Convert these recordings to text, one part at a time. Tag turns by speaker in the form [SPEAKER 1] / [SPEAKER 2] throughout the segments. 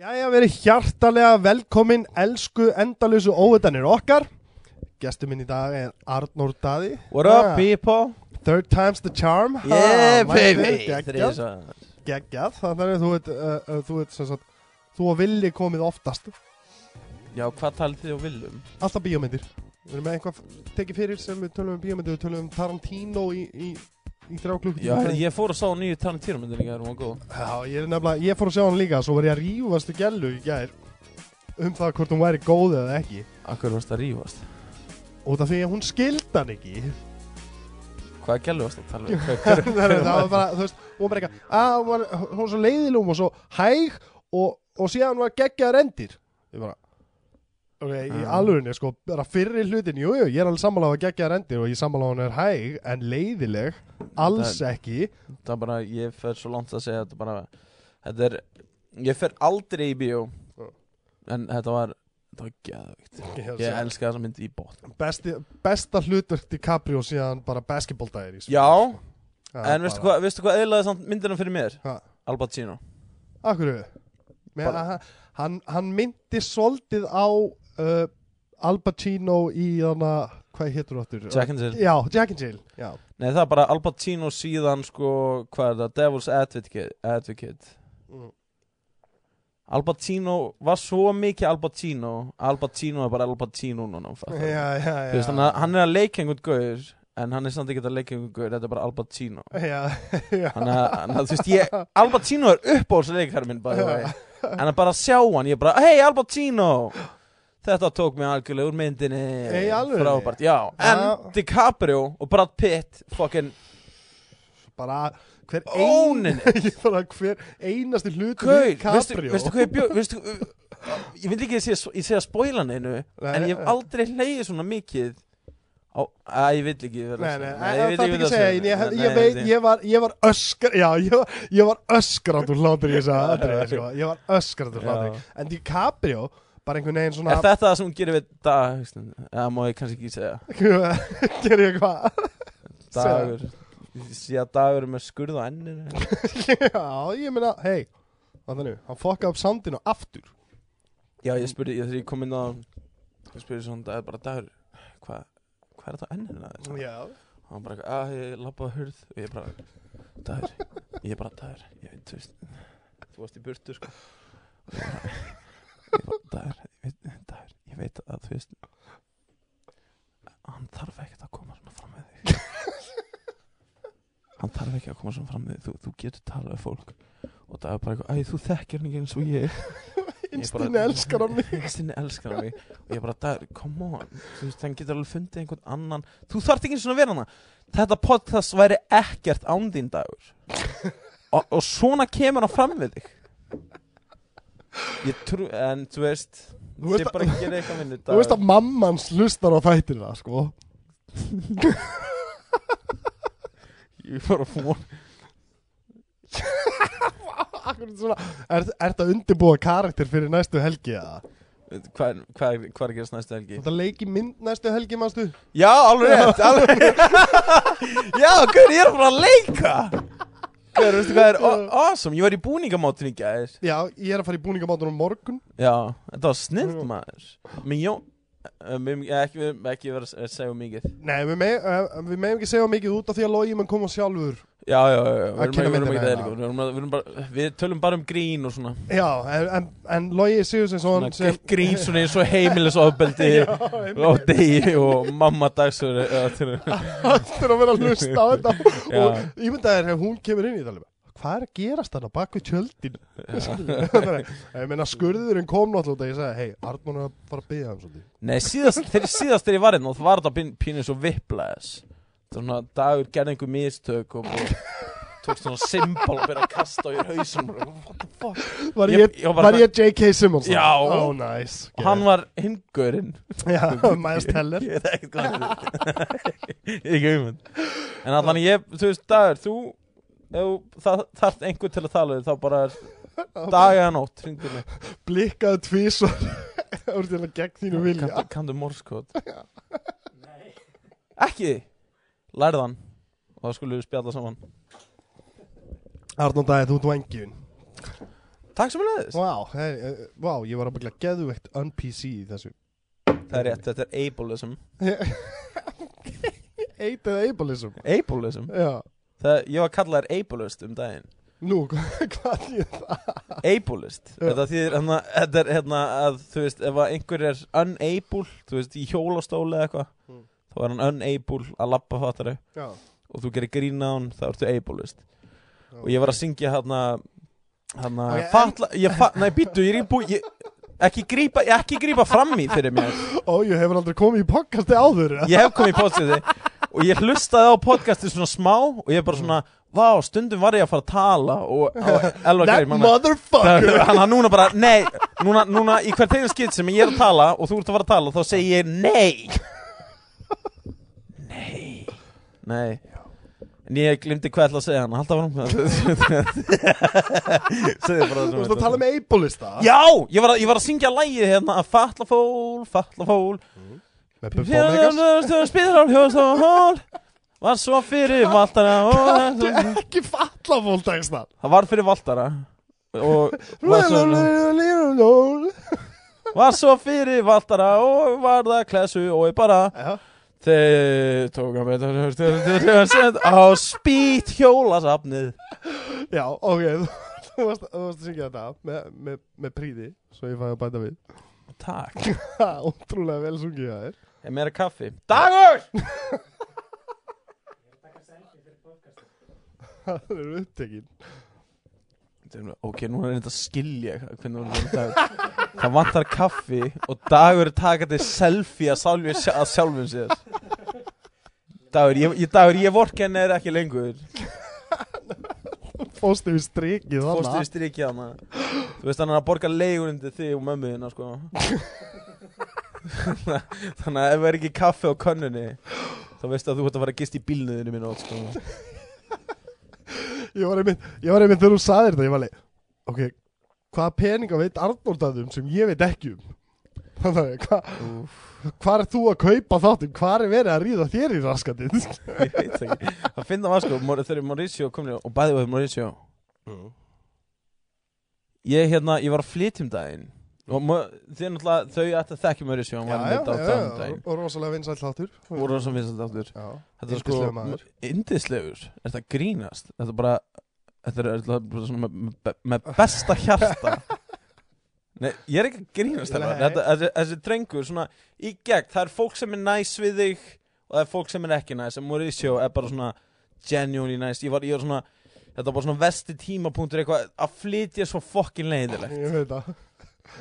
[SPEAKER 1] Jæja, verið hjartalega velkomin, elsku endalösu óutanir okkar. Gestur minn í dag er Arnór Daði.
[SPEAKER 2] What up
[SPEAKER 1] Ah,
[SPEAKER 2] people?
[SPEAKER 1] Third time's the charm. Ha,
[SPEAKER 2] Yeah
[SPEAKER 1] mættir,
[SPEAKER 2] baby
[SPEAKER 1] Geggjað, geggjað. Þannig að þú veit, uh, uh, þú veit, sem sagt, þú og Villi komið oftast.
[SPEAKER 2] Já, hvað talið þið um á viljum?
[SPEAKER 1] Alltaf bíómyndir. Við erum með eitthvað f- tekið fyrir sem við tölum um bíómyndir, við tölum um Tarantino í, í, í þrjá klukkutíma.
[SPEAKER 2] Já, herri, ég fór og sá nýju Tarantino myndin í gær, hún var góð
[SPEAKER 1] Já, ég er nefnilega, ég fór að sjá hann líka, svo var ég að rífast í gælu í gær um það hvort hún væri góð eða ekki.
[SPEAKER 2] Akkur varst að rífast
[SPEAKER 1] Út af því að hún skildi hann ekki.
[SPEAKER 2] Hvað gælu varst að tala um? Hver-
[SPEAKER 1] Nei,
[SPEAKER 2] hver-
[SPEAKER 1] nei, það var bara, þú veist, hún var bara eitthvað að hún var, hún var svo leiðilum og svo hæg og, og síðan var geggjaðar endir ég bara ok, í
[SPEAKER 2] Já.
[SPEAKER 1] alvörinni sko, bara fyrri hlutin jú, jú, ég er alveg sammála á að geggjaðar endir og ég sammála á að hún er hæg, en leiðileg alls ekki
[SPEAKER 2] Það er bara, ég fer svo langt að segja Þetta er bara, þetta er Ég fer aldrei í bíó
[SPEAKER 1] Oh.
[SPEAKER 2] En þetta var, þetta var geðvikt Ég elska þessa mynd í sko. bótt
[SPEAKER 1] Besti, besta hlutur DiCaprio síðan bara sko. basketballdæðir
[SPEAKER 2] Já, en veistu hvað, veistu hvað eðlaði samt myndina fyrir mér?
[SPEAKER 1] Hvað?
[SPEAKER 2] Al Pacino
[SPEAKER 1] Akkur
[SPEAKER 2] Bara-
[SPEAKER 1] við hann, hann myndi soldið á uh, Al Pacino í þarna, hvað hétur áttur?
[SPEAKER 2] Jack and Jill
[SPEAKER 1] Já, Jack and Jill Já,
[SPEAKER 2] Nei, það er bara Al Pacino síðan sko, hvað er það, Devil's Advocate, Advocate.
[SPEAKER 1] Mm.
[SPEAKER 2] Al Pacino var svo mikið Al Pacino Al Pacino er bara Al Pacino núna fattar þú?
[SPEAKER 1] já, já,
[SPEAKER 2] Þú veist, hann, hann er að leika einhvern gaur en hann er samt ekki að leika einhvern gaur þetta er bara Al Pacino
[SPEAKER 1] Já, já,
[SPEAKER 2] hann er, hann er, þú veist, ég, Al Pacino er uppáhaldsleikar minn bara,
[SPEAKER 1] Já.
[SPEAKER 2] en að bara sjá hann, ég bara, hei Al Pacino þetta tók mig algjörlega úr myndinni
[SPEAKER 1] Í alvörunni?
[SPEAKER 2] frábært, já, en
[SPEAKER 1] Já.
[SPEAKER 2] DiCaprio og Brad Pitt, fucking
[SPEAKER 1] bara hver
[SPEAKER 2] Ónin.
[SPEAKER 1] ein, bara hver einasti hlutur
[SPEAKER 2] Gauð,
[SPEAKER 1] í Caprio
[SPEAKER 2] veistu, veistu hvað ég bjóð veistu, Ég vil ekki að ég sé- ég segja spoilan einu
[SPEAKER 1] Nei,
[SPEAKER 2] En ég hef
[SPEAKER 1] nei.
[SPEAKER 2] aldrei hleyið svona mikið á, Æ, ég vil ekki vera
[SPEAKER 1] Nei,
[SPEAKER 2] að
[SPEAKER 1] nei,
[SPEAKER 2] segja.
[SPEAKER 1] nei, það
[SPEAKER 2] ég vil
[SPEAKER 1] þarf ekki
[SPEAKER 2] vera
[SPEAKER 1] að segja,
[SPEAKER 2] segja.
[SPEAKER 1] en ég,
[SPEAKER 2] Nei,
[SPEAKER 1] ég,
[SPEAKER 2] nei,
[SPEAKER 1] veit,
[SPEAKER 2] nei.
[SPEAKER 1] ég var, ég var öskar, já, ég var, ég var öskrand úr hlátur í þess að atriði, sko, ég var öskrand úr hlátur,
[SPEAKER 2] Já.
[SPEAKER 1] en DiCaprio, bara einhvern veginn
[SPEAKER 2] Er
[SPEAKER 1] svona,
[SPEAKER 2] þetta það sem hún gerir við dag Það má ég kannski ekki segja
[SPEAKER 1] gerir ég hvað, Segðu.
[SPEAKER 2] Dagur Síða dagur er með skurð á enninu
[SPEAKER 1] já, ég meina, hei, þannig, hann fokkaði upp sandinu aftur,
[SPEAKER 2] Já, ég spurði, ég þegar ég kom inn á Ég spurði svona, það er bara dagur Hvað hva er þetta á enninu? á þér?"
[SPEAKER 1] já,
[SPEAKER 2] og hann bara, eitthvað, að ég labbaði hurð og ég bara, dagur ég bara, dagur, ég veit, þú veist þú varst í burtu, sko og ég bara, ég bara, dagur ég veit, dagur, ég veit að, þú veist hann þarf ekkert að koma svona fram með þig hann þarf ekki að koma svona fram með þig þú, þú getur talað við fólk og það er bara eitthvað, æ, þú þekkir hann ekki eins og ég
[SPEAKER 1] innstinn elskar hann mig,
[SPEAKER 2] Kristín elskar hann mig og ég bara, Dagur, come on þú veist, hann getur alveg fundið einhvern annan þú þarft ekki eins og að vera hana þetta podcast væri ekkert án þín dagur og, og svona kemur hann fram við þig ég trú, en þú veist
[SPEAKER 1] Þú veist
[SPEAKER 2] þið bara að gera eitthvað minni
[SPEAKER 1] þú veist að mammans hlustar á þættina, sko,
[SPEAKER 2] ég fór að fór
[SPEAKER 1] Akkur svona, er, er þetta undirbúa karakter fyrir næstu helgi eða?
[SPEAKER 2] hvað er, hvað er, hvað er að gerast næstu helgi
[SPEAKER 1] Þetta leiki mynd næstu helgi, manstu?
[SPEAKER 2] já, alveg rétt alveg. já, hver, ég er að fara að leika hver, veistu hvað er aw- awesome ég var í búningamáttin í gæðis
[SPEAKER 1] Já, ég er að fara í búningamátunum morgun.
[SPEAKER 2] Já, þetta var snill
[SPEAKER 1] Jú.
[SPEAKER 2] maður Mér jón eh, mér- eh, ekki, ekki vera að segja of mikið
[SPEAKER 1] Nei, við, meg, uh, við meðum ekki segja of mikið út af því að logi mann koma sjálfur.
[SPEAKER 2] Já, já, já, já,
[SPEAKER 1] Að
[SPEAKER 2] við
[SPEAKER 1] kynna
[SPEAKER 2] erum ekki- við erum
[SPEAKER 1] myndina,
[SPEAKER 2] ekki
[SPEAKER 1] já.
[SPEAKER 2] eðlilega, við erum- við erum bara- Við tölum bara um grín og svona,
[SPEAKER 1] Já, en, en, en logi Sigurðsinsson
[SPEAKER 2] svona
[SPEAKER 1] sem...
[SPEAKER 2] Grín svona eins og heimilisofbeldi á degi og mamma dags
[SPEAKER 1] Þetta er að vera að hlusta á þetta.
[SPEAKER 2] Já.
[SPEAKER 1] og ég myndi að hún kemur inn í þetta alveg. Hvað er að gerast þarna bak við tjöldin? ég meina skurðurinn kom náttúrulega og ég sagði, hei, Arnmón er að fara að byggja hann svolítið.
[SPEAKER 2] Nei, síðast, þegar, síðast þegar ég var einn og það var þetta pín- pínu svo viplaðis Svona dagur gerði einhver mistök og og tók svona symbol og byrja að kasta á ég hausum What the fuck
[SPEAKER 1] Var
[SPEAKER 2] Ég-
[SPEAKER 1] ég,
[SPEAKER 2] ég var bara-
[SPEAKER 1] var ég J.K. Simmons?
[SPEAKER 2] Já.
[SPEAKER 1] Ó, næs.
[SPEAKER 2] Og hann var hingurinn
[SPEAKER 1] Já, Miles Teller.
[SPEAKER 2] Ég veit ekkert hvað hann heitir. Ekki umhund En allan ég, þú veist, dagur, þú ef það þarf einhver til að tala við þá bara er dag eða nótt hringdu mig,
[SPEAKER 1] blikkaði tvísvar Það voru til að gegn þínu vilja
[SPEAKER 2] kanntu, kanntu morskot Ekki Lærðan og þá skulum við spjalla saman
[SPEAKER 1] Arnónd Dæði, þú ert vangin
[SPEAKER 2] Takk sem leðis
[SPEAKER 1] Vá, hey, eh, vá, ég var að byggja geðveikt un-PC í þessu
[SPEAKER 2] Það er rétt, þetta er ableism
[SPEAKER 1] Eight eða ableism
[SPEAKER 2] Ableism?
[SPEAKER 1] Já,
[SPEAKER 2] Það, ég var kallaðar ableist um daginn
[SPEAKER 1] nú, hvað hvað ég það?
[SPEAKER 2] Ableist
[SPEAKER 1] Já.
[SPEAKER 2] Þetta þýðir hérna, þetta er hérna að þú veist ef að einhver er unable þú veist í hjólastóli eða eitthvað
[SPEAKER 1] Mm.
[SPEAKER 2] þá er hann unable að labba fattari
[SPEAKER 1] Já,
[SPEAKER 2] og þú gerir grín á hann þá ertu ableist og ég var að syngja hérna hérna
[SPEAKER 1] Ok, en-
[SPEAKER 2] fatla ég fa Nei býttu, ég er ekki búið ég, ekki grípa, ekki grípa fram í fyrir mér
[SPEAKER 1] Ó, ég hefur aldrei komið í podcasti áður eða?
[SPEAKER 2] ég hef komið í podcasti og ég hlustaði á podcasti svona smá og ég bara svona, vá, stundum var ég að fara að tala og á Elva
[SPEAKER 1] That
[SPEAKER 2] Greif manna-
[SPEAKER 1] motherfucker
[SPEAKER 2] Það- hann hann núna bara, nei, núna, núna í hvert tegum skitt sem ég er að tala og þú ert að fara að tala þá segi ég nei nei nei en ég glimti hvað ég ætla að segja hann halda varum segði bara
[SPEAKER 1] Þú
[SPEAKER 2] það sem
[SPEAKER 1] veist að tala um með ableista
[SPEAKER 2] já, ég var, að, ég var að syngja lægið hérna að fatla fól, fatla fól
[SPEAKER 1] Með Bubba Vegas
[SPEAKER 2] Spilar á hjóðstofól Var svo fyrir Valtara og-
[SPEAKER 1] Þetta er ekki fallafól texta
[SPEAKER 2] Það var fyrir Valtara Og var svo,
[SPEAKER 1] Já,
[SPEAKER 2] var svo fyrir Valtara Og var það klessu og ég bara Þeir tóka betur Á spýt hjólasafnið
[SPEAKER 1] já, ok Þú varst þú varst að syngja þetta með, með, með príði Svo ég fæði að bæta við
[SPEAKER 2] Takk
[SPEAKER 1] Ha, Ótrúlega vel sungið það er
[SPEAKER 2] Ég meira kaffi Dagur
[SPEAKER 1] Það eru upptekinn
[SPEAKER 2] Ok, nú er þetta að skilja hvernig voru þetta dagur Það vantar kaffi og Dagur er takandi selfie að, sálfi, að sjálfum sér Dagur, ég, ég, dagur, ég vorken er ekki lengur
[SPEAKER 1] Fóstu við strikið
[SPEAKER 2] Fórstu
[SPEAKER 1] þarna
[SPEAKER 2] við strikið hana Þú veist hann er að borga leigur undir þig og mömmu þina sko Þannig að ef það er ekki kaffi á könnunni Þá veistu að þú ert að fara að gist í bílnuðinu mínu og sko
[SPEAKER 1] Ég var einmitt, ég var einmitt þegar þú saðir þetta Ég var leið, ok, hvaða peninga veit Arnold að um sem ég veit ekki um Þannig, að, hva,
[SPEAKER 2] Úf,
[SPEAKER 1] hvar er þú að kaupa þáttum? Hvar er verið að ríða þér í raskatinn?
[SPEAKER 2] ég veit það ekki Það finna var sko, Mor- þegar Mauricio komni og bæði við Mauricio Ég hérna, ég var að flytja um daginn og mo- þið er náttúrulega, þau ætti að þekkja mörg sem
[SPEAKER 1] Já,
[SPEAKER 2] var
[SPEAKER 1] já,
[SPEAKER 2] neitt á
[SPEAKER 1] já,
[SPEAKER 2] það um
[SPEAKER 1] já,
[SPEAKER 2] daginn
[SPEAKER 1] og rosalega vinsæll þáttur
[SPEAKER 2] voru það sem finnst þetta aftur
[SPEAKER 1] Já,
[SPEAKER 2] Þetta er
[SPEAKER 1] Yndislegur maður.
[SPEAKER 2] sko, indislegur er þetta grínast, þetta er bara þetta er örugglega bara svona með- með, með besta hjarta Nei, ég er ekki að grínast þetta,
[SPEAKER 1] Nei.
[SPEAKER 2] þetta þessi, þessi drengur svona í gegn, það er fólk sem er næs við þig og það er fólk sem er ekki næs en Mauricio er bara svona genuinely næs, ég var, ég var svona þetta var bara svona vesti tímapunktur eitthvað að flytja svo fokkin leiðilegt
[SPEAKER 1] ég veit það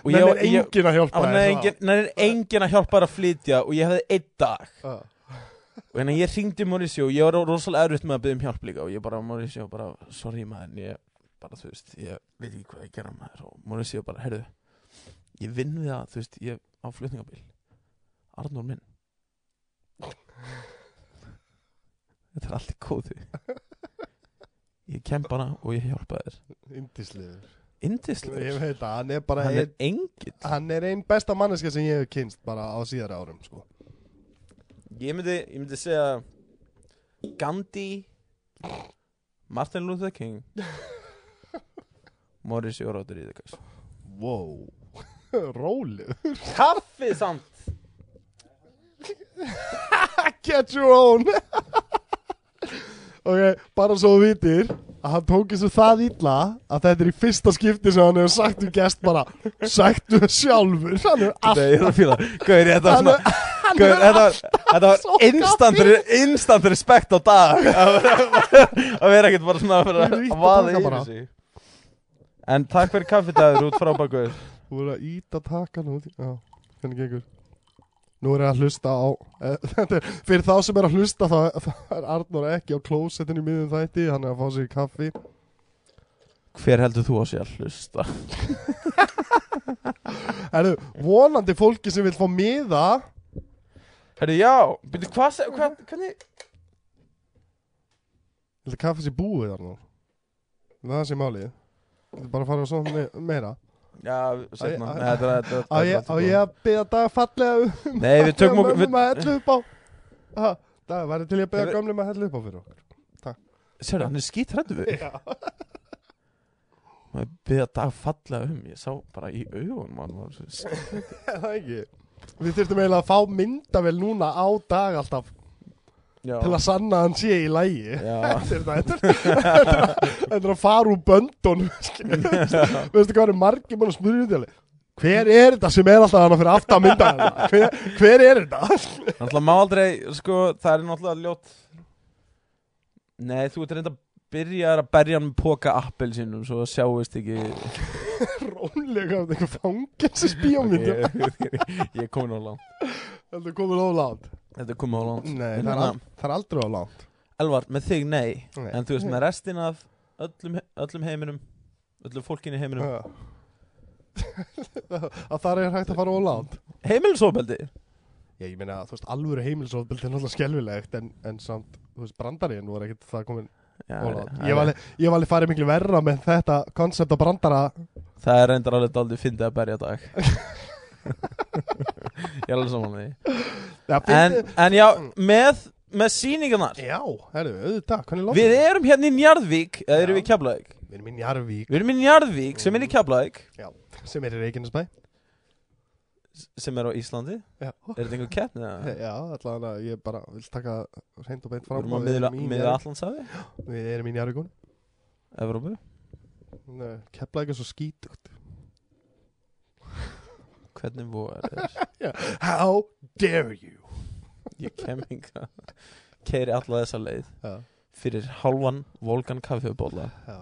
[SPEAKER 2] og
[SPEAKER 1] Menn
[SPEAKER 2] ég,
[SPEAKER 1] er
[SPEAKER 2] ég,
[SPEAKER 1] engin að hjálpa
[SPEAKER 2] hann er engin, hann er engin að hjálpa þér að flytja og ég hefði einn dag
[SPEAKER 1] Já.
[SPEAKER 2] og hérna ég ringdi Mauricio og ég var rosalega erfitt með að byggja um hjálp líka og ég bara Mauricio bara sorry maður ég bara þú veist ég veit ekki hvað ég gera maður og Mauricio bara herðu ég vinn við það þú veist ég á flutningabíl Arnór minn þetta er allt í kóðu ég kem bara og ég hjálpa þér
[SPEAKER 1] Indisliður Ég
[SPEAKER 2] Indislega
[SPEAKER 1] veit það, hann er bara
[SPEAKER 2] hann
[SPEAKER 1] einn
[SPEAKER 2] er engill
[SPEAKER 1] Hann er einn besta manneska sem ég hef kynst bara á síðari árum sko.
[SPEAKER 2] Ég myndi, ég myndi segja Gandhi Martin Luther King Morris Jóróttur í þekas
[SPEAKER 1] Wow Rólu
[SPEAKER 2] Kaffi samt
[SPEAKER 1] Get your own Ok, bara svo þú vitir að hann tók þessu það illa að þetta er í fyrsta skipti sem hann hefur sagt um gest bara Sættu sjálfur Hann hefur
[SPEAKER 2] Þetta
[SPEAKER 1] alltaf
[SPEAKER 2] er að fíla Gauðir, þetta var
[SPEAKER 1] Hann
[SPEAKER 2] svona
[SPEAKER 1] hefur- hann
[SPEAKER 2] Gauðir,
[SPEAKER 1] hefur
[SPEAKER 2] þetta, þetta
[SPEAKER 1] svo
[SPEAKER 2] var instant,
[SPEAKER 1] kaffi.
[SPEAKER 2] re- instant respect á dag Að vera- að vera ekkert bara svona að vera
[SPEAKER 1] Ég er
[SPEAKER 2] að
[SPEAKER 1] ítt að
[SPEAKER 2] vaða
[SPEAKER 1] taka
[SPEAKER 2] yfir
[SPEAKER 1] bara.
[SPEAKER 2] sig En takk fyrir kaffidæður út frá bakur
[SPEAKER 1] Þú voru að íta takan út í- Já, hvernig gengur Nú er ég að hlusta á eh, þetta er- Fyrir þá sem er að hlusta þá þá er Arnór ekki á klósettinu í miðum þætti Hann er að fá sér kaffi
[SPEAKER 2] Hver heldur þú að sé að hlusta?
[SPEAKER 1] Erðu, vonandi fólki sem vil fá miða
[SPEAKER 2] Herri, já, byrju, hvað, se- hvað, hvernig
[SPEAKER 1] Þetta kaffi sé búið Arnór Það sé málið Þetta er bara að fara á svona me- meira
[SPEAKER 2] Já, setna
[SPEAKER 1] Á ég-
[SPEAKER 2] Nei, þetta er- þetta er-
[SPEAKER 1] Á ég,
[SPEAKER 2] þetta
[SPEAKER 1] á
[SPEAKER 2] er-
[SPEAKER 1] ég að beða dag fallega um
[SPEAKER 2] Nei, við tökum okkur
[SPEAKER 1] Mömmum
[SPEAKER 2] við-
[SPEAKER 1] að hellu upp á Aha, Það væri til ég að beða
[SPEAKER 2] Heyrðu-
[SPEAKER 1] gömlum að hellu upp á fyrir okkur
[SPEAKER 2] Sérðu, hann er skítrættu við
[SPEAKER 1] Já
[SPEAKER 2] maður beða dag fallega um ég sá bara í augun mann var svo sk-
[SPEAKER 1] Er það ekki? Við þurftum eiginlega að fá myndavel núna á dag alltaf
[SPEAKER 2] já,
[SPEAKER 1] til að sanna að hann sé í lægi.
[SPEAKER 2] já,
[SPEAKER 1] Þetta er þetta er- þetta er að- þetta er að fara úr böndun Veistu hvað eru margir búin að smurja út í alveg Hver er þetta sem er alltaf hana fyrir aftan mynda hver, hver er þetta?
[SPEAKER 2] náttúrulega má aldrei sko, það er náttúrulega ljótt nei, þú ert reynda að byrja að berja hann með póka appel sínum svo það sjáist ekki
[SPEAKER 1] Rónlega þetta er eitthvað fangensis bíómynda okay.
[SPEAKER 2] ég, ég, ég er komin á langt
[SPEAKER 1] Þetta er komin of langt
[SPEAKER 2] þetta er komin á langt
[SPEAKER 1] Nei, það er,
[SPEAKER 2] En hérna-
[SPEAKER 1] al, það er aldrei of langt
[SPEAKER 2] Elvar, með þig nei,
[SPEAKER 1] Nei.
[SPEAKER 2] en þú veist með restin af öllum, öllum heiminum öllum fólkinni í heiminum
[SPEAKER 1] Já. Að það er hægt að fara of langt
[SPEAKER 2] heimilisofbeldi
[SPEAKER 1] Já, ég meina, þú veist, alvöru heimilisofbildi er náttúrulega skelvilegt en, en samt, þú veist, brandarinn voru ekkert það komin
[SPEAKER 2] Já,
[SPEAKER 1] of langt
[SPEAKER 2] já,
[SPEAKER 1] Ég var alveg- ég var alveg farið miklu verra með þetta konsept á brandara
[SPEAKER 2] Það er reyndar alveg daldið fyndið að berja dag Ég er alveg saman með því
[SPEAKER 1] Já,
[SPEAKER 2] en,
[SPEAKER 1] fyndi-
[SPEAKER 2] en já, með, með sýningarnar
[SPEAKER 1] Já, herru, auðvitað, hvernig lofum
[SPEAKER 2] Við erum hérna í Njarðvík Eða erum
[SPEAKER 1] Já.
[SPEAKER 2] við í Keflavík
[SPEAKER 1] Við erum í Njarvík
[SPEAKER 2] Við erum í Njarðvík sem er í Keflavík
[SPEAKER 1] Já, sem er í Reykjanesbæ
[SPEAKER 2] s- Sem er á Íslandi
[SPEAKER 1] Já,
[SPEAKER 2] Er þetta einhver keppni? eða?
[SPEAKER 1] já allan að ég bara vil taka reynd og beint
[SPEAKER 2] Við
[SPEAKER 1] fram
[SPEAKER 2] erum á
[SPEAKER 1] að
[SPEAKER 2] miðra,
[SPEAKER 1] í
[SPEAKER 2] miðra
[SPEAKER 1] Njarðvík.
[SPEAKER 2] Allandsafi
[SPEAKER 1] Við erum í Njarvíkun
[SPEAKER 2] Evrópu
[SPEAKER 1] Kepla ekki svo skítugt
[SPEAKER 2] Hvernig vor er
[SPEAKER 1] How dare you
[SPEAKER 2] Ég kem hinga Keiri alla þessa leið
[SPEAKER 1] Já,
[SPEAKER 2] Fyrir hálfan volgan kaffibóla
[SPEAKER 1] já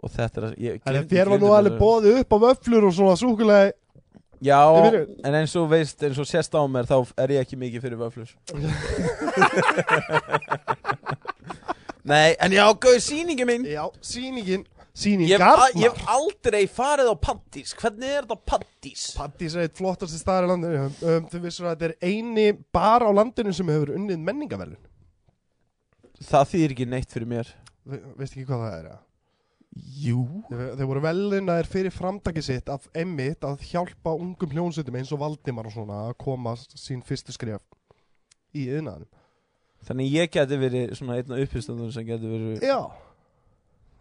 [SPEAKER 2] Og þetta er að- ég
[SPEAKER 1] Þannig að
[SPEAKER 2] gleymdi-
[SPEAKER 1] þér var nú
[SPEAKER 2] gleymdi
[SPEAKER 1] alveg
[SPEAKER 2] þessu.
[SPEAKER 1] bóðið upp á vöflur og svona súkulega
[SPEAKER 2] Já,
[SPEAKER 1] Ég byrju.
[SPEAKER 2] en eins og veist, eins og sérst á mér þá er ég ekki mikið fyrir vöflur Nei, en já, gauð sýningi mín
[SPEAKER 1] Já, sýningin
[SPEAKER 2] Ég hef
[SPEAKER 1] Sýningarnar
[SPEAKER 2] a- ég hef aldrei farið á Pattís Hvernig er þetta Pattís?
[SPEAKER 1] Pattís er eitt flottasti staðar í landinu um, um, Þau vissur að þetta er eini bar á landinu sem hefur unnið menningavelun
[SPEAKER 2] Það þýðir ekki neitt fyrir mér
[SPEAKER 1] Veist ekki hvað það er, já
[SPEAKER 2] Jú
[SPEAKER 1] Þeir þeir voru velinaðir fyrir framtaki sitt af emmitt að hjálpa ungum hljónsutum eins og Valdimar og svona að koma s- sín fyrstu skref í yðnaðanum.
[SPEAKER 2] Þannig ég geti verið svona einn af upphystandur sem geti verið
[SPEAKER 1] Já.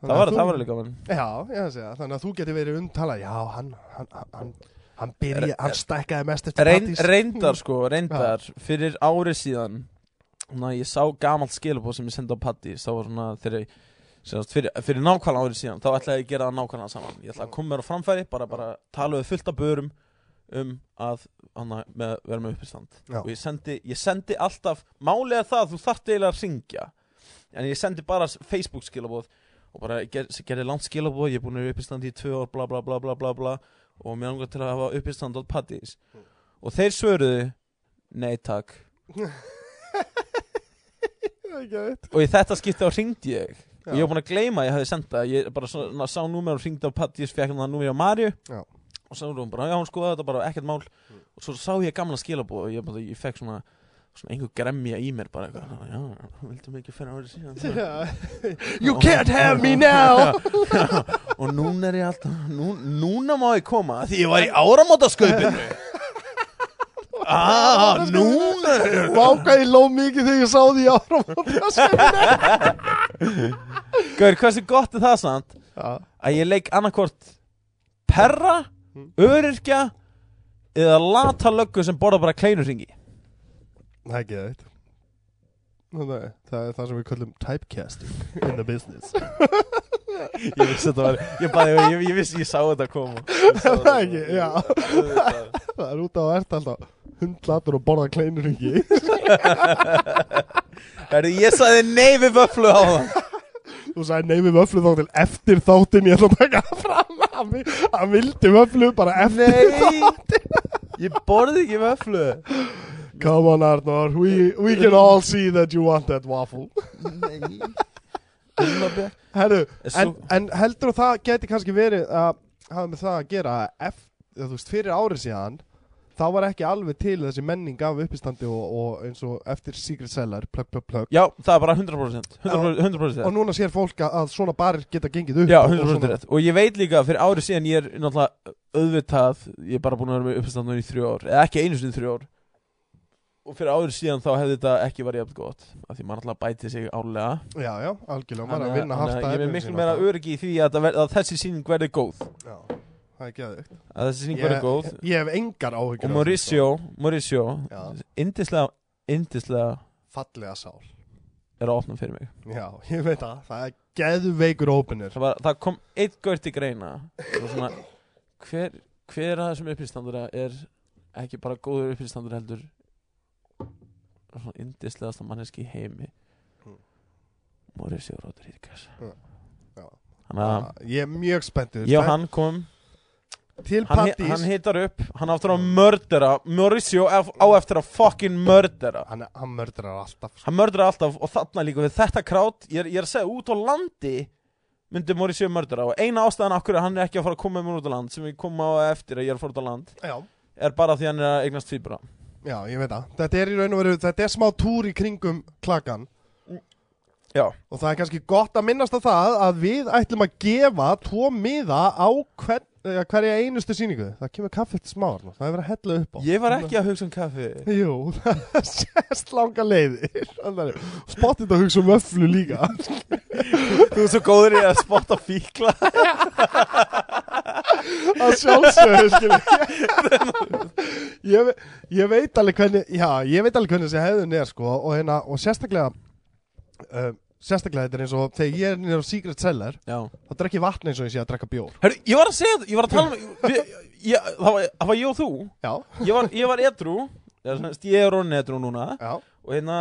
[SPEAKER 2] Það var, það var alveg gaman
[SPEAKER 1] Já, ég að segja. Þannig að þú geti verið umtalað, já, hann, hann, hann- hann, hann byrja, hann stækkaði mest eftir
[SPEAKER 2] Reyn,
[SPEAKER 1] Pattís.
[SPEAKER 2] Reyndar sko, reyndar Fyrir ári síðan Ná, ég sá gamalt skilabóð sem ég sendi á Pattís Þá var svona þegar ég Sérst, fyrir, fyrir nákvæmlega árið síðan, þá ætlaði ég að gera það nákvæmlega saman Ég ætlaði að koma mér á framfæri, bara, bara tala við fullt af börum um að hana, með, vera með uppistand
[SPEAKER 1] Já.
[SPEAKER 2] Og ég sendi, ég sendi alltaf, málega það að þú þarft eiginlega að ringja En ég sendi bara Facebook skilabóð Og bara ger, gerði langt skilabóð, ég er búin að vera uppistand í tvö ár, bla bla bla bla bla bla Og mér langar til að hafa uppistand á Pattís Og þeir svöruðu, nei takk
[SPEAKER 1] Það er ekki að veit.
[SPEAKER 2] Og í þetta skipti á ringdi ég
[SPEAKER 1] Já.
[SPEAKER 2] Og ég var búin að gleyma að ég hafði sendt það Ég bara svona, sá númer og ringdi á Pattis Fekk hann það númer á Marju
[SPEAKER 1] Já. Mm.
[SPEAKER 2] Og sá hún bara, já hún skoðaði þetta bara ekkert mál Og svo sá ég gamla skilabóð Og ég, bara, ég fekk svona, svona einhver gremja í mér Bara eitthvað, já, hún vildi mig ekki fyrir árið síðan
[SPEAKER 1] You can't have me now!
[SPEAKER 2] Og núna er ég alltaf nú, Núna má ég koma Því ég var í áramótasköpinu Ah, núna er-
[SPEAKER 1] Vákaði ló mikið þegar ég sá því ára og það sem
[SPEAKER 2] Gaur, hversu gott er það samt að ég leik annarkvort perra, öryrkja eða lata löggu sem borða bara kleinurringi
[SPEAKER 1] Það er ekki að veit. Nei, Það er það sem við kallum typecasting in the business.
[SPEAKER 2] ég vissi þetta var ég, bara, ég, ég, ég vissi ég sá þetta koma Ég sá
[SPEAKER 1] Það
[SPEAKER 2] þetta
[SPEAKER 1] ekki,
[SPEAKER 2] koma.
[SPEAKER 1] já.
[SPEAKER 2] Auðvitað.
[SPEAKER 1] Það er út á að ert alltaf hundlatur og borða kleinur ekki
[SPEAKER 2] Herri, ég saði nei við vöflu á það
[SPEAKER 1] Þú sagði nei við vöflu þá til eftir þáttinn Ég ætla að taka það fram Hann vi- Hann vildi vöflu bara eftir
[SPEAKER 2] nei, ég borði ekki vöflu
[SPEAKER 1] Come on Arnór, we, we can all see that you want that waffle
[SPEAKER 2] nei
[SPEAKER 1] Herru,
[SPEAKER 2] Svo-
[SPEAKER 1] en, en heldur það geti kannski verið að hafa með það að gera að eft- eða þú veist, fyrir árið síðan þá var ekki alveg til þessi menning af uppistandi og, og eins og eftir Secret Cellar, plögg, plögg, plögg
[SPEAKER 2] já, það er bara 100% 100%, 100%.
[SPEAKER 1] og núna sér fólk að- að svona barir geta gengið upp
[SPEAKER 2] Já,
[SPEAKER 1] og- og
[SPEAKER 2] 100%
[SPEAKER 1] svona-
[SPEAKER 2] rétt Og ég veit líka fyrir árið síðan ég er náttúrulega auðvitað Ég er bara búin að vera með uppstandun í þrjú ár Eða ekki einu sinni í þrjú ár og fyrir áður síðan þá hefði þetta ekki verið jafn gott af því maður alltaf bæti sig árlega
[SPEAKER 1] Já, já, algjörlega, maður er
[SPEAKER 2] Þannig
[SPEAKER 1] að vinna
[SPEAKER 2] þannig
[SPEAKER 1] harta
[SPEAKER 2] ég er
[SPEAKER 1] efnin
[SPEAKER 2] miklu
[SPEAKER 1] sín
[SPEAKER 2] meira
[SPEAKER 1] alltaf.
[SPEAKER 2] öryggi í því að, það ver, að þessi síning verði góð
[SPEAKER 1] Já, það er geðvikt
[SPEAKER 2] að þessi síning
[SPEAKER 1] Ég-
[SPEAKER 2] verði góð
[SPEAKER 1] Ég hef engar áhyggjur
[SPEAKER 2] og
[SPEAKER 1] af því,
[SPEAKER 2] Mauricio, Mauricio
[SPEAKER 1] Já.
[SPEAKER 2] indislega, indislega
[SPEAKER 1] sko. Fallega sál
[SPEAKER 2] er að opna fyrir mig
[SPEAKER 1] Já, ég veit það, það er geðveikur ópenur
[SPEAKER 2] það, var, það kom eitt gaur til greina Það var svona, hver, hver að þessum upplýstandara er ekki bara góður upplýstandur heldur svona indislegasta manneski í heimi
[SPEAKER 1] Mm.
[SPEAKER 2] Mauricio Rodríguez
[SPEAKER 1] Mm. Já. Ah,
[SPEAKER 2] Þannig að
[SPEAKER 1] Ég er mjög spenntið
[SPEAKER 2] ég og hann kom
[SPEAKER 1] Til
[SPEAKER 2] hann,
[SPEAKER 1] Pattís
[SPEAKER 2] hann hittar upp, hann aftur að mördera Mauricio ef- á eftir að fucking mördera
[SPEAKER 1] hann, hann mördrar alltaf sko.
[SPEAKER 2] hann mördera alltaf og þarna líka við þetta krát ég er, ég er að segja út á landi myndi Mauricio mördera og eina ástæðan af hverju hann er ekki að fara að koma með mér út á land sem ég kom á eftir að ég er að fara út á land
[SPEAKER 1] Já,
[SPEAKER 2] er bara því hann er að eignast tvíbra
[SPEAKER 1] já, ég veit það Þetta er í raun og veru, þetta er smá túr í kringum klakan
[SPEAKER 2] já,
[SPEAKER 1] Og það er kannski gott að minnast á það að við ætlum að gefa tvo miða á hver, eh, hverja einustu sýningu. Það kemur kaffið til smáar nú, það er verið að hella upp á.
[SPEAKER 2] ég var ekki að hugsa um kaffi
[SPEAKER 1] Jú, það sést langa leiðir. Þannig að Spottið að hugsa um öflu líka.
[SPEAKER 2] þú er svo góður í að spotta fíkla
[SPEAKER 1] að sjálfsögðu, skilur. ég, ve- ég veit alveg hvernig, já, ég veit alveg hvernig þessi hefðun er, sko, og, hérna, og sérstaklega, uh, sérstaklega þetta er eins og þegar ég er nýður á Secret Cellar,
[SPEAKER 2] já
[SPEAKER 1] þá drekk ég vatn eins og eins ég að drekka bjór.
[SPEAKER 2] Hörru, ég var að segja þetta, ég var að tala um við, ég, það, var, það var ég og þú
[SPEAKER 1] Já,
[SPEAKER 2] Ég var, ég var edru, ég er orðin edru núna
[SPEAKER 1] já,
[SPEAKER 2] og hérna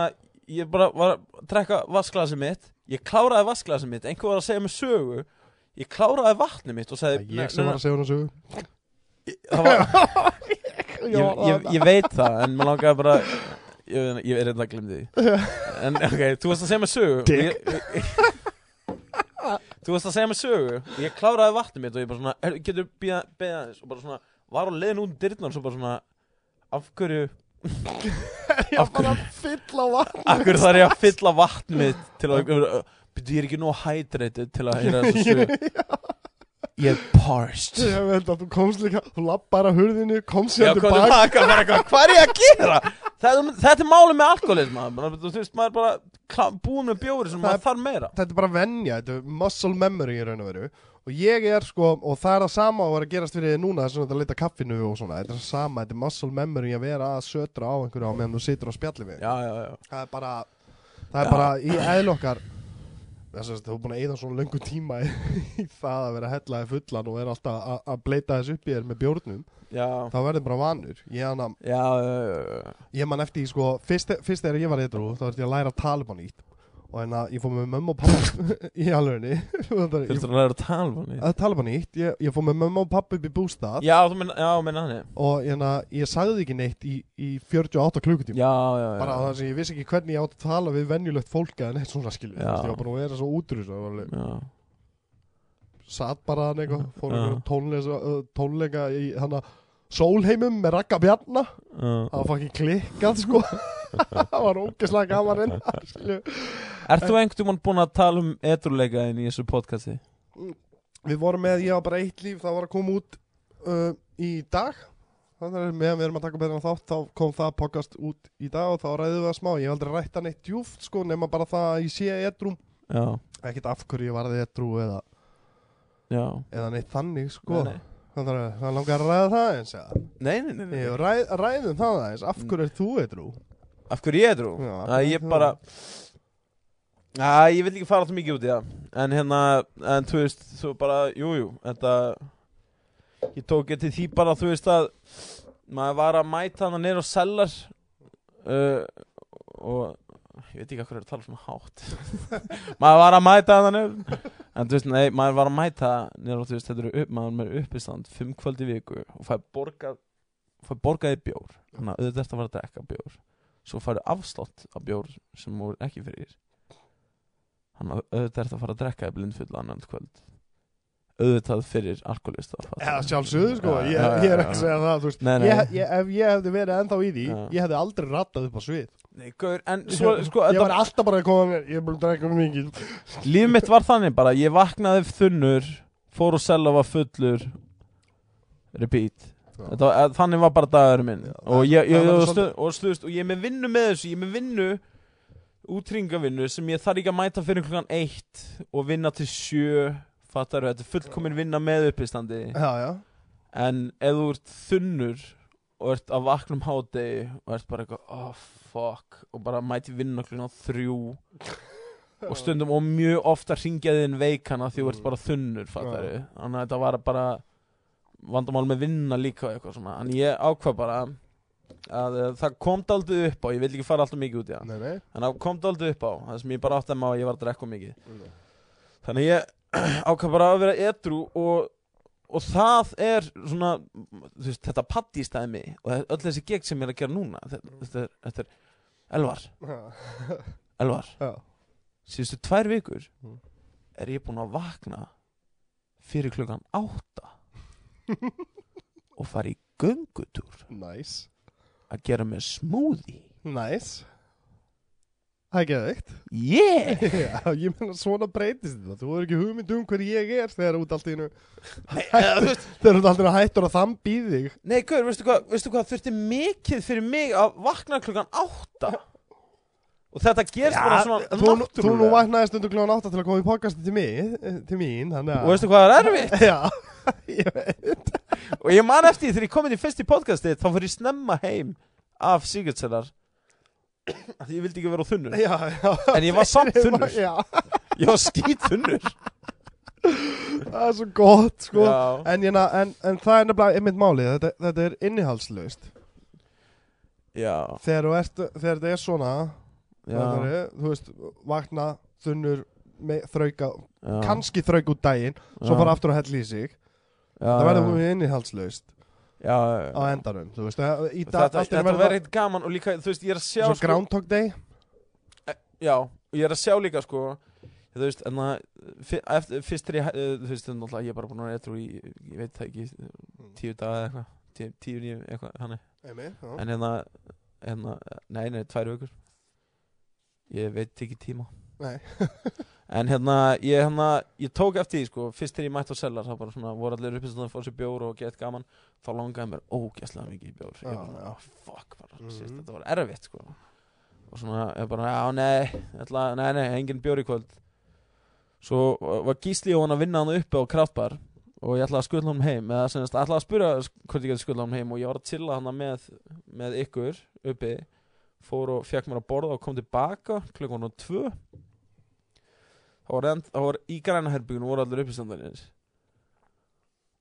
[SPEAKER 2] ég bara var að drekka vasklasið mitt ég kláraði vasklasið mitt, einhver var að segja mér sögu ég kláraði vatnið mitt og
[SPEAKER 1] það
[SPEAKER 2] sagði
[SPEAKER 1] er ég sem var að segja hún að sögu.
[SPEAKER 2] það var,
[SPEAKER 1] Ég,
[SPEAKER 2] ég, ég, ég veit það en maður langaði bara ég, ég er reynda að glemdi því en ok, þú varst að segja mér sögu og ég- þú varst að segja mér sögu og ég kláraði vatnið mitt og ég bara svona "Heyrðu, getur beða aðeins og bara svona var á leiðin út um dyrnar og svo bara svona af hverju
[SPEAKER 1] ég var bara að fylla á vatn
[SPEAKER 2] Akkur þarf ég að fylla vatn mitt til að Býtu, ég er ekki nú hydrated til að heyra þessu sög Ég er parst
[SPEAKER 1] ég veit að þú komst líka, þú lapp bara hurðinu komst
[SPEAKER 2] Já,
[SPEAKER 1] sér
[SPEAKER 2] hvað er
[SPEAKER 1] tilbaka
[SPEAKER 2] baka, bara eitthvað, hvað er ég að gera? Þetta, þetta er málið með alkoholism maður. Þú veist, maður er bara klá- búinn með bjóri
[SPEAKER 1] Það
[SPEAKER 2] sem
[SPEAKER 1] er-
[SPEAKER 2] maður þarf meira
[SPEAKER 1] þetta er bara venja, þetta er muscle memory í raun og veru og ég er sko, og það er það sama að vera að gerast fyrir þig núna þess að leita kaffinu og svona, þetta er það sama, þetta er muscle memory að vera að sötra á einhverju á meðan þú situr og spjallir við
[SPEAKER 2] Já, já, já
[SPEAKER 1] það er bara, það er
[SPEAKER 2] Já.
[SPEAKER 1] bara í eðlokkar þess að þú er búin að eyða svona löngu tíma í, í það að vera hellaði fullan og vera alltaf að- að bleita þess upp í þér með bjórnum
[SPEAKER 2] Já,
[SPEAKER 1] þá verður bara vanur, ég hann að
[SPEAKER 2] já, já, já, já.
[SPEAKER 1] Ég man eftir, í, sko, fyrst, fyrst þegar ég var eitthrú þá þurfti ég að læra að tala upp á nýtt og en að ég fór með mömmu og pappa í alvegni
[SPEAKER 2] Þurftu
[SPEAKER 1] að
[SPEAKER 2] að læra að tala um hann
[SPEAKER 1] tala upp á nýtt, ég, ég fór með mömmu og pappa upp í bústað
[SPEAKER 2] Já, þú menn, já, menn hann
[SPEAKER 1] og en að ég sagði ekki neitt í, í 48 klukkutíma
[SPEAKER 2] Já, já, já
[SPEAKER 1] bara það sem ég vissi ekki hvernig ég átt að tala við venjulegt fólk eða neitt svona skilju,
[SPEAKER 2] Já.
[SPEAKER 1] Þú veist, ég var bara að vera svo útrús og alveg
[SPEAKER 2] Já,
[SPEAKER 1] satt bara hann eitthvað, fór
[SPEAKER 2] Já.
[SPEAKER 1] einhverjum tónleika, tónleika í hann að sólheimum með rakka bjarna
[SPEAKER 2] já
[SPEAKER 1] það var fucking klikkað sko það var ógeðslega gaman reyndar skilju
[SPEAKER 2] Er þú einhvern tímann búinn að tala um edruleikaðin í þessu podcasti?
[SPEAKER 1] við vorum með, ég var bara eitt líf, það var að koma út uh, í dag þannig að meðan við erum að taka beðan þátt þá kom það podcast út í dag og þá ræðum við það smá, ég hef aldrei rætt hann eitt djúft sko nema bara það að ég sé edrú
[SPEAKER 2] Já,
[SPEAKER 1] ekkert af hverju ég varði edrú eða,
[SPEAKER 2] já
[SPEAKER 1] eða neitt þannig sko
[SPEAKER 2] Nei, nei.
[SPEAKER 1] þannig að það langar að ræða það eins eða
[SPEAKER 2] Nei, nei, nei, nei.
[SPEAKER 1] ég ræð, ræðum það eins, af hverju er þú edrú
[SPEAKER 2] Af hverju ég er drú?
[SPEAKER 1] Já,
[SPEAKER 2] að ég
[SPEAKER 1] já.
[SPEAKER 2] bara að ég vil ekki fara alltaf mikið út í það en hérna, en þú veist þú bara, jújú, jú, þetta ég tók eftir því bara þú veist að maður var að mæta hann neyra á sellar uh, og ég veit ekki að hverju er að tala svona hátt maður var að mæta hann neyra en þú veist, nei, maður var að mæta neyra, þú veist, þetta eru upp, maður er uppistand fimm kvöld í viku og fær borgað fær borgaði bjór þannig að auðvitað ertu að fara að drekka bjór svo færðu afslátt af bjór sem þú er ekki fyrir þannig að auðvitað ertu að fara að drekka í blindfull annan kvöld auðvitað fyrir alkoholista
[SPEAKER 1] eða sjálfsögðu sko,
[SPEAKER 2] Já,
[SPEAKER 1] ég,
[SPEAKER 2] já,
[SPEAKER 1] ég er
[SPEAKER 2] já,
[SPEAKER 1] ekki
[SPEAKER 2] já.
[SPEAKER 1] að segja það þú veist,
[SPEAKER 2] Nei, nei.
[SPEAKER 1] Ég, ég, ef ég hefði verið ennþá í því
[SPEAKER 2] Já.
[SPEAKER 1] ég hefði aldrei rattað upp á svið
[SPEAKER 2] Nei, gaur, en svo, sko,
[SPEAKER 1] ég var
[SPEAKER 2] þetta,
[SPEAKER 1] alltaf bara að koma mér, ég er búin að drekka mjög mikið
[SPEAKER 2] líf mitt var þannig bara ég vaknaði þunnur fór og selva var fullur repeat
[SPEAKER 1] Já.
[SPEAKER 2] Þetta, var- að, þannig var bara dagur minn
[SPEAKER 1] Já,
[SPEAKER 2] og,
[SPEAKER 1] það-
[SPEAKER 2] ég, ég,
[SPEAKER 1] það verður
[SPEAKER 2] og, stu,
[SPEAKER 1] svolítið-
[SPEAKER 2] og, stu, og ég er með vinnu með þessu ég er með vinnu útrýngavinnu sem ég þarf ekki að mæta fyrir klukkan eitt og vinna til sjö fattar þetta er fullkomin vinna með uppistandi
[SPEAKER 1] Já, já,
[SPEAKER 2] en ef þú ert þunnur og ert að vakna um hádegi og ert bara eitthvað, oh fuck og bara mæti vinna klukkan þrjú og stundum og mjög ofta ringjaði inn veikana því þú ert
[SPEAKER 1] Mm.
[SPEAKER 2] bara þunnur fattar þannig að þetta var bara vandamál með vinna líka og eitthvað svona en ég ákvað bara að eh, það kom daldið upp á ég vil ekki fara alltaf mikið út í það
[SPEAKER 1] Nei, nei
[SPEAKER 2] en það kom daldið upp á það sem ég bara átti að má að ég var að drekka of mikið þannig að ég ákvað bara að vera edru og, og það er svona þú veist, þetta pattistæmi og öll þessi gegn sem ég er að gera núna þetta,
[SPEAKER 1] Mm.
[SPEAKER 2] þetta, er, þetta er Elvar, Elvar
[SPEAKER 1] Já,
[SPEAKER 2] síðustu tvær vikur
[SPEAKER 1] Mm.
[SPEAKER 2] er ég búinn að vakna fyrir klukkan átta og fara í göngutúr
[SPEAKER 1] næs
[SPEAKER 2] að gera mér smúði
[SPEAKER 1] Næs Það er geðveikt
[SPEAKER 2] yeah!
[SPEAKER 1] Já, ég meina svona breytist þetta Þú er ekki hugmynd um hver ég er þegar út allt í einu
[SPEAKER 2] Nei, eða, þú veist,
[SPEAKER 1] Þegar út allt í einu hættur að þambi í þig
[SPEAKER 2] nei Guður, veistu hvað, veistu hvað þurfti mikið fyrir mig að vakna klukkan átta og þetta gerst bara svona
[SPEAKER 1] þú, nú- þú nú
[SPEAKER 2] náttúrulega
[SPEAKER 1] vaknaði stundum kljóðan átta til að koma í podcasti til mig eh, Til mín, þannig
[SPEAKER 2] og
[SPEAKER 1] að
[SPEAKER 2] veistu hvað er erfitt
[SPEAKER 1] Já, ég veit
[SPEAKER 2] og ég man eftir því þegar ég kom inn í fyrst í podcastið þá fór ég snemma heim af Sigurdselar því ég vildi ekki vera á þunnur
[SPEAKER 1] Já, já
[SPEAKER 2] En ég var samt þunnur.
[SPEAKER 1] Já,
[SPEAKER 2] ég var skýt þunnur
[SPEAKER 1] það er svo gott, sko
[SPEAKER 2] Já.
[SPEAKER 1] En, ég, na- en, en það er nefnilega einmitt málið, þetta, þetta er innihalslaust
[SPEAKER 2] Já,
[SPEAKER 1] þegar, þú ert, þegar þetta er svona
[SPEAKER 2] já,
[SPEAKER 1] er, þú veist, vakna, þunnur me, þrauka,
[SPEAKER 2] já
[SPEAKER 1] kannski þrauk út daginn svo
[SPEAKER 2] Já.
[SPEAKER 1] bara aftur að hella í sig
[SPEAKER 2] já,
[SPEAKER 1] það verður
[SPEAKER 2] já,
[SPEAKER 1] mjög innihalslaust
[SPEAKER 2] já, já,
[SPEAKER 1] á
[SPEAKER 2] já.
[SPEAKER 1] endanum, þú veist það- í dag,
[SPEAKER 2] Þetta,
[SPEAKER 1] allt
[SPEAKER 2] þetta
[SPEAKER 1] er
[SPEAKER 2] verður
[SPEAKER 1] verið
[SPEAKER 2] eitt gaman og líka, þú veist, ég er að sjá
[SPEAKER 1] svo
[SPEAKER 2] sko, e,
[SPEAKER 1] Groundhog Day
[SPEAKER 2] Já, og ég er að sjá líka, sko Þú veist, en það Fyrst þegar ég, eh, þú veist, en alltaf Ég er bara búin að reyta úr í, ég veit það ekki Tíu daga eða eitthvað Tíu, tíu nýju, eitthvað, hann
[SPEAKER 1] Einmitt, já.
[SPEAKER 2] En hérna, hérna, nei, nei, tvær vökur Ég veit ekki tíma
[SPEAKER 1] Nei.
[SPEAKER 2] En hérna, ég, hérna, ég tók eftir því, sko Fyrst þegar ég mætti á sellar, þá bara svona Voru allir uppið svona að fá sér bjór og gett gaman Þá langaði mér ógæslega mikið í bjór Ég
[SPEAKER 1] Já,
[SPEAKER 2] var svona,
[SPEAKER 1] já.
[SPEAKER 2] oh, fuck, bara,
[SPEAKER 1] Mhm.
[SPEAKER 2] mm þetta var erfitt, sko Og svona, ég bara, já, nei ætla, Nei, nei, engin bjór í kvöld Svo uh, var Gísli og hann að vinna hann uppi á kraftbar og ég ætlaði að skulla hann heim eða sem sagt, ætlaði að spura hvort ég geti skulla hann heim og ég var að chilla hann með, með ykkur uppi fór og fekk mér að borða og kom tilbaka klukkan og tvö þá var, end, þá var í grænaherbyggun voru allir uppistandarnir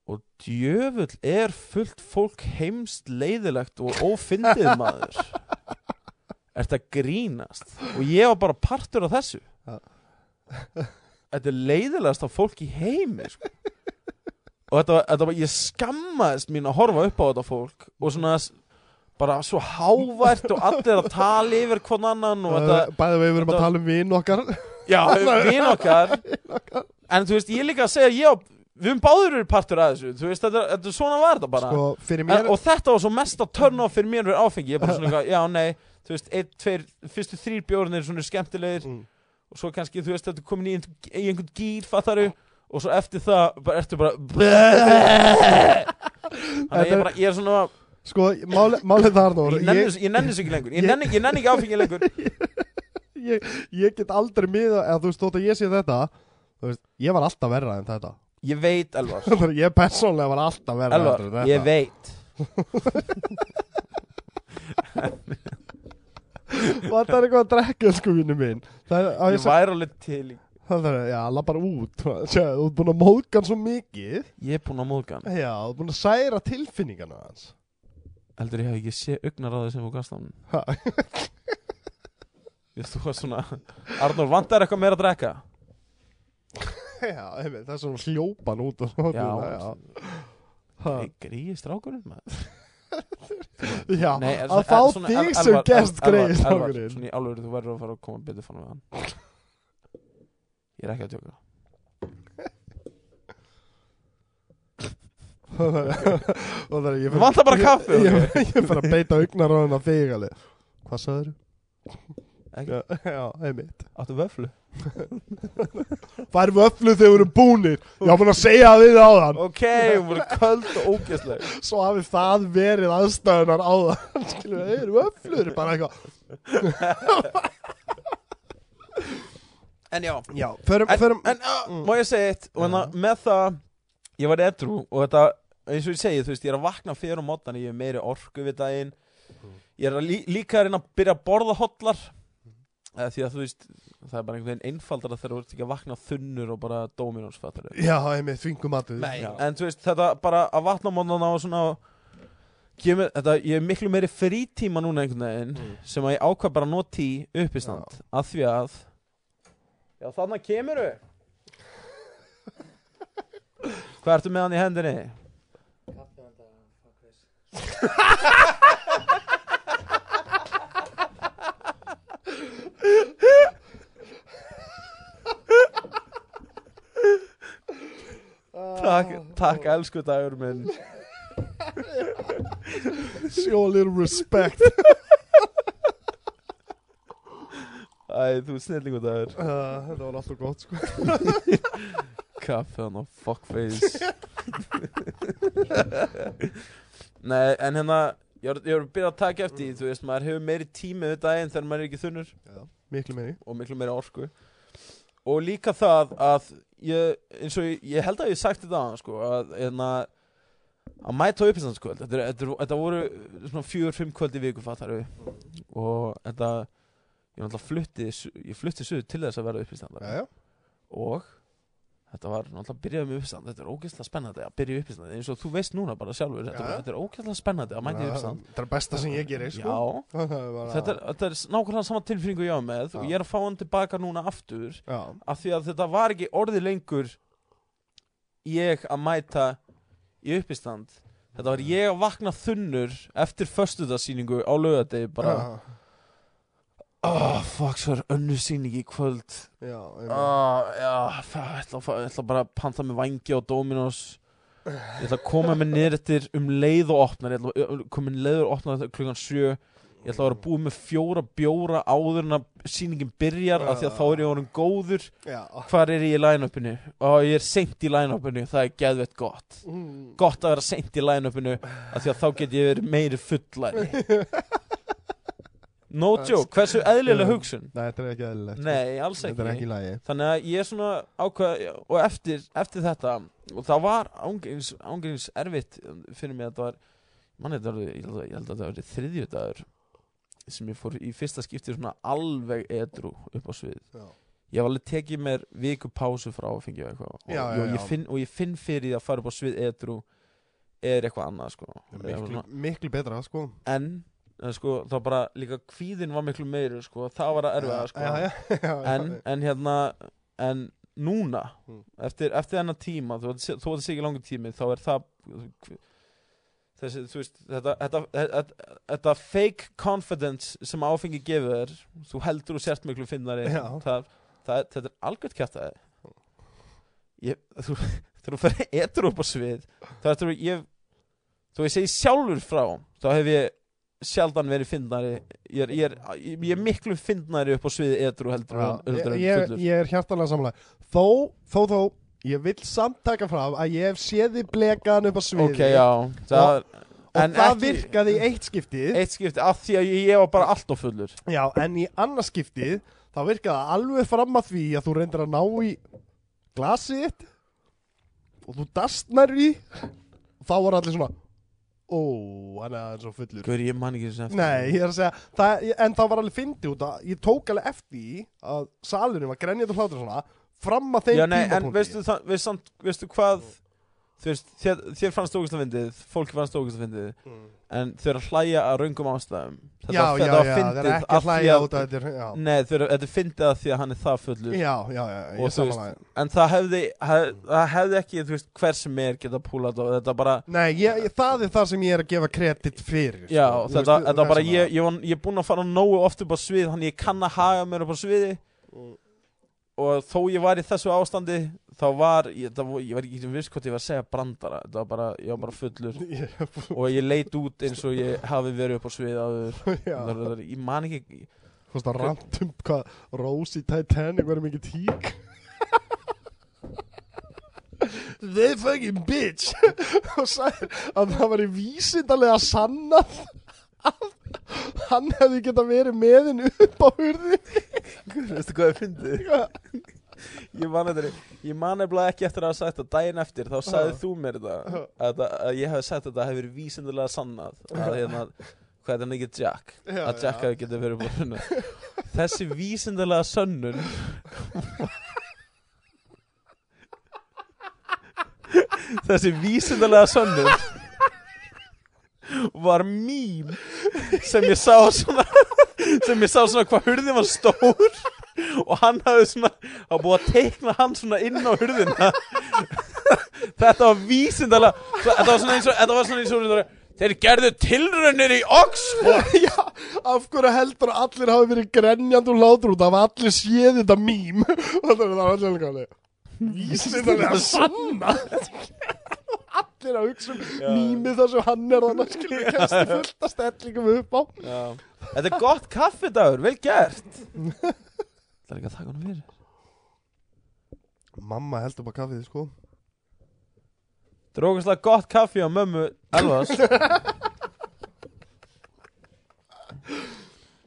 [SPEAKER 2] og djöfull er fullt fólk heimst leiðilegt og ófindið maður ert að grínast og ég var bara partur af þessu
[SPEAKER 1] Já.
[SPEAKER 2] þetta er leiðilegast af fólk í heimi sko. og þetta, var- þetta var, ég skammaðist mín að horfa upp á þetta fólk og svona s- bara svo hávært og allir að tala yfir hvern annan og þetta
[SPEAKER 1] Uh, bæði við verum að
[SPEAKER 2] þetta-
[SPEAKER 1] tala um vinn okkar
[SPEAKER 2] Já, vinn okkar En þú veist, ég er líka að segja ég, á- Við höfum báður eru partur að þessu Þú veist, þetta, er- þetta er svona var þetta bara
[SPEAKER 1] sko, fyrir
[SPEAKER 2] en,
[SPEAKER 1] mér
[SPEAKER 2] Og þetta var svo mest að törna á fyrir mér verið áfengi Ég er bara svona eitthvað, já, nei Þú veist, ein, tveir, fyrstu þrýr bjórnir svona eru skemmtilegir
[SPEAKER 1] Mm.
[SPEAKER 2] Og svo kannski, þú veist, þetta er komin í, ein, í einhvern gýr, fattaru Og svo eftir það, bara, ertu bara Þannig að ég er bara, ég er svona
[SPEAKER 1] sko, máli- málið þar nú
[SPEAKER 2] Ég nenni þessu- ég nenni þessu ekki lengur Ég
[SPEAKER 1] Sko, Ég-
[SPEAKER 2] nenni, ég nenni ekki áfengi lengur
[SPEAKER 1] ég, ég get aldrei miða eða þú veist, þótt að ég sé þetta þú veist, ég var alltaf verra en þetta
[SPEAKER 2] Ég veit, Elvar
[SPEAKER 1] Bara ég persónlega var alltaf verra
[SPEAKER 2] Elvar,
[SPEAKER 1] heldur en þetta
[SPEAKER 2] ég veit
[SPEAKER 1] og þetta er eitthvað að drekka sko vinnu minn það er, á,
[SPEAKER 2] Ég
[SPEAKER 1] ég, ég
[SPEAKER 2] væri alveg til í
[SPEAKER 1] það er, já, alla bara út Sjáðu, þú ert búin að móðga hann svo mikið já,
[SPEAKER 2] Ég er búinn að móðga hann
[SPEAKER 1] þú ert búin að særa tilfinningana hans
[SPEAKER 2] Heldur ég hef ekki séð augnaráðið sem þú gafst hann
[SPEAKER 1] Ha.
[SPEAKER 2] Ég þú var svona Arnór, vantar eitthvað meira að drekka?
[SPEAKER 1] já, einmitt, það er svona hljópan út og svona
[SPEAKER 2] Já,
[SPEAKER 1] Ha,
[SPEAKER 2] gríði strákurinn maður
[SPEAKER 1] já
[SPEAKER 2] Nei,
[SPEAKER 1] að
[SPEAKER 2] er það-
[SPEAKER 1] fá
[SPEAKER 2] er svona-
[SPEAKER 1] þig
[SPEAKER 2] Elvar-
[SPEAKER 1] sem
[SPEAKER 2] Elvar-
[SPEAKER 1] gest
[SPEAKER 2] Elvar-
[SPEAKER 1] greið
[SPEAKER 2] Elvar,
[SPEAKER 1] strákurinn
[SPEAKER 2] Svona í alveg, þú verður að fara að koma betur fann við hann Ég er ekki að tjóka
[SPEAKER 1] og það er ég
[SPEAKER 2] Mér vantar bara kaffi,
[SPEAKER 1] ég, ég,
[SPEAKER 2] ok.
[SPEAKER 1] ég fer að beita augnaráðin á þig alveg hvað sagður
[SPEAKER 2] Ekki.
[SPEAKER 1] já, já, einmitt
[SPEAKER 2] Áttu vöflu?
[SPEAKER 1] Fær vöflu þegar við erum búnir Ég var búin að segja það við áðan
[SPEAKER 2] Ok, hún voru köld og ógæsleg
[SPEAKER 1] Svo hafi það verið aðstæðunar áðan Skilur við, eru vöflur Bara eitthvað
[SPEAKER 2] En já,
[SPEAKER 1] Já, förum,
[SPEAKER 2] en,
[SPEAKER 1] förum
[SPEAKER 2] en uh, má ég segja eitt og þannig að með það, ég var edru og þetta, eins og ég segi, þú veist, ég er að vakna fyrir á mótana, ég er meiri orku við daginn ég er að lí, líka að reyna að byrja að borða hotlar eða því að þú veist, það er bara einhvern veginn einfaldara þegar þú ert ekki að vakna þunnur og bara Dominos fattar
[SPEAKER 1] Já, einmitt, þvingum aðu
[SPEAKER 3] Nei.
[SPEAKER 1] Já,
[SPEAKER 2] en þú veist, þetta bara að vakna á mótana og svona kemur, þetta, ég er miklu meiri frítíma núna einhvern veginn sem að ég ákvað bara að nota í uppistand að því að Já, þarna kemur þau Hvað ertu með hann í hendinni? Takk, takk elsku dagur minn
[SPEAKER 1] Show a little respect
[SPEAKER 2] Æ, þú snillingu dagur
[SPEAKER 1] uh, Þetta var alltaf gott sko
[SPEAKER 2] Kaffe hann á fuckface Nei, en hérna Ég er, ég er að byrja að taka eftir því, þú veist, maður hefur meiri tími við daginn þegar maður er ekki þunnur
[SPEAKER 1] Miklu meiri
[SPEAKER 2] og miklu meira orku og líka það að ég, eins og ég, ég held að ég hef sagt þetta aðan sko, að, en að að mæta á uppistandskvöld þetta, er- þetta, er- þetta voru svona fjögur, fimm kvöld í viku fattar við og þetta ég náttúrulega flutti su- ég flutti suður til þess að vera uppistandar
[SPEAKER 1] Já, já
[SPEAKER 2] og þetta var náttúrulega byrjaði með uppistand þetta er ógeðslega spennandi að byrja uppistand eins og þú veist núna bara sjálfur þetta,
[SPEAKER 1] Já.
[SPEAKER 2] bara, þetta er ógeðslega spennandi að mæta í uppistand
[SPEAKER 1] Það er besta sem ég gerir sko
[SPEAKER 2] já Þetta er, þetta er nákvæmlega sama tilfinningu ég á með og
[SPEAKER 1] Já.
[SPEAKER 2] ég er að fá hann tilbaka núna aftur
[SPEAKER 1] Já,
[SPEAKER 2] af því að þetta var ekki orðið lengur ég að mæta í uppistand þetta var ég að vakna þunnur eftir föstudagsýningu á laugardegi bara ah, fuck, svo er önnur sýning í kvöld
[SPEAKER 1] já, já einmitt.
[SPEAKER 2] ah, já, það- ég ætla, að fá- ég ætla bara að panta með vangi á Dominos ég ætla að koma með niður eftir um leið og opnar ég ætla að koma með leið og opnar þetta klukkan sjö ég ætla að vera búið með fjóra bjóra áður en að sýningin byrjar af því að þá er ég orðin góður
[SPEAKER 1] Já
[SPEAKER 2] Hvar er ég í line-upinu? Ó, ég er seint í line-upinu, það er geðvett gott
[SPEAKER 1] Mm.
[SPEAKER 2] Gott að vera seint í line-upinu af Því að þá get ég verið meiri fullari No joke, hversu eðlilega hugsun?
[SPEAKER 1] Nei, þetta er ekki eðlilegt sko.
[SPEAKER 2] Nei, alls
[SPEAKER 1] Þetta er
[SPEAKER 2] ekki
[SPEAKER 1] ekki lægi
[SPEAKER 2] Þannig að ég er svona ákveða Og eftir, eftir þetta Og það var ángrins, ángrins erfitt Fyrir mig að þetta var Manni, þetta var, ég held að- ég held að þetta var þriðjudagur Sem ég fór í fyrsta skipti Svona alveg edru upp á svið
[SPEAKER 1] Já.
[SPEAKER 2] ég hef alveg tekið mér viku pásu frá að fengja eitthvað og,
[SPEAKER 1] Já, já,
[SPEAKER 2] og,
[SPEAKER 1] já.
[SPEAKER 2] ég finn, og ég finn fyrir því að fara upp á svið edru er eitthvað annað sko.
[SPEAKER 1] miklu, miklu betra sko
[SPEAKER 2] en en, sko, þá bara líka kvíðin var miklu meiri sko, það var að erfiða sko.
[SPEAKER 1] já, já, já, já,
[SPEAKER 2] en, en hérna en núna
[SPEAKER 1] Mm.
[SPEAKER 2] eftir, eftir þennan tíma þú veist það sé ekki langur tími þá er það þessi, þú veist, þetta, þetta, þetta, þetta fake confidence sem áfengi gefur þér þú heldur og sért miklu finnari
[SPEAKER 1] Já. Hmm.
[SPEAKER 2] það, það, þetta er algjört kjartaði ég, þú, þegar þú ferði etur upp á svið þá eftir að ég þó ég segi sjálfur frá þá hef ég sjaldan verið fyndnari ég er, ég er, ég er miklu fyndnari upp á sviði edru heldur
[SPEAKER 1] Já,
[SPEAKER 2] en heldur en
[SPEAKER 1] ég, ég,
[SPEAKER 2] fullur.
[SPEAKER 1] ég er hjartalega samlega þó, þó, þó, ég vil samt taka fram að ég hef séð þið blekaðan upp á sviði
[SPEAKER 2] ok, já það,
[SPEAKER 1] og
[SPEAKER 2] en
[SPEAKER 1] það
[SPEAKER 2] ekki-
[SPEAKER 1] virkaði í eitt skiptið
[SPEAKER 2] eitt skipti af því að ég, ég var bara allt á fullur
[SPEAKER 1] já, en í annað skiptið þá virkaði það alveg fram að því að þú reyndir að ná í glasið þitt og þú dastnar í þá var allir svona ó, hann er aðeins og fullur
[SPEAKER 2] Guður, ég man ekki þessu eftir
[SPEAKER 1] Nei, ég er að segja, það, en það var alveg fyndi út að ég tók alveg eftir í að salunum var grenjað og hlátur svona fram að þeim
[SPEAKER 2] já, nei, en
[SPEAKER 1] tímapunkti.
[SPEAKER 2] veistu, það, veist, samt, veistu hvað þú veist, þér, þér fannst ógæslega fyndið fólki fannst ógæslega fyndið en þau eru að hlæja að raungum ástæðum þetta
[SPEAKER 1] Mm. já,
[SPEAKER 2] var,
[SPEAKER 1] já,
[SPEAKER 2] þetta var
[SPEAKER 1] já, það er
[SPEAKER 2] fyndið
[SPEAKER 1] ekki
[SPEAKER 2] af
[SPEAKER 1] að
[SPEAKER 2] því
[SPEAKER 1] hlæja út að þetta er, já,
[SPEAKER 2] Nei, þau eru, þetta er fyndið að því að hann er það fullur
[SPEAKER 1] já, já, já,
[SPEAKER 2] Og
[SPEAKER 1] ég
[SPEAKER 2] þú veist-
[SPEAKER 1] samanlega.
[SPEAKER 2] En það hefði, hef, það hefði ekki, þú veist, hver sem er geta púlað og þetta bara
[SPEAKER 1] Nei, ég, ég, það er það sem ég er að gefa kredit fyrir.
[SPEAKER 2] Já,
[SPEAKER 1] sko, þú
[SPEAKER 2] þetta,
[SPEAKER 1] veist,
[SPEAKER 2] þetta
[SPEAKER 1] það
[SPEAKER 2] bara,
[SPEAKER 1] sem
[SPEAKER 2] ég, ég, var, ég er búinn að fara nógu oft upp á svið Þannig ég kann að haga mér upp á sviði Og þó ég var í þessu ástandi Þá var, ég, það, var- ég var ekki viss hvort ég var að segja brandara Þetta var bara, ég var bara fullur
[SPEAKER 1] að-
[SPEAKER 2] Og ég leit út eins og ég hafi verið upp á svið áður
[SPEAKER 1] Já,
[SPEAKER 2] Það- það- Ég man ekki,
[SPEAKER 1] Fórst að rant um hvað Rose í Titanic verið mikið tík They fucking bitch og sagði að það var í vísindalega sannað að hann hefði geta verið með henn upp á hurði
[SPEAKER 2] Veistu hvað ég fyndið? Ég man eftir, ég man eftir ekki eftir að hafa sagt það daginn eftir, þá sagði
[SPEAKER 1] Já.
[SPEAKER 2] þú mér það að, það- að ég hefði sagt að það hefur verið vísindulega sannað að hérna, hvað er þetta ekki Jack
[SPEAKER 1] Já,
[SPEAKER 2] að Jack
[SPEAKER 1] já.
[SPEAKER 2] hefði getið verið búin hérna. Þessi vísindulega sönnun Þessi vísindulega sönnun var mím sem ég sá svona sem ég sá svona hvað hurðin var stór og hann hafði svona hafði búið að teikna hann svona inn á hurðina þetta var vísindalega svo- þetta var svona eins og, þetta var svona eins og svona, þeir gerðu tilraunir í Oxford
[SPEAKER 1] Já, af hverju heldur að allir hafi verið grenjandi og látur út af að allir séð þetta mím og það er það allir líka alveg vísindalega sannað allir að hugsa um mýmið þar sem hann er þannig að skilja kæsti fullt að stellingum upp á
[SPEAKER 2] Já. þetta er gott kaffedagur, vel gert það er ekki að taka hann fyrir
[SPEAKER 1] Mamma held upp á kaffið sko
[SPEAKER 2] það er ógæslega gott kaffi á mömmu Elvas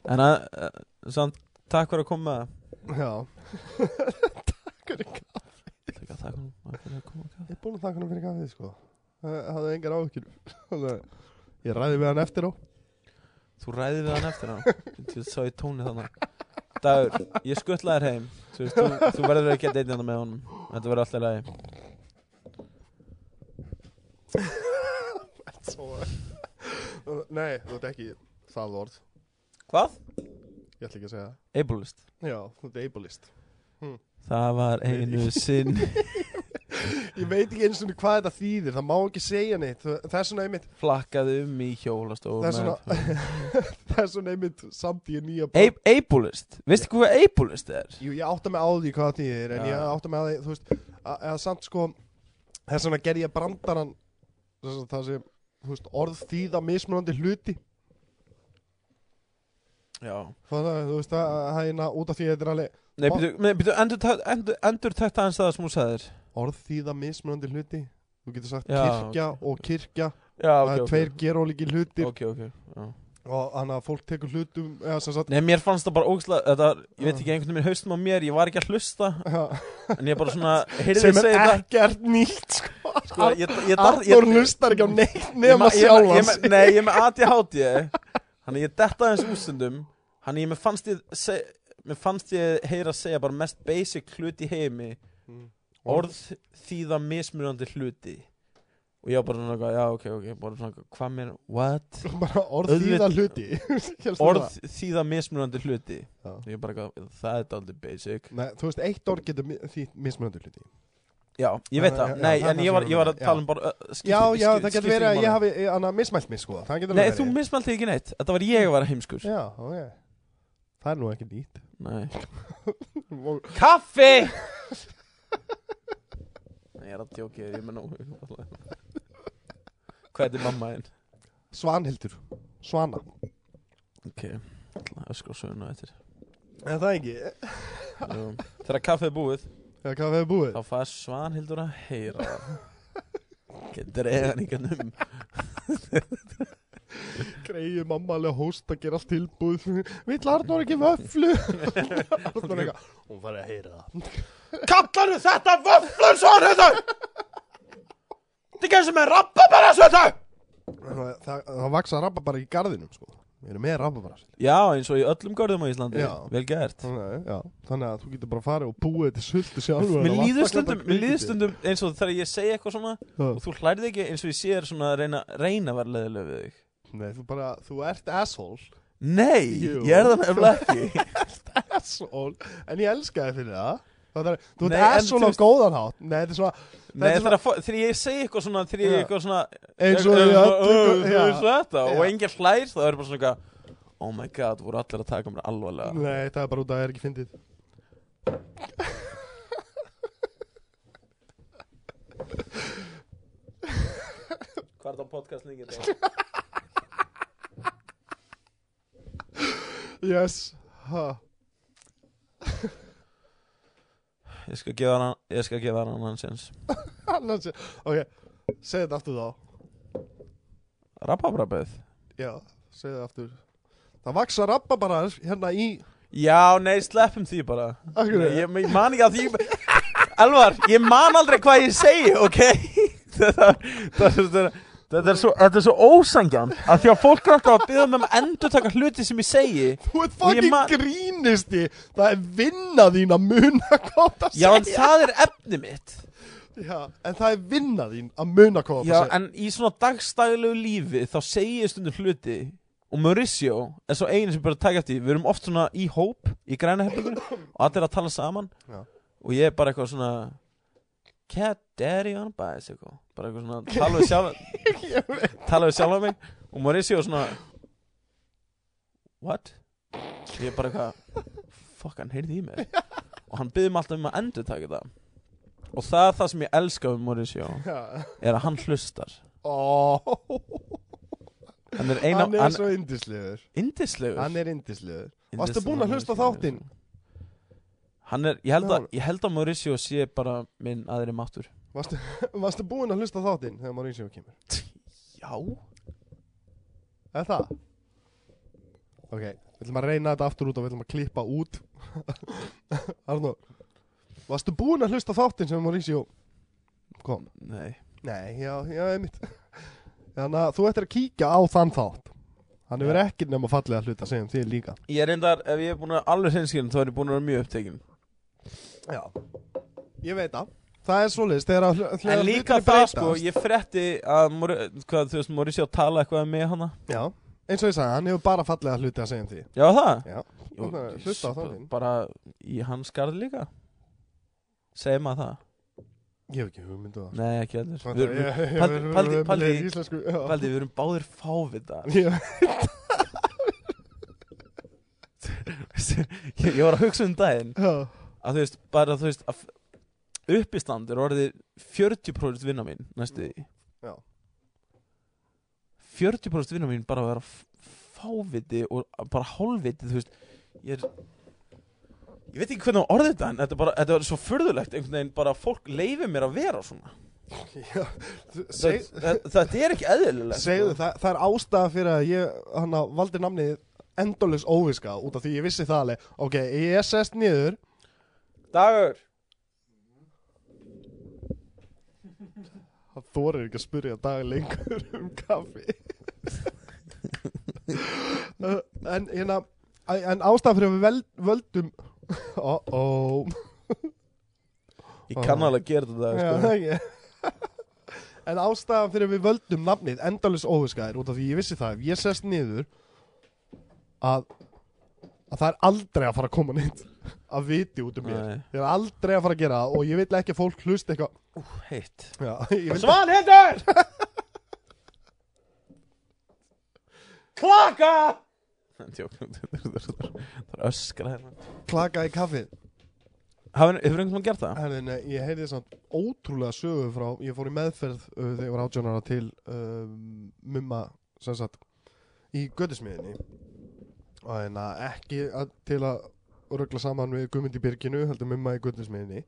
[SPEAKER 2] en að eh, samt takk fyrir að koma með það
[SPEAKER 1] Já Takk fyrir kaffið
[SPEAKER 2] Það er ekki að taka hann fyrir að koma á kaffi
[SPEAKER 1] Ég er búin að taka hann fyrir kaffið sko Það það hafði engar áhyggjur Ég ræði við hann eftir á
[SPEAKER 2] Þú ræðir við hann eftir hann Þú sá ég tónið þannig Dagur, ég skuttla þér heim Þú, veist, þú, þú verður að geta einnig með honum Þetta verður alltaf lægi
[SPEAKER 1] Nei, þú ert ekki það orð
[SPEAKER 2] Hvað?
[SPEAKER 1] Ég ætla ekki að segja það
[SPEAKER 2] Ableist
[SPEAKER 1] Já, þú ert ableist
[SPEAKER 2] Það var einu sinn
[SPEAKER 1] Ég veit ekki eins og hvað þetta þýðir Það má ekki segja neitt Það er svona einmitt
[SPEAKER 2] Flakkaði um í hjólastofu
[SPEAKER 1] Það er Það er svona einmitt samt ég nýja
[SPEAKER 2] Ableist Veistu hvað ableist er?
[SPEAKER 1] Jú, ég átta mig á því hvað það þýðir En
[SPEAKER 2] Já.
[SPEAKER 1] ég átta mig á því, þú veist að- Eða samt sko Það er svona gerði ég brandaran þess að Það sem, þú veist, orð þýða mismunandi hluti
[SPEAKER 2] Já
[SPEAKER 1] Það er, þú veist, að að hæna út af því að þetta er alveg
[SPEAKER 2] Nei, byrju, nei, byrju, endur, takt- endur, endur tækta hans það sem hún sagðir
[SPEAKER 1] Orð þýða mismunandi hluti Þú getur sagt
[SPEAKER 2] Já,
[SPEAKER 1] kirkja og kirkja
[SPEAKER 2] Já,
[SPEAKER 1] Það
[SPEAKER 2] ok,
[SPEAKER 1] er
[SPEAKER 2] ok
[SPEAKER 1] tveir gerólíki hlutir
[SPEAKER 2] Ok, ok já.
[SPEAKER 1] Og þannig að fólk tekur hlutum Eða sem sagt
[SPEAKER 2] Nei, mér fannst það bara ógslag Þetta, ég veit ekki einhvern veginn haustum á mér Ég var ekki að hlusta En ég bara svona Heyrði
[SPEAKER 1] sem er
[SPEAKER 2] þið segja það
[SPEAKER 1] ekkert nýtt sko.
[SPEAKER 2] Sko, ég, ég, dar- ég,
[SPEAKER 1] Arnór hlustar ekki á neitt nema
[SPEAKER 2] ég- ég- ég-
[SPEAKER 1] sjálfans
[SPEAKER 2] ég- Nei, ég er með ADHD Þannig að ég detta aðeins úsundum Þannig ég mér fannst ég seg, Mér fannst ég heyra að segja bara mest basic hluti í heimi Orð þýða mismunandi hluti Og ég var bara svona eitthvað, Já, ok, ok, bara svona Hvað mér, what?
[SPEAKER 1] bara orð þýða hluti Hélstu það?
[SPEAKER 2] Orð þýða mismunandi hluti
[SPEAKER 1] Já.
[SPEAKER 2] Ég bara, eitthvað, það er daldið basic
[SPEAKER 1] Nei, þú veist, eitt orð getur mi- þýtt mismunandi hluti
[SPEAKER 2] Já, ég veit
[SPEAKER 1] Já,
[SPEAKER 2] það,
[SPEAKER 1] já,
[SPEAKER 2] nei,
[SPEAKER 1] það er
[SPEAKER 2] en
[SPEAKER 1] það
[SPEAKER 2] ég var,
[SPEAKER 1] sem
[SPEAKER 2] ég var að
[SPEAKER 1] ég-
[SPEAKER 2] tala um bara uh,
[SPEAKER 1] Já,
[SPEAKER 2] skipti-
[SPEAKER 1] já,
[SPEAKER 2] skipti-
[SPEAKER 1] það getur
[SPEAKER 2] skipti
[SPEAKER 1] verið að
[SPEAKER 2] máli.
[SPEAKER 1] ég hafi annað mismælt mig sko Það getur
[SPEAKER 2] Nei,
[SPEAKER 1] alveg
[SPEAKER 2] þú
[SPEAKER 1] verið.
[SPEAKER 2] mismælti ekki neitt, þetta var ég að vera heimskur
[SPEAKER 1] Já, ok Það er nú ekki nýtt
[SPEAKER 2] Nei
[SPEAKER 1] Og-
[SPEAKER 2] Kaffi Nei, ég er að tjóki þér, ég menn nógu Hvað er þetta mamma þinn?
[SPEAKER 1] Svanhildur Svana
[SPEAKER 2] Ok, ætla að öskra söguna eftir
[SPEAKER 1] En það ekki
[SPEAKER 2] Jú. Þegar kaffið er búið,
[SPEAKER 1] Þegar hvað hefur búið
[SPEAKER 2] þá fær Svanhildur að heyra Ekki dregan ekki um
[SPEAKER 1] Greiði mamma alveg að hósta Gera allt tilbúið Vill Arnór ekki vöflu Arnór eitthvað Hún farið að heyra það
[SPEAKER 2] Kallarðu þetta vöflur Svanhildur? Þetta ekki eins og með rababara sveta
[SPEAKER 1] það, það, það vaksa rababara í garðinum sko. Við erum með rababara
[SPEAKER 2] Já, eins og í öllum görðum á Íslandi,
[SPEAKER 1] Já.
[SPEAKER 2] vel gert
[SPEAKER 1] þannig, já, þannig að þú getur bara farið og búið til sultu sjálfur
[SPEAKER 2] Mér
[SPEAKER 1] Það
[SPEAKER 2] líður
[SPEAKER 1] vantar
[SPEAKER 2] stundum,
[SPEAKER 1] bara
[SPEAKER 2] mér líður
[SPEAKER 1] kvikindi.
[SPEAKER 2] stundum eins og þegar ég segi eitthvað svona
[SPEAKER 1] Já.
[SPEAKER 2] og þú hlærið ekki eins og ég sé þér svona að reyna, reyna að vera leðilega við þig
[SPEAKER 1] Nei, þú bara, þú ert asshole
[SPEAKER 2] Nei,
[SPEAKER 1] Jú.
[SPEAKER 2] ég er það nefnilega ekki
[SPEAKER 1] Asshole, en ég elska þið fyrir það Það er, þú
[SPEAKER 2] Nei,
[SPEAKER 1] ert
[SPEAKER 2] en þú
[SPEAKER 1] asshole á
[SPEAKER 2] veist-
[SPEAKER 1] góðan hátt Nei, þetta er svona,
[SPEAKER 2] Nei,
[SPEAKER 1] þetta er
[SPEAKER 2] þegar, fó- þegar ég segi eitthvað svona þegar ég
[SPEAKER 1] Já.
[SPEAKER 2] eitthvað svona
[SPEAKER 1] eins og
[SPEAKER 2] eitthvað
[SPEAKER 1] ég
[SPEAKER 2] svona, "Ó,
[SPEAKER 1] öllu-
[SPEAKER 2] þú
[SPEAKER 1] já.
[SPEAKER 2] veist þetta og
[SPEAKER 1] Já.
[SPEAKER 2] enginn hlær þá er bara svona eitthvað Oh my god, voru allir að taka mér alvarlega
[SPEAKER 1] Nei, það er bara út að það er ekki fyndið
[SPEAKER 2] Hvað er það podcast líkið?
[SPEAKER 1] Yes, Ha,
[SPEAKER 2] Ég skal gefa hann, ég skal gefa hann annan sens
[SPEAKER 1] annars, ok, segðu þetta aftur þá
[SPEAKER 2] Rababraböð
[SPEAKER 1] Já, segðu þetta aftur Það vaksa rabba bara hérna í
[SPEAKER 2] Já, nei, sleppum því bara
[SPEAKER 1] Af hverju?
[SPEAKER 2] Nei, ég, ég man ekki að því Elvar, ég man aldrei hvað ég segi, ok Þetta, þetta, þetta, þetta er svo, þetta er svo ósangjan að því að fólk er alltaf að byggja um að endurtaka hluti sem ég segi
[SPEAKER 1] Þú ert
[SPEAKER 2] Og ég
[SPEAKER 1] fucking
[SPEAKER 2] man-
[SPEAKER 1] grínisti Það er vinna þín að muna hvað það
[SPEAKER 2] Já,
[SPEAKER 1] segja
[SPEAKER 2] en það er efni mitt
[SPEAKER 1] Já, en það er vinna þín að muna hvað það
[SPEAKER 2] Já,
[SPEAKER 1] segja
[SPEAKER 2] en í svona dagstæðilegu lífi þá segi ég stundum hluti og Mauricio er svo einu sem bara að taka eftir því. við erum oft svona í hóp í græna hefningunni og allir að tala saman
[SPEAKER 1] Já.
[SPEAKER 2] og ég er bara eitthvað svona cat daddy on a bicycle bara eitthvað svona tala við sjálf tala við sjálf á mig og Mauricio er svona what? og ég er bara eitthvað fuck hann heyrði í mér og hann byggði mig alltaf um að endur taka það og það er það sem ég elska um Mauricio
[SPEAKER 1] Já,
[SPEAKER 2] er að hann hlustar
[SPEAKER 1] ó
[SPEAKER 2] hann er eina
[SPEAKER 1] Hann er svo indislegur
[SPEAKER 2] indislegur
[SPEAKER 1] Hann er indislegur
[SPEAKER 2] Indislegur
[SPEAKER 1] Varstu búinn að hlusta á þáttinn?
[SPEAKER 2] hann er, ég held, að,
[SPEAKER 1] Já.
[SPEAKER 2] ég held að Mauricio sé bara minn aðri máttur
[SPEAKER 1] Varstu, varstu búinn að hlusta á þáttinn þegar Mauricio kemur?
[SPEAKER 2] já,
[SPEAKER 1] Er það? Ok, við ætlum að reyna þetta aftur út og við ætlum að klippa út Arnó Varstu búinn að hlusta á þáttinn sem Mauricio kom?
[SPEAKER 2] nei
[SPEAKER 1] Nei, já, já, einmitt Þannig að þú ættir að kíkja á þann þátt Hann hefur
[SPEAKER 2] Já.
[SPEAKER 1] ekki nema fallega hluta að segja um því líka
[SPEAKER 2] ég er reyndar, ef ég er búin að alveg hinskjörn þá er ég búin að vera mjög upptekinn
[SPEAKER 1] Já Ég veit það Það er svoleiðis þegar að hlu- þegar
[SPEAKER 2] en líka
[SPEAKER 1] hlutirnir
[SPEAKER 2] það sko,
[SPEAKER 1] breytast.
[SPEAKER 2] ég fretti að Mauri, hvað, þú veist, Mauricio tala eitthvað með hana
[SPEAKER 1] Já, eins og ég sagði, hann hefur bara fallega hluti að segja um því
[SPEAKER 2] já það
[SPEAKER 1] Já.
[SPEAKER 2] Jú,
[SPEAKER 1] Þannig að hlusta á þáttinn.
[SPEAKER 2] bara í hans garð líka segir maður það
[SPEAKER 1] Ég hef ekki hugmyndu það
[SPEAKER 2] nei, ekki allir
[SPEAKER 1] Þetta-
[SPEAKER 2] Við erum-
[SPEAKER 1] ég- ég-
[SPEAKER 2] Paldi-
[SPEAKER 1] ég-
[SPEAKER 2] Paldi-
[SPEAKER 1] ég-
[SPEAKER 2] Paldi-
[SPEAKER 1] ég- íslensku, já.
[SPEAKER 2] Valdi, við erum báðir fávita
[SPEAKER 1] Ég-
[SPEAKER 2] ég, ég var að hugsa um daginn
[SPEAKER 1] já.
[SPEAKER 2] að þú veist, bara þú veist að uppistand er orðið 40% vinna mín næstu því
[SPEAKER 1] Já.
[SPEAKER 2] 40% vinna mín bara að vera f- fáviti og bara hálviti þú veist, ég er ég veit ekki hvernig á orðið þetta en þetta er bara, þetta er svo furðulegt einhvern veginn bara að fólk leifir mér að vera svona
[SPEAKER 1] Já. Þú- seg-
[SPEAKER 2] Þe- þetta, þetta er ekki eðlilegt
[SPEAKER 1] Segðu
[SPEAKER 2] sko.
[SPEAKER 1] það, það er ástæða fyrir að ég hann að valdi namnið endalaus óviska út af því ég vissi það alveg ok, ég sest niður
[SPEAKER 2] dagur
[SPEAKER 1] það þorir ekki að spyrja dag lengur um kaffi Uh, en hérna æ- en ástæða fyrir að við vel, völdum oh oh
[SPEAKER 2] ég kann alveg að gera þetta sko.
[SPEAKER 1] Já,
[SPEAKER 2] dagur,
[SPEAKER 1] það ekki En ástæðan fyrir við völdum nafnið endalus óviskaðir út af því ég vissi það ef ég sest niður að, að það er aldrei að fara að koma neitt að viti út um
[SPEAKER 2] sko.
[SPEAKER 1] mér
[SPEAKER 2] Nei.
[SPEAKER 1] Ég er aldrei að fara að gera það og ég vil ekki að fólk hlust eitthvað
[SPEAKER 2] heitt
[SPEAKER 1] Já, ég vil
[SPEAKER 2] Svanhildur! Klaka! Tjók, það er öskra hérna.
[SPEAKER 1] klaka í kaffið
[SPEAKER 2] Hafið þið einhvern veginn gert það?
[SPEAKER 1] Herðin, ég heyrði samt ótrúlega sögu frá, ég fór í meðferð uh, þegar ég var átjónara til um, mumma, sem sagt, í göttismiðinni. Og hérna ekki að, til að rögla saman við Guðmund í Byrginu, heldur mumma í göttismiðinni.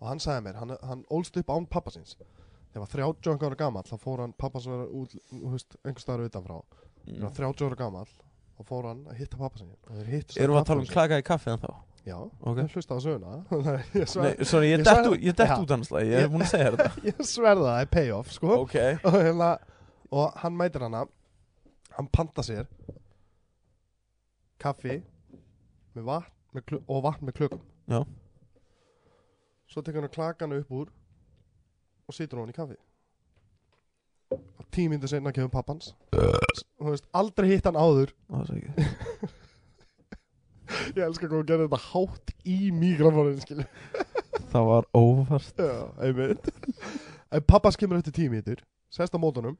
[SPEAKER 1] Og hann sagði mér, hann, hann ólst upp án pappa síns. Þegar hann var 30 ára gamall, þá fór hann pappa sem var út, þú veist, einhver staðar utanfrá. Þegar hann var 30 ára gamall, þá fór hann að hitta pappa sín.
[SPEAKER 2] Erum við að tala um klaka í kaffi en þá?
[SPEAKER 1] Já,
[SPEAKER 2] Ok.
[SPEAKER 1] okay. hlusta á söguna. Ég sver-
[SPEAKER 2] Nei, sorry,
[SPEAKER 1] Ég
[SPEAKER 2] ég dett
[SPEAKER 1] svar-
[SPEAKER 2] ú- ég dett
[SPEAKER 1] Já.
[SPEAKER 2] út hans lag, ég er búin að segja þér þetta.
[SPEAKER 1] Ég sverða það er payoff sko
[SPEAKER 2] Ok.
[SPEAKER 1] og, hérna, og hann mætir hana Hann panta sér Kaffi með vatn, með klu, Og vatn með klökum
[SPEAKER 2] Já.
[SPEAKER 1] Svo tekur hann klakana upp úr Og situr hann í kaffi Og tíu myndir seinna kemur pappans Þú veist, aldrei hitt hann áður
[SPEAKER 2] Það var svo ekki.
[SPEAKER 1] Ég elska hvað hún gerði þetta hátt í mikrofónin skilur
[SPEAKER 2] Það var óvart.
[SPEAKER 1] Já, einmitt En pappas kemur eftir tíu mítur Sest á mótunum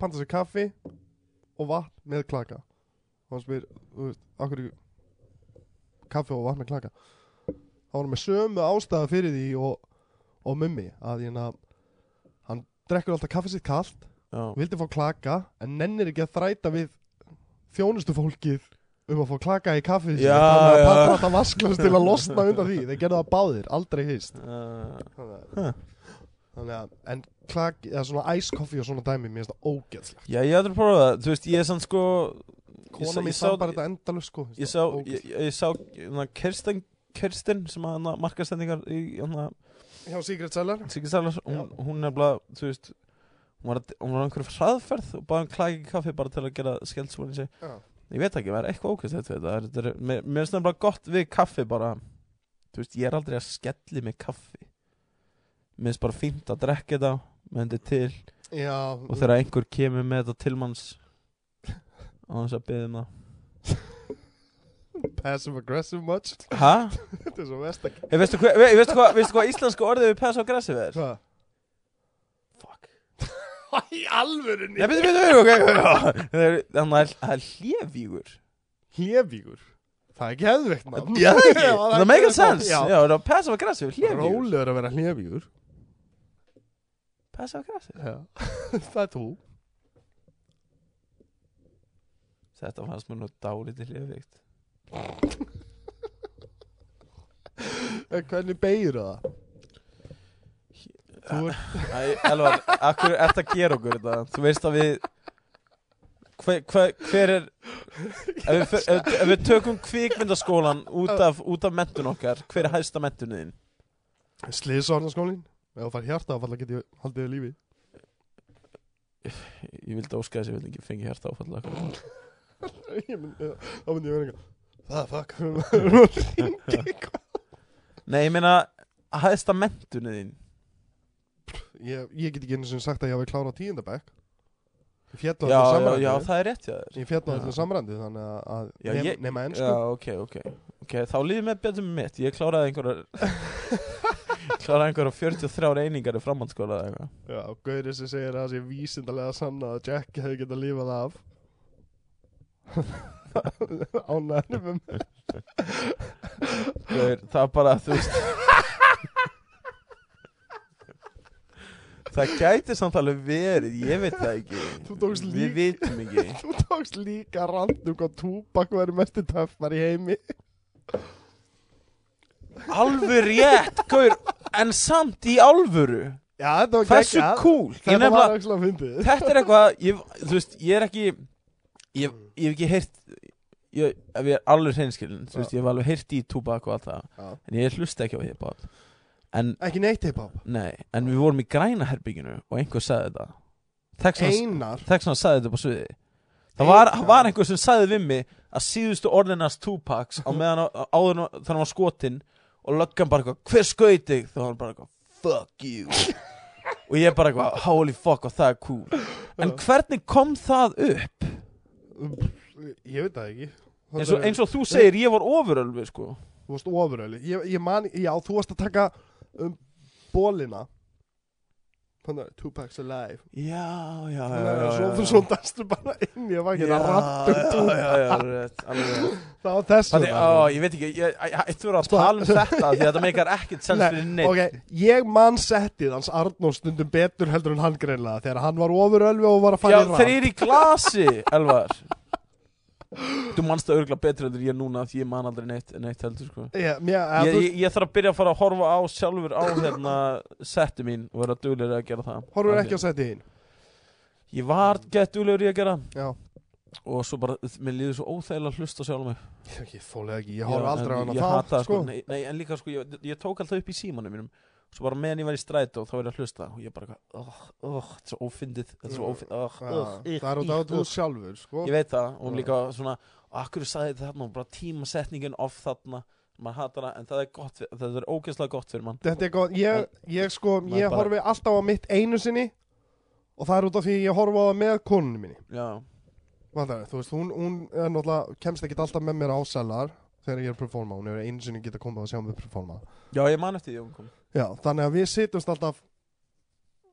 [SPEAKER 1] Panta sér kaffi Og vatn með klaka Og hann spyr, þú veist, akkur Kaffi og vatn með klaka Það var með sömu ástæða fyrir því Og, og mummi Að ég að Hann drekkur alltaf kaffi sitt kalt
[SPEAKER 2] Já.
[SPEAKER 1] Vildi fá klaka En nennir ekki að þræta við Þjónustu fólkið um að fá klaka í kaffið
[SPEAKER 2] Já,
[SPEAKER 1] þannig að
[SPEAKER 2] já.
[SPEAKER 1] patra alltaf vasklust til að losna undan því þeir gerðu það báðir, aldrei hýst
[SPEAKER 2] Uh,
[SPEAKER 1] þannig að, þannig að en klaki, eða svona æskoffi og svona dæmi mér finnst það ógeðslega
[SPEAKER 2] já, ég ætla að prófa það Þú veist, ég er sann sko Ég sá-
[SPEAKER 1] kona
[SPEAKER 2] ég
[SPEAKER 1] mér
[SPEAKER 2] sá-
[SPEAKER 1] sambar þetta endalus sko
[SPEAKER 2] Ég sá,
[SPEAKER 1] Ógeðslegt.
[SPEAKER 2] ég, ég sá na, Kirsten, Kirsten sem að hana markastendingar í hérna hana
[SPEAKER 1] hjá Secret Seller
[SPEAKER 2] Siggi Salars
[SPEAKER 1] Já.
[SPEAKER 2] hún, hún nefnilega, þú veist hún var, að- hún var á einhverju hraðferð og báði hann klaki í kaffi bara til að gera skeldsvórin sig
[SPEAKER 1] Já.
[SPEAKER 2] ég veit ekki, það er eitthvað ókvæmst þetta, þetta er, þetta er, mér, mér er nefnilega gott við kaffi bara þú veist, ég er aldrei að skelli með kaffi mér finnst bara fínt að drekka þetta með hendur til
[SPEAKER 1] já,
[SPEAKER 2] og þegar einhver kemur með þetta til manns á hans að byggja um það
[SPEAKER 1] passive aggressive much
[SPEAKER 2] hæ?
[SPEAKER 1] þetta er svo vest ekki
[SPEAKER 2] Hey, veistu hvað veistu hva, veistu hva íslensku orðið við pass aggressive er?
[SPEAKER 1] hvað?
[SPEAKER 2] fuck
[SPEAKER 1] í alvörunni
[SPEAKER 2] Nei, byrju, byrju, byrju, ok Það er- Þannig að það er hlévígur
[SPEAKER 1] hlévíkur það er ekki hefðveikt mann
[SPEAKER 2] Já, það er ekki
[SPEAKER 1] er
[SPEAKER 2] Það make a
[SPEAKER 1] geðveikt nafn.
[SPEAKER 2] sense Já,
[SPEAKER 1] Já.
[SPEAKER 2] það er passive aggressive, hlévígur
[SPEAKER 1] Rólegur að vera hlévíkur
[SPEAKER 2] Passive aggressive
[SPEAKER 1] Það er þú
[SPEAKER 2] Þetta fannst mér nú dálítið hlévígt
[SPEAKER 1] En Hvernig beigir það? Þú er
[SPEAKER 2] Æ, Elvar, akkur er þetta að gera okkur þetta? Þú veist að við Hver, hver, hver er ef við, fer- ef, ef við tökum kvikmyndaskólan út af, út af mentun okkar Hver er hæsta mentunin þín?
[SPEAKER 1] Sliðsvarnaskólin Ef þú fær hjarta áfalla geti haldið þér lífi
[SPEAKER 2] Ég vildi óska þess að ég vildi ekki fengi hjarta áfalla
[SPEAKER 1] Ég mynd- já, Þá myndi ég vera eitthvað Það er fuck Hringi eitthvað.
[SPEAKER 2] Nei, ég meina Hæsta mentunin þín
[SPEAKER 1] ég, ég get ekki einu sem sagt að ég hafi klárað tíundabæk Ég fjall á þetta
[SPEAKER 2] Já, já,
[SPEAKER 1] samrændi
[SPEAKER 2] já, það er rétt hjá þér
[SPEAKER 1] Ég fjall á
[SPEAKER 2] Já.
[SPEAKER 1] þetta samrændi Þannig að- að
[SPEAKER 2] Já,
[SPEAKER 1] nema-
[SPEAKER 2] ég-
[SPEAKER 1] nema ennsku
[SPEAKER 2] Já, ok, ok Ok, þá líður mér betur með mitt Ég kláraði einhverjar Kláraði einhverjar 43 einingar í framhaldsskóla eða eitthvað
[SPEAKER 1] Já, Gauri sem segir að það sé vísindalega sann að Jack hefði getað lífað af Ánæður með mig
[SPEAKER 2] Gaur, Það er bara, þú veist Það gæti samt alveg verið Ég veit það ekki
[SPEAKER 1] Þú tókst lík-
[SPEAKER 2] Við vitum ekki
[SPEAKER 1] Þú tókst líka randum hvað túbak verið mestu töffar í heimi
[SPEAKER 2] Alveg rétt, Gaur En samt í alvöru
[SPEAKER 1] Já, þetta var
[SPEAKER 2] Hversu
[SPEAKER 1] geggjað.
[SPEAKER 2] cool Ég
[SPEAKER 1] Þetta
[SPEAKER 2] nefnilega-
[SPEAKER 1] var ekki að fyndið
[SPEAKER 2] þetta er eitthvað ég, þú veist, ég er ekki ég, ég hef ekki heyrt ég, ef ég er alveg hreinskilin þú veist, ég hef alveg heyrt í tubak og allt það
[SPEAKER 1] Já.
[SPEAKER 2] en ég hlusta ekki á hip-hop en,
[SPEAKER 1] Ekki neitt hip-hop
[SPEAKER 2] nei, en við vorum í græna herbygginu og einhver sagði þetta Texans,
[SPEAKER 1] Einar
[SPEAKER 2] Texans sagði þetta på sviði
[SPEAKER 1] Einar.
[SPEAKER 2] það var, var einhver sem sagði við mig að síðustu orðinast Tupacs á meðan á- á- áður en- þegar hann var skotin og löggan bara eitthvað, hver skaut þig þá var hann bara eitthvað, fuck you og ég bara eitthvað, holy fuck og það er cool en hvernig kom það upp
[SPEAKER 1] Ég veit það ekki Þetta
[SPEAKER 2] eins og,
[SPEAKER 1] er-
[SPEAKER 2] eins og þú segir, ég var ofurölvi sko.
[SPEAKER 1] Þú varst ofuröli ég, ég man, já, þú varst að taka um, bólina Þannig að Tupac's alive
[SPEAKER 2] já, já, já,
[SPEAKER 1] Þannig
[SPEAKER 2] já,
[SPEAKER 1] að
[SPEAKER 2] já,
[SPEAKER 1] svo-
[SPEAKER 2] já.
[SPEAKER 1] Svo dastu bara inn í að vakið að randum
[SPEAKER 2] já, já, já, já, rétt, alveg rétt.
[SPEAKER 1] Það var þessu
[SPEAKER 2] Þannig, á, ég veit ekki, ég ég- ég- þú eru að tala um þetta því að þetta meikar ekkert sens fyrir neitt
[SPEAKER 1] Ok, ég man settið hans Arnór stundum betur heldur en hann greinlega þegar hann var ofurölvi og var að
[SPEAKER 2] Já,
[SPEAKER 1] fara í
[SPEAKER 2] þeir
[SPEAKER 1] rann
[SPEAKER 2] eru í glasi, Elvar Þú manst það örgulega betur heldur en ég núna því ég man aldrei neitt, neitt heldur sko.
[SPEAKER 1] Ég, mér, eða,
[SPEAKER 2] ég,
[SPEAKER 1] þú
[SPEAKER 2] ég, ég þarf að byrja að fara að horfa á sjálfur á hérna setti mín og vera duglegri að gera það
[SPEAKER 1] horfur ekki á settið hinn
[SPEAKER 2] Ég var gett duglegri í að gera
[SPEAKER 1] Já,
[SPEAKER 2] og svo bara, mér líður svo óþægilega að hlusta sjálf mig
[SPEAKER 1] ég, ég þólega ekki, ég horf aldrei á
[SPEAKER 2] Ég
[SPEAKER 1] hana
[SPEAKER 2] hata
[SPEAKER 1] þá
[SPEAKER 2] það sko, nei, nei, en líka sko, ég, ég tók alltaf upp í símanum mínum Svo bara meðan ég var í strætó þá var ég að hlusta og ég bara, eitthvað, oh, oh, þetta er svo ófindið, þetta er svo ófindið, oh,
[SPEAKER 1] Já,
[SPEAKER 2] oh,
[SPEAKER 1] Það er út af þú sjálfur sko
[SPEAKER 2] Ég veit það, og
[SPEAKER 1] Já.
[SPEAKER 2] líka svona Akkur sagði þetta þarna og bara tímasetningin off þarna maður hatar það, en það er gott fyrir, það er ógeðslega gott fyrir mann
[SPEAKER 1] Þetta er góð, ég, ég sko,
[SPEAKER 2] Maður
[SPEAKER 1] ég
[SPEAKER 2] bara-
[SPEAKER 1] horfi alltaf á mitt einu sinni og það er út af því ég horfa á það með konunni minni
[SPEAKER 2] Já,
[SPEAKER 1] Vandar, þú veist, hún, hún er náttúrulega, kemst ekki alltaf með mér á selar þegar ég er að performa, hún er einu sinni geta komið að sjá mig performa
[SPEAKER 2] já ég man eftir því að hún kom
[SPEAKER 1] Já, þannig að við sitjumst alltaf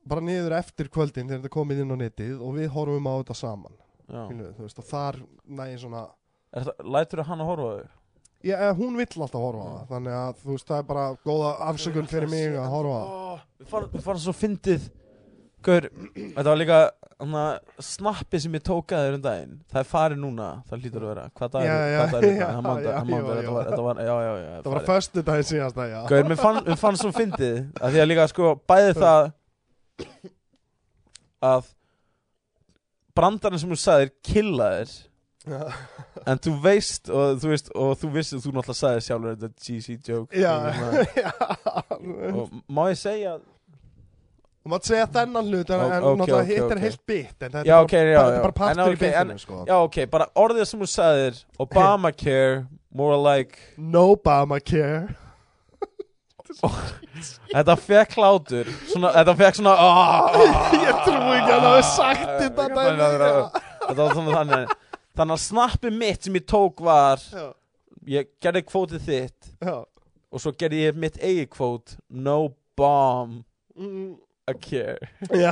[SPEAKER 1] bara niður eftir kvöldin þegar þetta er komið inn á netið og við horfum á þetta saman
[SPEAKER 2] já.
[SPEAKER 1] Fínu, þú veist, og þar nægir svona
[SPEAKER 2] Er það, Lætur það hann að horfa á þau?
[SPEAKER 1] ég, eh, hún vill alltaf horfa á það þannig að þú veist, það er bara góða afsökun fyrir mig að horfa á það
[SPEAKER 2] Ó, Við farum, við farum svo fyndið Gaur, þetta var líka Þannig að snappi sem ég tókaði um daginn Það er farið núna, það hlýtur að vera Hvað dagur,
[SPEAKER 1] Já, já,
[SPEAKER 2] hvað dagur,
[SPEAKER 1] já,
[SPEAKER 2] það mánda,
[SPEAKER 1] já,
[SPEAKER 2] það mánda
[SPEAKER 1] já,
[SPEAKER 2] Þetta
[SPEAKER 1] já.
[SPEAKER 2] var, þetta var, já, já, já
[SPEAKER 1] Það var að föstu daginn síðast að já
[SPEAKER 2] Gauður, mér fann, mér fann svo fyndið að Því að líka, sko, bæði það Að Brandarinn sem þú sagðir Killaðir,
[SPEAKER 1] Já.
[SPEAKER 2] en þú veist Og þú veist, og þú veist Þú náttúrulega sagðir sjálfur þetta GC joke
[SPEAKER 1] Já,
[SPEAKER 2] og svona.
[SPEAKER 1] já
[SPEAKER 2] Og má ég segja
[SPEAKER 1] Þú mátt segja þennan hlut En,
[SPEAKER 2] Ó-
[SPEAKER 1] en
[SPEAKER 2] ókei,
[SPEAKER 1] náttúrulega
[SPEAKER 2] ókei,
[SPEAKER 1] hitt er
[SPEAKER 2] ókei.
[SPEAKER 1] heilt bit En þetta
[SPEAKER 2] Já,
[SPEAKER 1] er
[SPEAKER 2] ok, já,
[SPEAKER 1] bara, bara,
[SPEAKER 2] já.
[SPEAKER 1] bara partur
[SPEAKER 2] En,
[SPEAKER 1] í
[SPEAKER 2] ókei, en-
[SPEAKER 1] bitinu sko.
[SPEAKER 2] Já, ok, bara orðið sem þú sagðir Obamacare, more like
[SPEAKER 1] Nobamacare
[SPEAKER 2] Þetta fekk hlátur svona, Þetta fekk svona "Ah!"
[SPEAKER 1] Ég trúi ekki að hann hafi sagt þetta dæmi.
[SPEAKER 2] Ég bara- Þetta var svona þannig Þannig að snappi mitt sem ég tók var
[SPEAKER 1] Já,
[SPEAKER 2] Ég gerði kvótið þitt
[SPEAKER 1] já
[SPEAKER 2] Og svo gerði ég mitt eigi kvót No bomb
[SPEAKER 1] Mm,
[SPEAKER 2] a care
[SPEAKER 1] Já,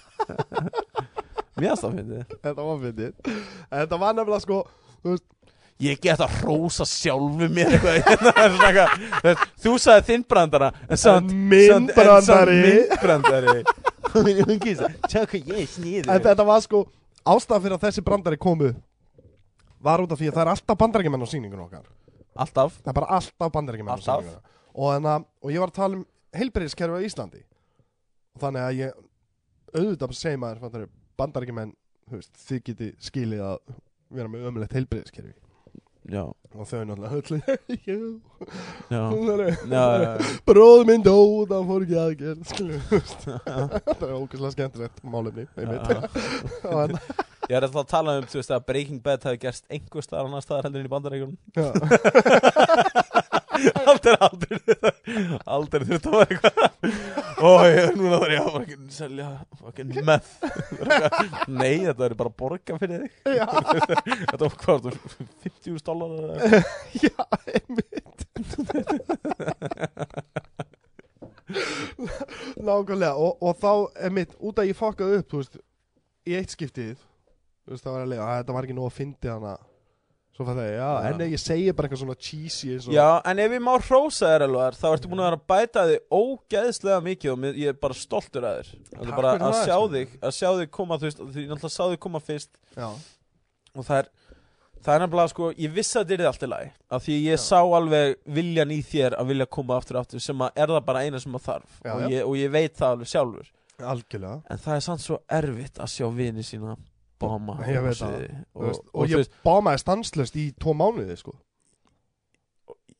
[SPEAKER 2] Mér það finnir
[SPEAKER 1] þetta var fyndið Þetta var nefnilega sko
[SPEAKER 2] Ég get að hrósa sjálfu mér eitthvað Hérna, það er svona eitthvað, þú veist, Þú sagði þinn brandara En samt
[SPEAKER 1] Minn brandari
[SPEAKER 2] Minnbrandari Hún kýrst Tjá hvað ég er
[SPEAKER 1] En
[SPEAKER 2] sniður
[SPEAKER 1] þetta var sko ástæðan fyrir að þessi brandari komu Var út af því að það er alltaf bandarækjumenn á sýningunum okkar
[SPEAKER 2] Alltaf
[SPEAKER 1] Það er bara alltaf bandaríkjumenn
[SPEAKER 2] Alltaf.
[SPEAKER 1] og, en að- og ég var að tala um heilbreyðiskerfi á Íslandi og þannig að ég auðvitað segir maður bandaríkjumenn, þú veist, þið geti skilið að vera með ömulegt heilbreyðiskerfi
[SPEAKER 2] Já,
[SPEAKER 1] og þau er náttúrulega öll "Já,
[SPEAKER 2] já,
[SPEAKER 1] það er-
[SPEAKER 2] já, já, já.
[SPEAKER 1] bróð minn dó, það fór ekki aðgerð skilur, þú veist. það er ógæslega skemmtilegt málefni, einmitt
[SPEAKER 2] Já.
[SPEAKER 1] Og hérna, en-
[SPEAKER 2] Ég er alltaf að tala um, þú veist, að Breaking Bad hefði gerst einhver staðar annar staðar heldur en í bandarækjum
[SPEAKER 1] já.
[SPEAKER 2] Aldrei, aldrei Aldrei þurft að vera eitthvað Ó, ég er núna þar, já, fucking selja fucking meth Nei, þetta er bara að borga fyrir þig
[SPEAKER 1] Já.
[SPEAKER 2] Þetta var hvað, 50.000 dólar
[SPEAKER 1] já, einmitt Nákvæmlega og, og þá, einmitt, út að ég fokkaði upp þú veist, í eitt skiptið þú veist, það var alveg, að þetta var ekki nóg að fyndi hana svo fæði ég, já,
[SPEAKER 2] Já.
[SPEAKER 1] en ef ég segi bara eitthvað svona cheesy eins og
[SPEAKER 2] Já, en ef ég má hrósa þér alveg þá ertu búin að vera að bæta þig ógeðslega mikið og mér- ég er bara stoltur að þér Það er
[SPEAKER 1] Takk
[SPEAKER 2] bara
[SPEAKER 1] fyrir
[SPEAKER 2] að
[SPEAKER 1] það,
[SPEAKER 2] sjá
[SPEAKER 1] sko.
[SPEAKER 2] þig, að sjá þig koma, þú veist, því ég náttúrulega sá þig koma fyrst
[SPEAKER 1] já,
[SPEAKER 2] og það er það er nefnilega sko, ég vissi að þetta er allt í lagi af því ég
[SPEAKER 1] Já.
[SPEAKER 2] sá alveg viljan í þér að vilja koma aftur og aftur sem að er það bara eina sem að þarf
[SPEAKER 1] Já,
[SPEAKER 2] og,
[SPEAKER 1] já.
[SPEAKER 2] Ég, og ég veit það alveg sjálfur
[SPEAKER 1] algjörlega
[SPEAKER 2] en það er samt svo erfitt að sjá vini sína bóma
[SPEAKER 1] Ég veit það.
[SPEAKER 2] og,
[SPEAKER 1] og,
[SPEAKER 2] og,
[SPEAKER 1] veist, og,
[SPEAKER 2] þú
[SPEAKER 1] ég
[SPEAKER 2] veist,
[SPEAKER 1] bámaði stanslöst í tvo mánuði sko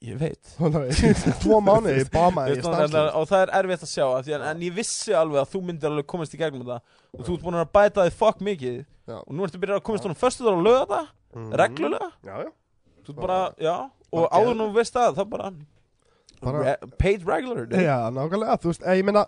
[SPEAKER 2] ég veit
[SPEAKER 1] Í tvo mánuði bámaði ég
[SPEAKER 2] Ég veist, þannig að-
[SPEAKER 1] stanslöst
[SPEAKER 2] og það er erfitt að sjá af því, en, en ég vissi alveg að þú myndir alveg komast í gegnum það og þú ert búin að bæta þig fokk mikið
[SPEAKER 1] Já.
[SPEAKER 2] og nú ertu byrjað að komast honum föstu og löga það, reglulega
[SPEAKER 1] já, já,
[SPEAKER 2] Þú ert bara, já, og
[SPEAKER 1] Mhm. Bara
[SPEAKER 2] áður nú veist það, það bara,
[SPEAKER 1] Bara-
[SPEAKER 2] re paid regular dude.
[SPEAKER 1] já, nákvæmlega þú veist, eh, ég meina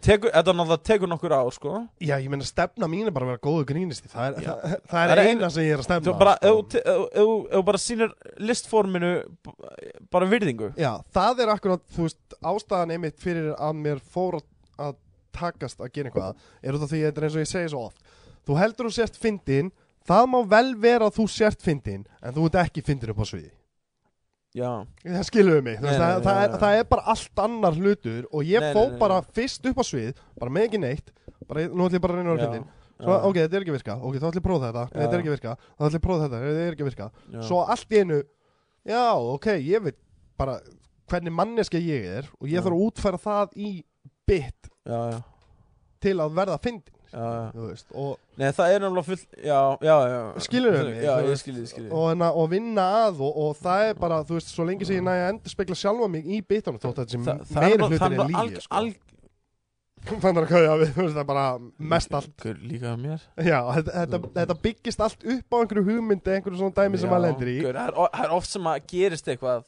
[SPEAKER 2] tekur, Þetta náttúrulega tekur nokkur ár, sko
[SPEAKER 1] Já, ég meina stefna mín er bara að vera góðu grínisti Það er,
[SPEAKER 2] Já.
[SPEAKER 1] það, það er eina sem ég er að
[SPEAKER 2] Þú
[SPEAKER 1] stefna
[SPEAKER 2] bara,
[SPEAKER 1] sko.
[SPEAKER 2] ef þú te- ef- ef þú- ef þú bara sýnir listforminu b- bara virðingu
[SPEAKER 1] Já, það er akkurat, þú veist, ástæðan einmitt fyrir að mér fór að- að takast að gera eitthvað er út af því að þetta er eins og ég segi svo oft Þú heldur þú sért fyndin Það má vel vera að þú sért fyndin en þú ert ekki fyndin upp á sviði
[SPEAKER 2] Já,
[SPEAKER 1] Það skilur við mig, þú
[SPEAKER 2] Nei,
[SPEAKER 1] veist,
[SPEAKER 2] nei,
[SPEAKER 1] það,
[SPEAKER 2] nei,
[SPEAKER 1] það,
[SPEAKER 2] nei,
[SPEAKER 1] er,
[SPEAKER 2] nei.
[SPEAKER 1] það er bara allt annar hlutur og ég
[SPEAKER 2] Nei,
[SPEAKER 1] fó
[SPEAKER 2] nei, nei,
[SPEAKER 1] bara fyrst upp á svið bara með ekki neitt, bara, nú ætlum ég bara að reyna að vera
[SPEAKER 2] já,
[SPEAKER 1] fyndin Svo, ok, þetta er ekki að virka, ok, þá ætlum ég að prófa þetta,
[SPEAKER 2] Já,
[SPEAKER 1] nei, þetta er
[SPEAKER 2] já.
[SPEAKER 1] ekki að virka, þá ætlum ég að prófa þetta, nei, þetta er ekki að virka
[SPEAKER 2] já.
[SPEAKER 1] svo allt í einu já, ok, ég veit bara hvernig manneska ég er og ég
[SPEAKER 2] Já.
[SPEAKER 1] þarf að útfæra það í bit
[SPEAKER 2] já, já,
[SPEAKER 1] til að verða fyndin
[SPEAKER 2] já, já.
[SPEAKER 1] þú veist, og,
[SPEAKER 2] Nei, það er náttúrulega full Já, já, já
[SPEAKER 1] Skilurðu mig,
[SPEAKER 2] Já,
[SPEAKER 1] þú
[SPEAKER 2] ég
[SPEAKER 1] veist,
[SPEAKER 2] skilur, ég skilur
[SPEAKER 1] og, en að- og vinna að og, og það er bara, þú veist, svo lengi sem ég næja að endurspegla sjálfa mig í bitunum þótt að þessi
[SPEAKER 2] Þa- það er
[SPEAKER 1] meiri
[SPEAKER 2] náttúrulega-
[SPEAKER 1] hlutin er
[SPEAKER 2] það er
[SPEAKER 1] lígi
[SPEAKER 2] alg-
[SPEAKER 1] sko.
[SPEAKER 2] alg-
[SPEAKER 1] þannig að kauða við, þú veist, það er bara mest allt
[SPEAKER 2] Gaur, Líka að mér
[SPEAKER 1] já, þetta, þetta, þetta byggist allt upp á einhverju hugmyndi, einhverju svona dæmi sem
[SPEAKER 2] Já,
[SPEAKER 1] maður lendir í
[SPEAKER 2] gaur, það er o- Það er oft sem að gerist eitthvað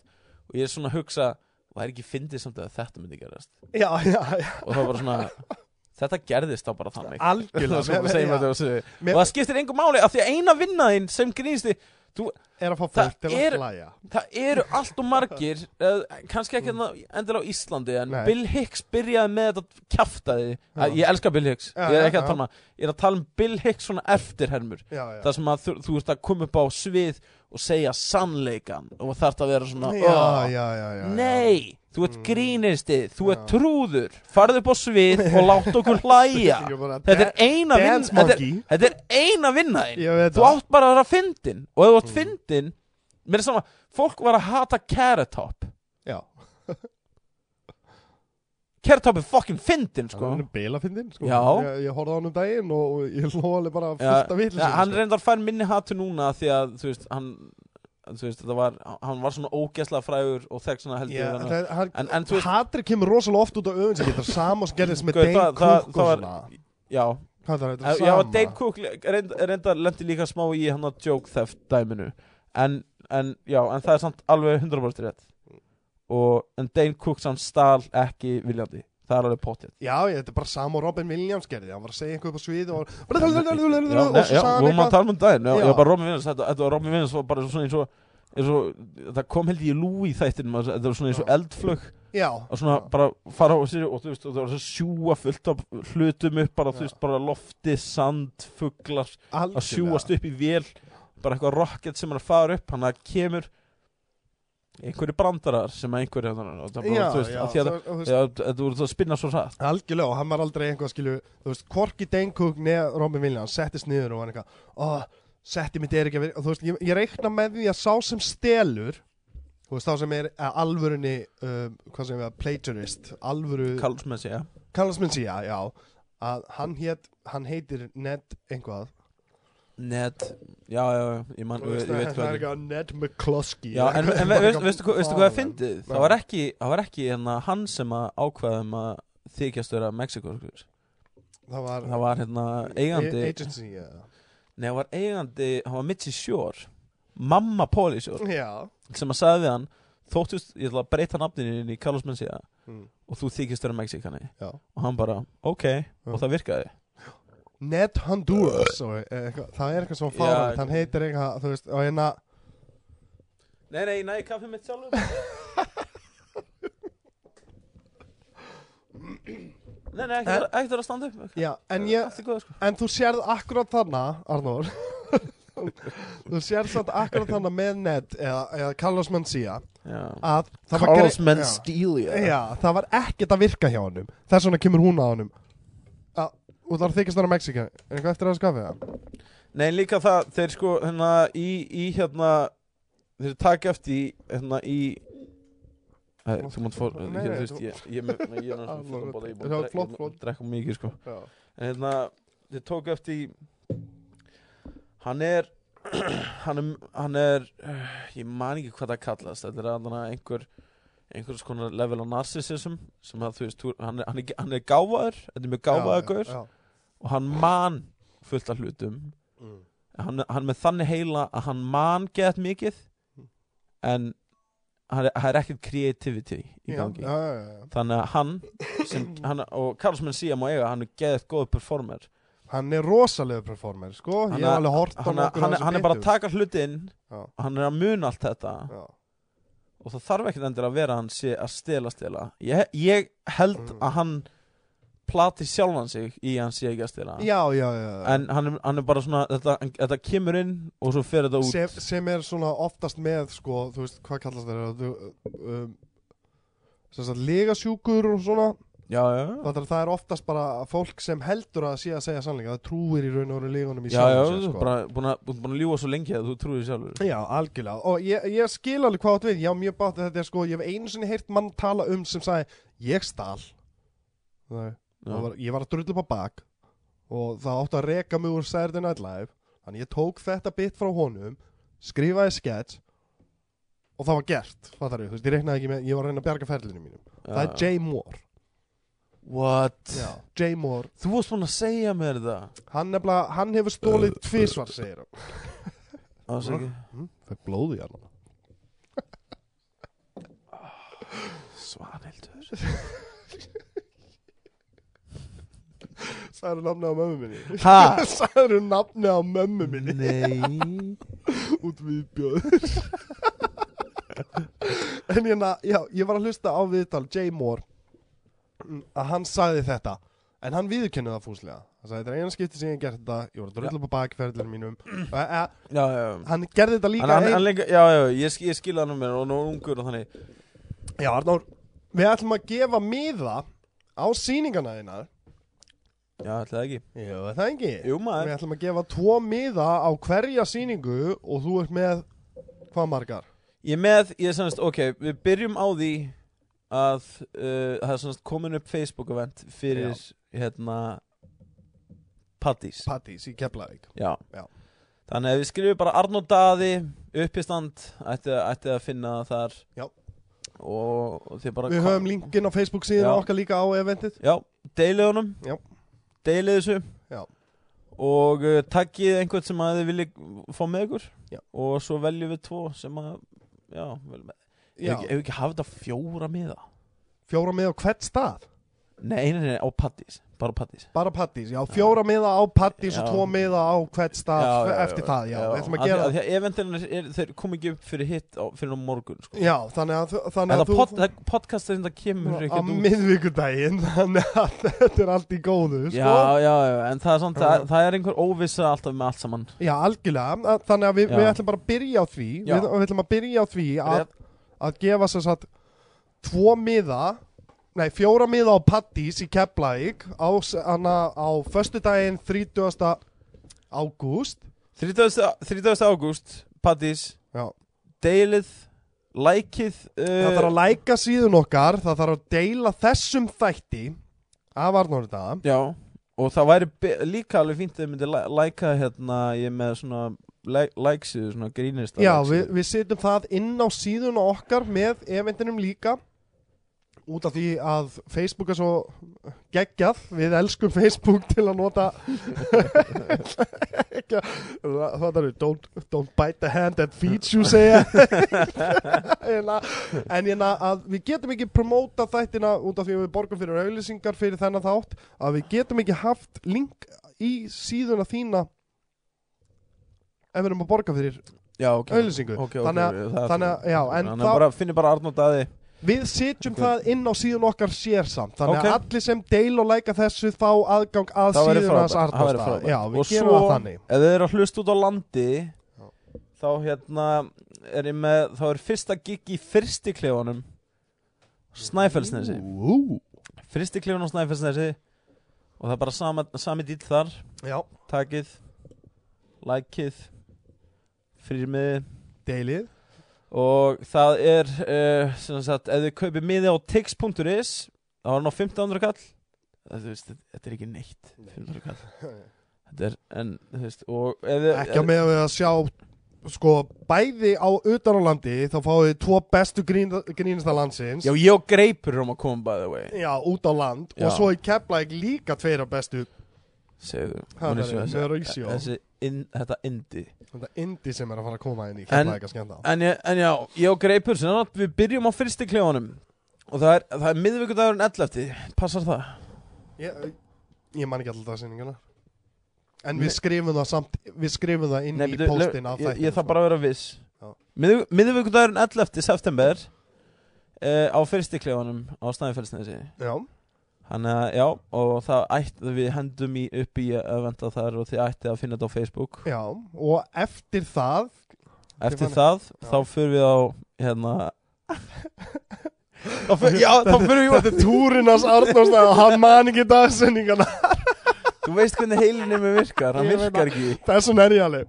[SPEAKER 2] og ég er svona að hugsa Það er ekki fyndið samt að þetta myndi gerast
[SPEAKER 1] já, já, já,
[SPEAKER 2] og það var bara svona þetta gerðist þá bara þannig
[SPEAKER 1] algjörlega
[SPEAKER 2] það,
[SPEAKER 1] Mér-
[SPEAKER 2] segja,
[SPEAKER 1] já.
[SPEAKER 2] ja. og
[SPEAKER 1] Mér-
[SPEAKER 2] það skiptir engu máli af því að eina vinnaðinn sem grínst þú,
[SPEAKER 1] er að fá
[SPEAKER 2] Það
[SPEAKER 1] fólk til
[SPEAKER 2] er-
[SPEAKER 1] að hlæja
[SPEAKER 2] Það eru allt og margir uh, kannski ekki endilega á Íslandi en
[SPEAKER 1] Nei.
[SPEAKER 2] Bill Hicks byrjaði með þetta kjaftaði
[SPEAKER 1] Já.
[SPEAKER 2] Ég elska Bill Hicks
[SPEAKER 1] Já,
[SPEAKER 2] Ég er
[SPEAKER 1] já,
[SPEAKER 2] ekki
[SPEAKER 1] já.
[SPEAKER 2] að tala um hann. Ég er að tala um Bill Hicks svona eftirhermur
[SPEAKER 1] Já, já
[SPEAKER 2] Það sem að þú, þú ert að koma upp á svið og segja sannleikan og þarft að vera svona
[SPEAKER 1] já,
[SPEAKER 2] "Oh,
[SPEAKER 1] já, já, já, já.
[SPEAKER 2] Nei, þú ert
[SPEAKER 1] Mm.
[SPEAKER 2] grínisti, þú ert
[SPEAKER 1] Já.
[SPEAKER 2] trúður Farðu upp á svið og látt okkur hlæja
[SPEAKER 1] Ég bara,
[SPEAKER 2] Þetta er eina vinna
[SPEAKER 1] Dance
[SPEAKER 2] þetta, er-
[SPEAKER 1] monkey
[SPEAKER 2] þetta er eina vinna þín
[SPEAKER 1] Ég veit
[SPEAKER 2] Þú
[SPEAKER 1] það
[SPEAKER 2] átt bara að vera fyndin Og ef þú átt
[SPEAKER 1] Mm.
[SPEAKER 2] fyndin Mér er sama, fólk var að hata Carrot Top
[SPEAKER 1] Já, sko,
[SPEAKER 2] Carrot Top er fucking fyndin, sko
[SPEAKER 1] hann er bilafindin sko.
[SPEAKER 2] Já.
[SPEAKER 1] Ég, ég horfði á hann um daginn og og ég hló alveg bara
[SPEAKER 2] Já,
[SPEAKER 1] fullt af sko. vill
[SPEAKER 2] ja, Hann reyndar fær minni hatu núna Því að, þú veist, hann Þú veist, þetta var, hann var svona ógæslega frægur Og þekkt svona heldur
[SPEAKER 1] Já,
[SPEAKER 2] hann-
[SPEAKER 1] það, hann,
[SPEAKER 2] En, en þú veist,
[SPEAKER 1] Hatri kemur rosalega oft út á öðun sem getur sama sem gerðist með
[SPEAKER 2] Guð,
[SPEAKER 1] Dane
[SPEAKER 2] það- það-
[SPEAKER 1] Cook
[SPEAKER 2] það
[SPEAKER 1] og
[SPEAKER 2] var-
[SPEAKER 1] svona
[SPEAKER 2] já Eh,
[SPEAKER 1] Hvað það er þetta
[SPEAKER 2] Já, já, Dane Cook reynd, reyndar lendi líka smá í hann að joke theft dæminu en, en, já, en það er samt alveg 100% rétt og, en Dane Cook samt stal ekki viljandi, það er alveg potið
[SPEAKER 1] Já, ég, þetta er bara sama og Robin Williams gerði Hann var að segja eitthvað upp á svið og
[SPEAKER 2] Já,
[SPEAKER 1] Og svo
[SPEAKER 2] já,
[SPEAKER 1] sagði hann
[SPEAKER 2] vorum að
[SPEAKER 1] eitthvað
[SPEAKER 2] tala um daginn já,
[SPEAKER 1] Já.
[SPEAKER 2] já. bara Robin Williams, þetta, þetta var Robin Williams var bara svona eins og, eins og það kom held ég í Louis þættinum, að þetta var svona eins og
[SPEAKER 1] Já.
[SPEAKER 2] eldflög
[SPEAKER 1] Já,
[SPEAKER 2] og svona
[SPEAKER 1] Já.
[SPEAKER 2] bara fara á sér og þú veist, og það var að sjúa fullt af hlutum upp bara, þú
[SPEAKER 1] Já.
[SPEAKER 2] veist, bara lofti, sand, fuglar að
[SPEAKER 1] algjörlega.
[SPEAKER 2] sjúast upp í vél bara eitthvað rocket sem er að fara upp hann að kemur einhverju brandarar sem að einhverju og það bara,
[SPEAKER 1] Já,
[SPEAKER 2] þú veist,
[SPEAKER 1] já,
[SPEAKER 2] að því að
[SPEAKER 1] það- þú veist,
[SPEAKER 2] Já, þú voru það að spinna svo hratt
[SPEAKER 1] Algjörlega og hann var aldrei einhvað skilju Þú veist, Korki Dane Cook neð Robin Williams settist niður og var eitthvað oh, Setti mitt er ekki að vera Þú veist, ég, ég reikna með því að sá sem stelur Þú veist, þá sem er að alvörunni um, Hvað sem við að plagiarist Alvöru
[SPEAKER 2] Karlsmessi, já
[SPEAKER 1] Karlsminn síða, já Að hann, hét, hann heitir Ned einhvað
[SPEAKER 2] Net, já, já, já, ég, man,
[SPEAKER 1] Þú
[SPEAKER 2] ég,
[SPEAKER 1] veist,
[SPEAKER 2] ég veit
[SPEAKER 1] Það
[SPEAKER 2] hvað
[SPEAKER 1] er
[SPEAKER 2] ég-
[SPEAKER 1] eitthvað Ned McCloskey
[SPEAKER 2] Já, en, en veist, veistu, hvað- veistu hvað er fyndið?
[SPEAKER 1] Nei.
[SPEAKER 2] Það var ekki, það var ekki hérna, hann sem að ákvaðum að þykjast vera Mexiko skur.
[SPEAKER 1] Það var,
[SPEAKER 2] Það var hérna eigandi
[SPEAKER 1] Agency, já
[SPEAKER 2] Nei, það var eigandi, hann var Mitzi Shore Mamma Polly Shore
[SPEAKER 1] Já
[SPEAKER 2] sem að sagði við hann Þóttust, ég ætla að breyta nafninu inn í Karlsmessi
[SPEAKER 1] mm.
[SPEAKER 2] og þú þykist vera Mexikani
[SPEAKER 1] Já.
[SPEAKER 2] og hann bara, ok, og það virkaði
[SPEAKER 1] Ned Honduras og, eh, eitthvað, það er eitthvað svo
[SPEAKER 2] Já,
[SPEAKER 1] fáralegt hann um, heitir eitthvað, þú veist, og hérna
[SPEAKER 2] Nei, nei, næ, kaffi mitt sjálfur Nei, nei, ekkert vera- ekkert vera að standa upp
[SPEAKER 1] Eh? já, en, ég,
[SPEAKER 2] Allt er góð, sko
[SPEAKER 1] en þú sérð akkurat þarna Arnór þú sérð samt akkurat þarna með Ned eða, eða Carlos Mencia
[SPEAKER 2] Já.
[SPEAKER 1] að það var
[SPEAKER 2] Carlos
[SPEAKER 1] grei- já,
[SPEAKER 2] Menstelia
[SPEAKER 1] já, það var ekkert að virka hjá honum þess vegna kemur hún að honum að, og það var þykist þarna Mexika er eitthvað eftir að skafi það?
[SPEAKER 2] Nei, líka það, þeir sko, hérna, í, í hérna Þeir taka eftir í, hérna, í Æ, Þú mátt fór,
[SPEAKER 1] Nei,
[SPEAKER 2] ég,
[SPEAKER 1] nei,
[SPEAKER 2] þú veist,
[SPEAKER 1] þú-
[SPEAKER 2] ég, ég, ég, ég, ég, ég, ég, ég, ég, ég, er
[SPEAKER 1] Alveg,
[SPEAKER 2] með fullan bolla, ég,
[SPEAKER 1] já, flott,
[SPEAKER 2] er búinn að
[SPEAKER 1] flott.
[SPEAKER 2] drekka- ég, ég, mikið, sko
[SPEAKER 1] Já.
[SPEAKER 2] En hérna, þið tók eftir í Hann er Hann er, hann er eh, Ég man ekki hvað það kallast Þetta er alveg einhver einhvers konar level á narcissism sem að þú veist, þú- hann er, hann er, ekki- hann er gáfaður þetta er mjög gáfaður gaur
[SPEAKER 1] já, já.
[SPEAKER 2] og hann man fullt af hlutum
[SPEAKER 1] Mm.
[SPEAKER 2] hann, hann er með þannig heila að hann man gett mikið
[SPEAKER 1] Mm.
[SPEAKER 2] en hann er, hann er ekkert creativity í
[SPEAKER 1] Já,
[SPEAKER 2] gangi
[SPEAKER 1] já, já, já.
[SPEAKER 2] þannig að hann, sem, hann og Karlsmann Sía má eiga, hann er gett góð performer
[SPEAKER 1] hann er rosalegu performer sko,
[SPEAKER 2] Hann
[SPEAKER 1] ég hef
[SPEAKER 2] er-
[SPEAKER 1] alveg hort á
[SPEAKER 2] hann,
[SPEAKER 1] nokkur
[SPEAKER 2] hann, hann er bara að taka hlutinn
[SPEAKER 1] Já.
[SPEAKER 2] og hann er að muna allt þetta
[SPEAKER 1] taka
[SPEAKER 2] og það þarf ekkert endur að vera hann sé að stela stela ég, ég held
[SPEAKER 1] Mm.
[SPEAKER 2] að hann plati sjálfan sig í að hann sé ekki að stela
[SPEAKER 1] já, já, já, já.
[SPEAKER 2] en hann, er- hann er bara svona þetta, þetta kemur inn og svo fer þetta út
[SPEAKER 1] sem, sem er svona oftast með sko, þú veist, hvað kallast það um, sem sagt legasjúkur og svona,
[SPEAKER 2] já, já, já,
[SPEAKER 1] það er, það er oftast bara fólk sem heldur að sé að segja sannleika það trúir í raun og raun legunum í
[SPEAKER 2] já, já
[SPEAKER 1] sjálfum
[SPEAKER 2] þú
[SPEAKER 1] sér, sko.
[SPEAKER 2] er bara búin að, búin búin að ljúa svo lengi að þú trúir því sjálfur
[SPEAKER 1] Já, algjörlega og ég, ég skil alveg hvað átt við, já mjög bátt þetta er sko, ég hef einu sinni heyrt mann tala um sem sagði, ég stal Nei,
[SPEAKER 2] Já.
[SPEAKER 1] var, ég var að drullu upp á bak og það átti að reka mig úr Saturday Night Live þannig ég tók þetta bit frá honum skrifaði sketch og það var gert, fattar þú veist, ég reiknaði ekki með, ég var að reyna að bjarga ferlinu mínum það er Jay Moore
[SPEAKER 2] what
[SPEAKER 1] Jay Moore,
[SPEAKER 2] þú varst búin að segja mér það
[SPEAKER 1] hann, nefnilega, hann hefur stólið tvisvar, segir hann
[SPEAKER 2] ásaki
[SPEAKER 1] hm, það er blóði hann
[SPEAKER 2] Svanhildur
[SPEAKER 1] sagði hann nafnið á mömmu minni
[SPEAKER 2] ha
[SPEAKER 1] sagði hann nafnið á mömmu minni
[SPEAKER 2] nei
[SPEAKER 1] út viðbjóður en hérna, já, ég var að hlusta á viðtal Jay Moore mm, að hann sagði þetta en hann viðurkennið það fúslega hann sagði þetta er eina skipti sem ég hef gert þetta ég var að drölla upp á bakferðlunum mínum og, e,
[SPEAKER 2] já, já.
[SPEAKER 1] hann gerði þetta
[SPEAKER 2] Hann,
[SPEAKER 1] líka
[SPEAKER 2] hann,
[SPEAKER 1] ein-
[SPEAKER 2] hann leika, já, já, ég, sk- ég skil hann um mér og nú er ungur og þannig
[SPEAKER 1] Já, Arnór, við ætlum að gefa miða á sýningana þínar
[SPEAKER 2] Já, ætli það ekki
[SPEAKER 1] Jú, er það ekki
[SPEAKER 2] Jú, maður
[SPEAKER 1] Við ætlum að gefa tvo miða á hverja sýningu og þú ert með hvað margar?
[SPEAKER 2] Ég er með, ég er sannst, ok, við byrjum á því að uh, það er sannst komin upp Facebook event fyrir, hérna, Paddís
[SPEAKER 1] Pattís í Keflavík
[SPEAKER 2] Já.
[SPEAKER 1] Já.
[SPEAKER 2] Þannig að við skrifum bara Arnór Daði uppistand, ætti, ætti að finna það þar
[SPEAKER 1] Já.
[SPEAKER 2] Og, og þið bara
[SPEAKER 1] Við höfum linkin á Facebook síðan
[SPEAKER 2] Já.
[SPEAKER 1] okkar líka á eventið
[SPEAKER 2] Já, deilið honum
[SPEAKER 1] Já.
[SPEAKER 2] Deilið þessu
[SPEAKER 1] Já.
[SPEAKER 2] Og uh, takkið einhvern sem að þið viljið fá með ykkur
[SPEAKER 1] Já.
[SPEAKER 2] Og svo veljum við tvo sem að Já, vel með
[SPEAKER 1] Já,
[SPEAKER 2] Ef við ekki hafa þetta fjóra miða
[SPEAKER 1] fjóra miða á hvert stað
[SPEAKER 2] Nei, nei, nei, á pattis Bara pattis
[SPEAKER 1] Bara Pattís, já, fjóra miða á Pattís og
[SPEAKER 2] Já.
[SPEAKER 1] tvo miða á hvert stað eftir það, já, já, við ætlum að gera
[SPEAKER 2] það Því að eventin er, er, þeir kom ekki upp fyrir hitt á, fyrir á morgun sko.
[SPEAKER 1] Já, þannig að, þú-
[SPEAKER 2] En
[SPEAKER 1] þannig
[SPEAKER 2] það
[SPEAKER 1] að
[SPEAKER 2] pod, það podcastið þetta kemur
[SPEAKER 1] á
[SPEAKER 2] ekki út
[SPEAKER 1] miðvikudaginn þannig að þetta er allt í góðu sko.
[SPEAKER 2] Já, já, já, en það er samt, það,
[SPEAKER 1] Já.
[SPEAKER 2] það er einhver óvissa alltaf með allt saman
[SPEAKER 1] Já, algjörlega, að- þannig að við,
[SPEAKER 2] Já.
[SPEAKER 1] við ætlum bara að byrja á því
[SPEAKER 2] Já.
[SPEAKER 1] við, við ætlum að byrja á því að,
[SPEAKER 2] Rétt.
[SPEAKER 1] að gefa sér satt tvo miða nei, fjóra miða á Pattís í Keflavík á, s- hana, á föstudaginn 30. ágúst
[SPEAKER 2] 30. 30. ágúst, pattis
[SPEAKER 1] Já.
[SPEAKER 2] deilið, likeið uh,
[SPEAKER 1] það þarf að læka síðun okkar það þarf að deila þessum þætti af Arnóri daga
[SPEAKER 2] Já, og það væri be- líka alveg fínt að þið myndi læ- læka hérna ég er með svona læ- likesíðu, svona grínist
[SPEAKER 1] Já, við, við setjum það inn á síðuna okkar með eventinum líka út af því að Facebook er svo geggjað við elskum Facebook til að nota það er don't, don't bite the hand that feeds you segja Hérna, en hérna að við getum ekki promóta þættina út af því að við borgum fyrir auðlýsingar fyrir þennan þátt að við getum ekki haft link í síðuna þína ef við erum að borga fyrir
[SPEAKER 2] Já, ok,
[SPEAKER 1] auðlýsingu
[SPEAKER 2] ok, ok,
[SPEAKER 1] þannig að
[SPEAKER 2] ok, það er
[SPEAKER 1] þannig að-
[SPEAKER 2] fyrir-
[SPEAKER 1] já,
[SPEAKER 2] fyrir-
[SPEAKER 1] en
[SPEAKER 2] þannig
[SPEAKER 1] þá-
[SPEAKER 2] að bara finnir bara Arnór Daði
[SPEAKER 1] við sitjum
[SPEAKER 2] Ok.
[SPEAKER 1] það inn á síðun okkar sér samt þannig
[SPEAKER 2] Ok.
[SPEAKER 1] að allir sem deil og læka þessu fá aðgang að
[SPEAKER 2] Það væri
[SPEAKER 1] síðun hans
[SPEAKER 2] frábært, það væri
[SPEAKER 1] Arnósta
[SPEAKER 2] frábært.
[SPEAKER 1] já, við
[SPEAKER 2] Og
[SPEAKER 1] gerum
[SPEAKER 2] svo-
[SPEAKER 1] það þannig
[SPEAKER 2] ef þið eru að hlusta út á landi
[SPEAKER 1] Já.
[SPEAKER 2] þá hérna er ég með, þá er fyrsta gig í fyrsti klefanum Snæfellsnesi
[SPEAKER 1] Ú,
[SPEAKER 2] fyrsti klefun á Snæfellsnesi og það er bara sama, sami dýl þar
[SPEAKER 1] já,
[SPEAKER 2] takið, likeið frýrmiði
[SPEAKER 1] deilið
[SPEAKER 2] og það er uh, sem sagt, ef þið kaupið miði á tix.is þá er hann á 1500 kall það, þú veist, þetta- þetta er ekki neitt 1500 kall Þetta er, en, þú veist, og ef þið
[SPEAKER 1] ekki á með að sjá sko bæði á utanálandi þá fáið þið tvo bestu grín, grínista landsins
[SPEAKER 2] Já, ég og Greipur erum að koma by the way
[SPEAKER 1] Já, út á land
[SPEAKER 2] Já.
[SPEAKER 1] og svo í Keflæk líka tveira bestu
[SPEAKER 2] Segðu
[SPEAKER 1] Ha,
[SPEAKER 2] hún er
[SPEAKER 1] það
[SPEAKER 2] svo
[SPEAKER 1] er
[SPEAKER 2] þessi-
[SPEAKER 1] Mauricio.
[SPEAKER 2] þessi inn- Þetta indi
[SPEAKER 1] þetta indi sem er að fara að koma inn í
[SPEAKER 2] En-
[SPEAKER 1] Keflæk að skenda
[SPEAKER 2] en, ég- en já, ég og Greipur sem sagt, Við byrjum á fyrsti klefanum Og það er, það er miðvikudagurinn 11 Passar það?
[SPEAKER 1] ég, ég man ekki alltaf dagsinninguna En við skrifum það samt Við skrifum það inn í
[SPEAKER 2] byrju,
[SPEAKER 1] postin
[SPEAKER 2] lef-
[SPEAKER 1] af
[SPEAKER 2] Ég,
[SPEAKER 1] þættinum sko.
[SPEAKER 2] ég þarf bara að vera viss
[SPEAKER 1] Já.
[SPEAKER 2] Miðvik- Miðvikudagurinn 11 september uh, Á fyrsti klefanum Á staðinfælsnesi
[SPEAKER 1] sko. Já,
[SPEAKER 2] Þannig að, já, og það ætti Við hendum í upp í að venda þar Og þið ætti að finna þetta á Facebook
[SPEAKER 1] já Og eftir það
[SPEAKER 2] Eftir
[SPEAKER 1] Stefán-
[SPEAKER 2] það,
[SPEAKER 1] Já.
[SPEAKER 2] þá fyrir við á hérna þá fyrir, Já, þá fyrir við á
[SPEAKER 1] Þetta er túrinas Arnóstæð og hann man ekki dagsinninguna
[SPEAKER 2] Þú veist hvernig heilinni mér virkar, hann
[SPEAKER 1] Ég veit
[SPEAKER 2] virkar ekki
[SPEAKER 1] Þessun er ég alveg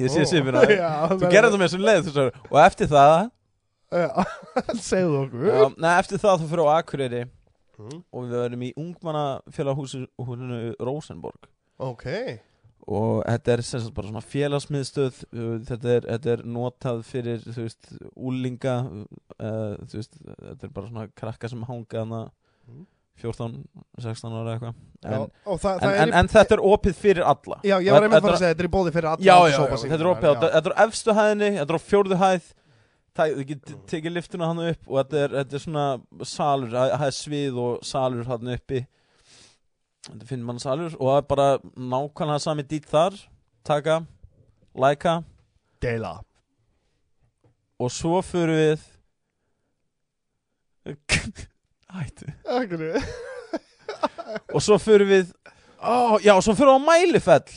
[SPEAKER 2] Ég sé svipinn á þér. Þú gerði það
[SPEAKER 1] það
[SPEAKER 2] með þessum leið þessar Og eftir það,
[SPEAKER 1] Segðu okkur
[SPEAKER 2] já, neða, eftir það þá fyrir á Akureyri
[SPEAKER 1] Mm,
[SPEAKER 2] Og við verðum í ungmannafélagshúsinu Rosenborg
[SPEAKER 1] Ok
[SPEAKER 2] Og þetta er sem sagt bara svona félagsmiðstöð uh, Þetta er, þetta er notað fyrir, þú veist, úlinga uh, Þú veist, þetta er bara svona krakka sem hanga hana
[SPEAKER 1] Mm.
[SPEAKER 2] 14, 16 ára eitthvað
[SPEAKER 1] Já,
[SPEAKER 2] en,
[SPEAKER 1] Og það, það
[SPEAKER 2] en,
[SPEAKER 1] er
[SPEAKER 2] en,
[SPEAKER 1] í
[SPEAKER 2] en þetta er opið fyrir alla
[SPEAKER 1] Já, ég var einmitt að
[SPEAKER 2] Þetta
[SPEAKER 1] fara að
[SPEAKER 2] er-
[SPEAKER 1] segja, þetta er í bóði fyrir alla
[SPEAKER 2] Já, já, já,
[SPEAKER 1] sópasýningar,
[SPEAKER 2] þetta er opið á, þetta er á efstu hæðinni, þetta er á fjórðu hæð Það, þú getur tekið liftuna hann upp og þetta er, þetta er svona salur, það það er svið og salur hann uppi Þetta finnir mann salur og það er bara nákvæmlega sami dýtt þar, taka, læka
[SPEAKER 1] Deila
[SPEAKER 2] og svo fyrir við Hættu
[SPEAKER 1] Akkur
[SPEAKER 2] og svo fyrir við ó, já, svo fyrir við á Mælifell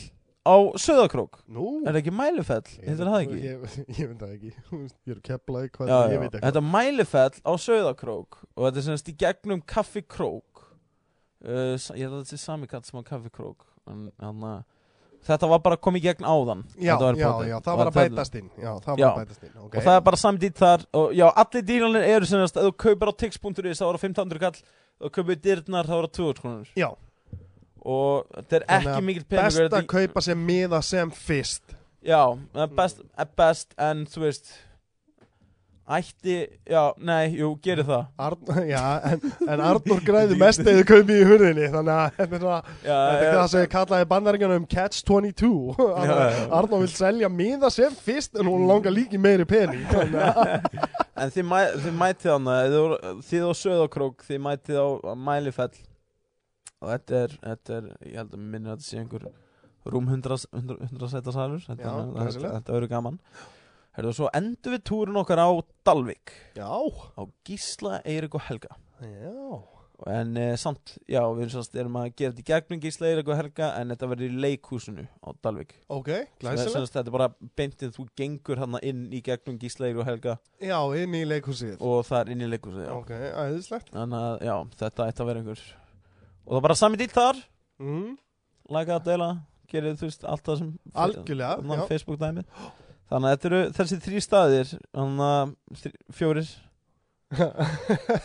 [SPEAKER 2] á Söðakrók
[SPEAKER 1] Nú
[SPEAKER 2] er það ekki Mælifell, þetta er það ekki
[SPEAKER 1] Ég, ég veit það ekki Þú veist, Ég er keplaði hvað
[SPEAKER 2] já,
[SPEAKER 1] ég
[SPEAKER 2] já.
[SPEAKER 1] veit ekki
[SPEAKER 2] þetta er Mælifell á Söðakrók og þetta er semst í gegnum Kaffikrók uh, sa- ég held að þetta er sami katt sem á Kaffikrók en, en, uh, þetta var bara að koma í gegn áðan
[SPEAKER 1] Já,
[SPEAKER 2] Þetta
[SPEAKER 1] já,
[SPEAKER 2] potið.
[SPEAKER 1] já, það var að
[SPEAKER 2] Þetta-
[SPEAKER 1] bætast inn Já, það var
[SPEAKER 2] Já.
[SPEAKER 1] að bætast inn okay.
[SPEAKER 2] og það er bara samdýtt þar og já, allir dýrlanir eru sem að ef þú kaupir á tix.is þá eru 1500 kall og kaupir dýrnar þá eru 200 krónur
[SPEAKER 1] Já,
[SPEAKER 2] og þetta er
[SPEAKER 1] Þannig
[SPEAKER 2] ekki
[SPEAKER 1] að
[SPEAKER 2] mikill
[SPEAKER 1] best
[SPEAKER 2] peningur
[SPEAKER 1] að
[SPEAKER 2] þetta-
[SPEAKER 1] kaupa sér miða sem fyrst
[SPEAKER 2] já, það er best, er best en þú veist ætti, já, nei, jú, gerir það
[SPEAKER 1] Arn, Já, en, en Arnur græði mest eða kaupið í hurðinni Þannig að þetta er svona
[SPEAKER 2] já,
[SPEAKER 1] Þetta
[SPEAKER 2] já,
[SPEAKER 1] er það sem ég kallaði bandaríkjana um Catch-22
[SPEAKER 2] Já, já.
[SPEAKER 1] Arnó vil selja miða sem fyrst en hún langar líki meiri pening þannig að-
[SPEAKER 2] en þið, mæ, þið mætið hana þið, voru- þið á Söðakrók, þið mætið á, á Mælifell og þetta er, þetta er ég held að mig minnir að þetta sé einhver rúm 100, 100, 100 sæta salur þetta,
[SPEAKER 1] Já,
[SPEAKER 2] þetta-
[SPEAKER 1] glæsilegt.
[SPEAKER 2] þetta verður gaman Herðu, svo endur við túrin okkar á Dalvik
[SPEAKER 1] Já
[SPEAKER 2] á Gísla, Eirik og Helga
[SPEAKER 1] Já
[SPEAKER 2] en eh, samt, já, við erum, sannst, erum að gera þetta í gegnum Gísla, Eirik og Helga en þetta verður í leikhúsinu á Dalvik
[SPEAKER 1] Ok,
[SPEAKER 2] Sem er,
[SPEAKER 1] glæsilegt
[SPEAKER 2] sannst, þetta er bara beintið þú gengur hann inn í gegnum Gísla, Eirik og Helga
[SPEAKER 1] Já, inn í leikhúsið
[SPEAKER 2] og það er inn í leikhúsinu já.
[SPEAKER 1] Ok, aðeinslegt
[SPEAKER 2] Þannig að, já, þetta ætti að vera einhver Og það er bara sami dýl þar
[SPEAKER 1] mm,
[SPEAKER 2] Læka að deila, gerið þú veist allt það sem
[SPEAKER 1] Algjörlega, já
[SPEAKER 2] Þannig að Facebook dæmi Þannig að þetta eru þessi þrý staðir Þannig að þri- fjórir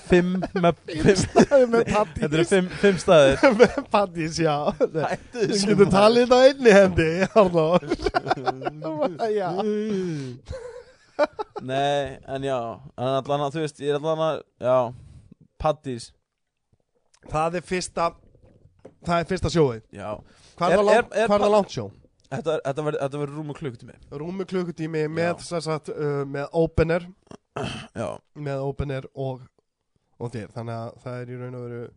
[SPEAKER 2] Fimm með, fimm,
[SPEAKER 1] Það er með
[SPEAKER 2] Þetta eru
[SPEAKER 1] pattís
[SPEAKER 2] fimm, fimm staðir
[SPEAKER 1] Með pattís, já Þú
[SPEAKER 2] Hættu
[SPEAKER 1] getur talið þetta á einni hendi Arnó Já
[SPEAKER 2] Nei, en já En allan að þú veist, ég er allan að Já, paddís
[SPEAKER 1] Það er fyrsta Það er fyrsta sjóði
[SPEAKER 2] Já,
[SPEAKER 1] Hvað
[SPEAKER 2] Er-
[SPEAKER 1] er það langt-
[SPEAKER 2] er- er
[SPEAKER 1] hvað er
[SPEAKER 2] pa-
[SPEAKER 1] það langt sjó?
[SPEAKER 2] þetta, þetta verður þetta verður rúmur klukkutími
[SPEAKER 1] Rúmi klukkutími með,
[SPEAKER 2] Já.
[SPEAKER 1] sem sagt, uh, með opener
[SPEAKER 2] Já,
[SPEAKER 1] með opener og, og þér þannig að það er í raun og veru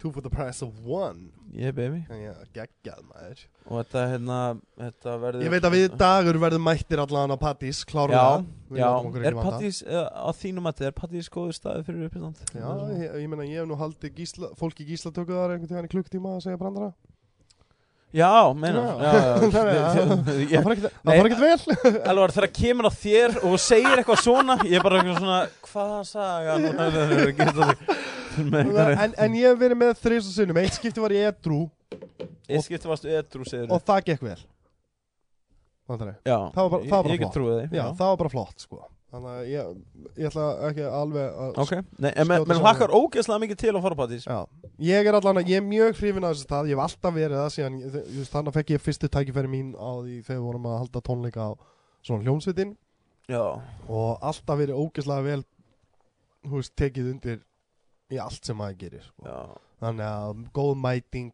[SPEAKER 1] two for the price of one
[SPEAKER 2] yeah baby
[SPEAKER 1] þannig að geggjað maður
[SPEAKER 2] Og þetta, hérna, þetta verður
[SPEAKER 1] ég veit að við dagur verðum mættir allan á Pattís klárum
[SPEAKER 2] Já,
[SPEAKER 1] það Við
[SPEAKER 2] Já,
[SPEAKER 1] látum okkur
[SPEAKER 2] er
[SPEAKER 1] ekki vanta.
[SPEAKER 2] Pattís, eh, á þínum að er Pattís góður staði fyrir uppstand?
[SPEAKER 1] já ég, ég meina ég hef nú haldið gísla, fólk í gíslatöku þar einhvern tíðan í klukktíma að segja brandara
[SPEAKER 2] Já, meina,
[SPEAKER 1] Já.
[SPEAKER 2] já, já,
[SPEAKER 1] Nei, nei, það
[SPEAKER 2] Ég-
[SPEAKER 1] fór ekkert-
[SPEAKER 2] Nei,
[SPEAKER 1] það fór ekkert vel
[SPEAKER 2] Alvar, þegar kemur að þér og segir eitthvað svona, ég er bara eitthvað svona, hvað saga? Nú, nei, nei, nei, gerist það ekki. Með einhverju-
[SPEAKER 1] en, en ég hef verið með þrjus og sinnum eitt skipti var ég edru
[SPEAKER 2] Eitt skipti varstu edru, segir
[SPEAKER 1] og það gekk vel Vandræði.
[SPEAKER 2] Já,
[SPEAKER 1] það var bara- það var bara
[SPEAKER 2] ég, ég get
[SPEAKER 1] flott.
[SPEAKER 2] trúið því.
[SPEAKER 1] já, það var bara flott sko þannig að ég, ég ætla ekki alveg að
[SPEAKER 2] Ok, nei,
[SPEAKER 1] Skjóta
[SPEAKER 2] en menn men
[SPEAKER 1] saman.
[SPEAKER 2] hlakkar ógeðslega mikið til að fara á Pattís.
[SPEAKER 1] Já, ég er allan að, ég er mjög hrifin að þessu stað, ég hef alltaf verið það síðan, ég- þú veist, þannig fekk ég fyrstu tækifæri mín á því þegar við vorum að halda tónleika á svona hljómsveitin
[SPEAKER 2] Já,
[SPEAKER 1] og alltaf verið ógeðslega vel, þú veist, tekið undir í allt sem maður gerir, sko.
[SPEAKER 2] já.
[SPEAKER 1] Þannig að góð mæting,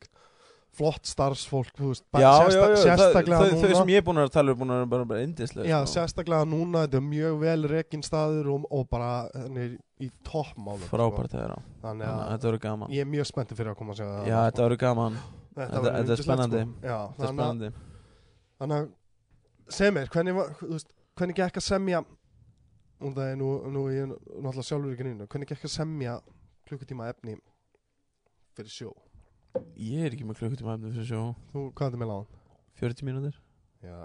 [SPEAKER 1] flott starfsfólk, þú veist,
[SPEAKER 2] Já, já,
[SPEAKER 1] sérsta-
[SPEAKER 2] já,
[SPEAKER 1] sérstaklega
[SPEAKER 2] þau, þau,
[SPEAKER 1] núna.
[SPEAKER 2] þau sem ég er búin að tala er búin að vera bara, bara sko. indislega.
[SPEAKER 1] Já, sérstaklega núna, þetta er mjög vel rekin staður og, og bara, þannig, í toppmálum. sko.
[SPEAKER 2] Frábært að vera.
[SPEAKER 1] Þannig
[SPEAKER 2] Þannig að
[SPEAKER 1] að
[SPEAKER 2] Þetta verður gaman.
[SPEAKER 1] ég er mjög spenntið fyrir að koma að segja það. sko.
[SPEAKER 2] Já, þetta verður gaman. þetta-
[SPEAKER 1] verður
[SPEAKER 2] þetta er
[SPEAKER 1] yndislegt,
[SPEAKER 2] spennandi.
[SPEAKER 1] Sko. Já,
[SPEAKER 2] Þetta er
[SPEAKER 1] þannig að
[SPEAKER 2] spennandi.
[SPEAKER 1] Þannig að segja mér, hvernig, var, þú veist, hvernig gekk að semja og það er nú, nú ég er náttúrulega sjálfur ekki nýna hvernig gekk að semja klukkutíma efni fyrir sjó
[SPEAKER 2] Ég er ekki með klukkutíma efni fyrir sjó
[SPEAKER 1] þú, hvað er þetta með láðan?
[SPEAKER 2] 40 mínútir
[SPEAKER 1] Já,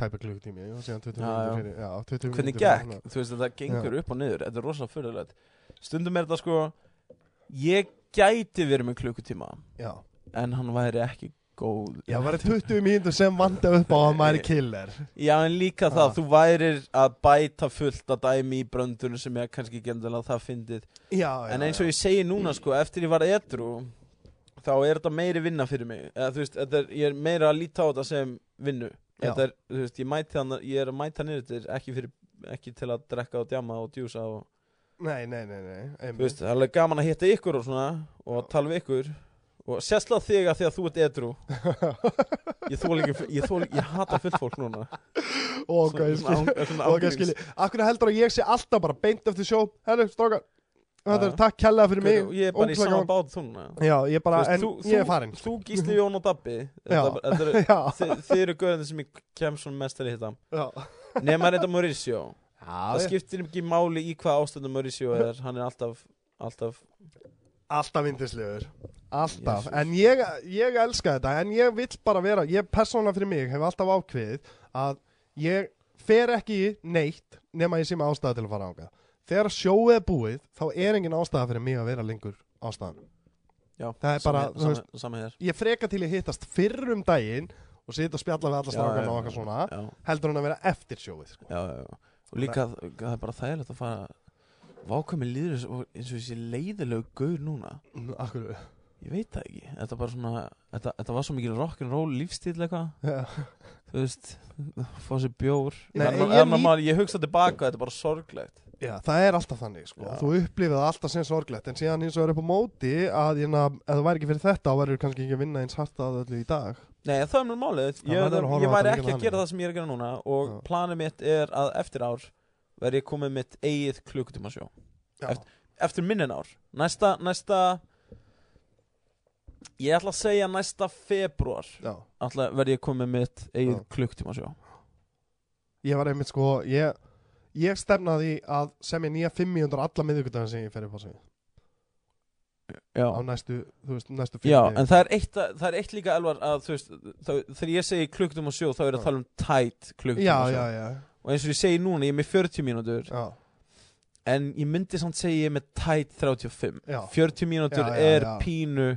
[SPEAKER 1] tæpa klukkutími, já, síðan 20
[SPEAKER 2] Já, já.
[SPEAKER 1] mínútur fyrir já, 20 mínútur
[SPEAKER 2] Hvernig
[SPEAKER 1] fyrir
[SPEAKER 2] gekk?
[SPEAKER 1] svona.
[SPEAKER 2] Þú veist þetta gengur upp og niður Þetta er rosalega fyrirlegt Stundum er þetta sko Ég gæti verið með klukkutíma
[SPEAKER 1] Já,
[SPEAKER 2] En hann væri ekki góð
[SPEAKER 1] já, það var 20 mínútur sem vanda upp á að maður er killer
[SPEAKER 2] Já en líka
[SPEAKER 1] Ah.
[SPEAKER 2] það Þú værir að bæta fullt að dæmi í bröndunum Sem ég kannski gendilega það fyndið
[SPEAKER 1] Já, já,
[SPEAKER 2] En eins og ég segi núna sko Eftir ég var edru Þá er þetta meiri vinna fyrir mig Eða, þú veist, þetta er, Ég er meira að líta á þetta sem vinnu
[SPEAKER 1] Já.
[SPEAKER 2] Þetta er, þú veist, ég, mæti hann, ég er að mæta niður þetta er ekki, fyrir, ekki til að drekka og djama og djúsa og
[SPEAKER 1] Nei, nei, nei, nei, einmitt.
[SPEAKER 2] Þú veist, það er alveg gaman að hitta ykkur og svona og að tala við ykkur og sérslega þig að því að þú ert edru ég þól ekki, ég þól, ég hata fullt fólk núna
[SPEAKER 1] Ó, hvað ég skil
[SPEAKER 2] án- svona
[SPEAKER 1] Ok,
[SPEAKER 2] ángríns.
[SPEAKER 1] skilji, akkur heldur að ég sé alltaf bara beint eftir sjó Herru, strákar, þetta
[SPEAKER 2] Já.
[SPEAKER 1] er takk kella fyrir mig
[SPEAKER 2] Ég er bara í
[SPEAKER 1] ógeðslega
[SPEAKER 2] sama
[SPEAKER 1] gaman.
[SPEAKER 2] bát þúna
[SPEAKER 1] Já, ég er bara,
[SPEAKER 2] Þú veist,
[SPEAKER 1] en
[SPEAKER 2] þú- þú-
[SPEAKER 1] ég er farin
[SPEAKER 2] Þú gísli Jón og Dabbi
[SPEAKER 1] Já.
[SPEAKER 2] þetta, þetta eru,
[SPEAKER 1] Já,
[SPEAKER 2] þið, þið eru göðandi sem ég kem svona mest til að hitta
[SPEAKER 1] já
[SPEAKER 2] Nema reynda Mauricio Það
[SPEAKER 1] Já,
[SPEAKER 2] skiptir ekki máli í hvað ástöndu Mauricio er Hann er alltaf, alltaf
[SPEAKER 1] alltaf vindislegur Alltaf,
[SPEAKER 2] Jesus.
[SPEAKER 1] en ég, ég elska þetta En ég vill bara vera, ég persónulega fyrir mig Hef alltaf ákveðið að ég Fer ekki í neitt Nema ég sé með ástæða til að fara ánga Þegar sjóið er búið, þá er engin ástæða fyrir mig Að vera lengur ástæðan
[SPEAKER 2] já,
[SPEAKER 1] Það er bara, þú
[SPEAKER 2] Sama, sama, sama hér
[SPEAKER 1] Ég freka til ég hittast fyrr um daginn Og sita og spjalla við alla
[SPEAKER 2] Já,
[SPEAKER 1] strákan
[SPEAKER 2] já,
[SPEAKER 1] og okkar
[SPEAKER 2] já.
[SPEAKER 1] svona
[SPEAKER 2] Já,
[SPEAKER 1] Heldur hann að vera eftir sjóið sko.
[SPEAKER 2] já, já, já. Og líka, það er bara þægilegt að fara Vákvæmi líður eins og- eins og þessi leiðilegu gaur núna
[SPEAKER 1] Akkur
[SPEAKER 2] Ég veit það ekki Þetta, bara svona, þetta, þetta var svo mikil rock'n'roll lífstíl eitthvað
[SPEAKER 1] Já.
[SPEAKER 2] Þú veist, fá sér bjór
[SPEAKER 1] Nei,
[SPEAKER 2] Nei, en,
[SPEAKER 1] ég
[SPEAKER 2] ég, en,
[SPEAKER 1] lít-
[SPEAKER 2] maður, ég hugsa tilbaka, þetta er bara sorglegt
[SPEAKER 1] Já, það er alltaf þannig sko.
[SPEAKER 2] Já.
[SPEAKER 1] Þú upplifið það alltaf sem sorglegt En síðan eins og er upp á móti að ég, na, Ef það væri ekki fyrir þetta Þá verður kannski ekki að vinna eins hart að öllu í dag
[SPEAKER 2] Nei, það er mjög málið
[SPEAKER 1] Já,
[SPEAKER 2] Ég,
[SPEAKER 1] maður verður að horfa á
[SPEAKER 2] ég væri
[SPEAKER 1] þetta
[SPEAKER 2] ekki
[SPEAKER 1] líka
[SPEAKER 2] að gera
[SPEAKER 1] þannig.
[SPEAKER 2] það sem ég er að gera núna Og
[SPEAKER 1] Já.
[SPEAKER 2] planið mitt er að eftir ár Verði ég komið mitt eigið klukkutíma sjó
[SPEAKER 1] Já,
[SPEAKER 2] Eftir- Eftir minnin ár Næsta, næsta Ég ætla að segja næsta februar
[SPEAKER 1] já.
[SPEAKER 2] ætla, Verði ég komið mitt eigið
[SPEAKER 1] Já.
[SPEAKER 2] klukkutíma sjó
[SPEAKER 1] Ég var einmitt sko Ég, ég stefnaði að semja nýja 500 alla miðvikudagin sem ég fer upp á sig
[SPEAKER 2] Já
[SPEAKER 1] Á næstu, þú veist, næstu
[SPEAKER 2] Já,
[SPEAKER 1] fimm
[SPEAKER 2] en það er, eitt, að- það er eitt líka elvar að þú veist, þá, þegar ég segi klukkutum og sjó þá er ég
[SPEAKER 1] Já.
[SPEAKER 2] að tala um tætt klukkutum
[SPEAKER 1] já,
[SPEAKER 2] og sjó
[SPEAKER 1] já, já,
[SPEAKER 2] og eins og ég segi núna, ég er með 40 mínútur
[SPEAKER 1] já.
[SPEAKER 2] en ég myndi samt segja ég er með tætt 35
[SPEAKER 1] Já.
[SPEAKER 2] 40 mínútur
[SPEAKER 1] Já, já,
[SPEAKER 2] er
[SPEAKER 1] já.
[SPEAKER 2] pínu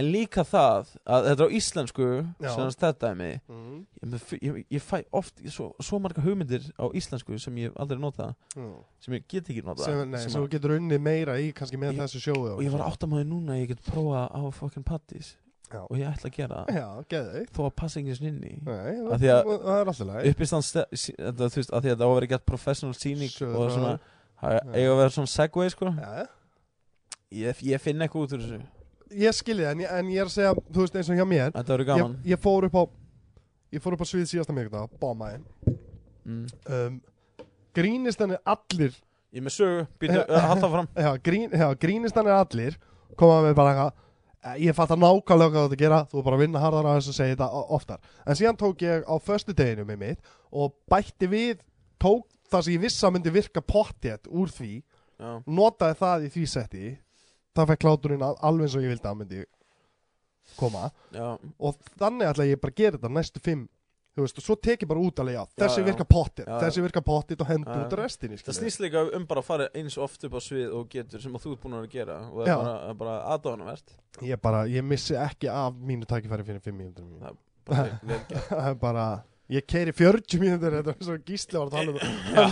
[SPEAKER 2] en líka það að þetta er á íslensku
[SPEAKER 1] Já.
[SPEAKER 2] sem hans þetta er mig
[SPEAKER 1] Mm.
[SPEAKER 2] ég, er með f- ég, ég fæ oft ég, svo, svo marga hugmyndir á íslensku sem ég hef aldrei nota
[SPEAKER 1] Mm.
[SPEAKER 2] sem ég get ekki nota
[SPEAKER 1] Sem, nei,
[SPEAKER 2] sem
[SPEAKER 1] sem þú
[SPEAKER 2] að,
[SPEAKER 1] getur unni meira í kannski með
[SPEAKER 2] Ég-
[SPEAKER 1] þessu sjóðu
[SPEAKER 2] og ég var áttamaði núna að ég get prófa á fucking pattis
[SPEAKER 1] Já.
[SPEAKER 2] og ég ætla að gera það
[SPEAKER 1] Já, geði
[SPEAKER 2] þó að passa enginn sinni inn í
[SPEAKER 1] Nei, það,
[SPEAKER 2] Af því að-
[SPEAKER 1] það er alltaf leið
[SPEAKER 2] uppistand þetta, þú veist, að því að það á að vera gett professional sýning
[SPEAKER 1] Sure,
[SPEAKER 2] og svona
[SPEAKER 1] brother.
[SPEAKER 2] það
[SPEAKER 1] Já.
[SPEAKER 2] eiga að vera svona segway sko
[SPEAKER 1] Já,
[SPEAKER 2] ég, ég finn eitthvað út úr þessu,
[SPEAKER 1] ég skilji það en, ég- en ég er að segja, þú veist, eins og hjá mér
[SPEAKER 2] þetta
[SPEAKER 1] ég,
[SPEAKER 2] verður gaman
[SPEAKER 1] ég fór upp á ég fór upp á svið síðasta miðvikudag bombaði
[SPEAKER 2] mm.
[SPEAKER 1] um, grínistan er allir
[SPEAKER 2] ég er með sögu, býtu,
[SPEAKER 1] Eh.
[SPEAKER 2] uh, halda fram
[SPEAKER 1] já, grín, já, grínistan er allir koma með bara eitthvað "Eh, ég fatt að nákvæmlega hvað þú ert að gera þú er bara að vinna harðar á þessu og segja þetta o- oftar en síðan tók ég á förstu deginu með mitt og bætti við tók það sem ég vissi að myndi virka pottjett úr því
[SPEAKER 2] já,
[SPEAKER 1] notaði það í því setti það fekk kláturinn al- alveg eins og ég vildi að hann myndi koma
[SPEAKER 2] já,
[SPEAKER 1] og þannig ætla ég bara að gera þetta næstu fimm þú veist, og svo tek ég bara út alveg já, þessi
[SPEAKER 2] já.
[SPEAKER 1] virka pottit,
[SPEAKER 2] Já, já.
[SPEAKER 1] þessi virka pottit og hendur
[SPEAKER 2] Já, já.
[SPEAKER 1] út restinni
[SPEAKER 2] það
[SPEAKER 1] skilur.
[SPEAKER 2] snýst líka um bara að fara eins oft upp á svið og getur sem að þú ert búin að vera að gera og það
[SPEAKER 1] Já.
[SPEAKER 2] er bara, er bara aðdóðanavert
[SPEAKER 1] ég bara, ég missi ekki af mínu tækifæri fyrir fimm mínútur mínu. Eh.
[SPEAKER 2] þetta
[SPEAKER 1] það er bara, ég keiri 40 mínútur þetta er svo gísli var að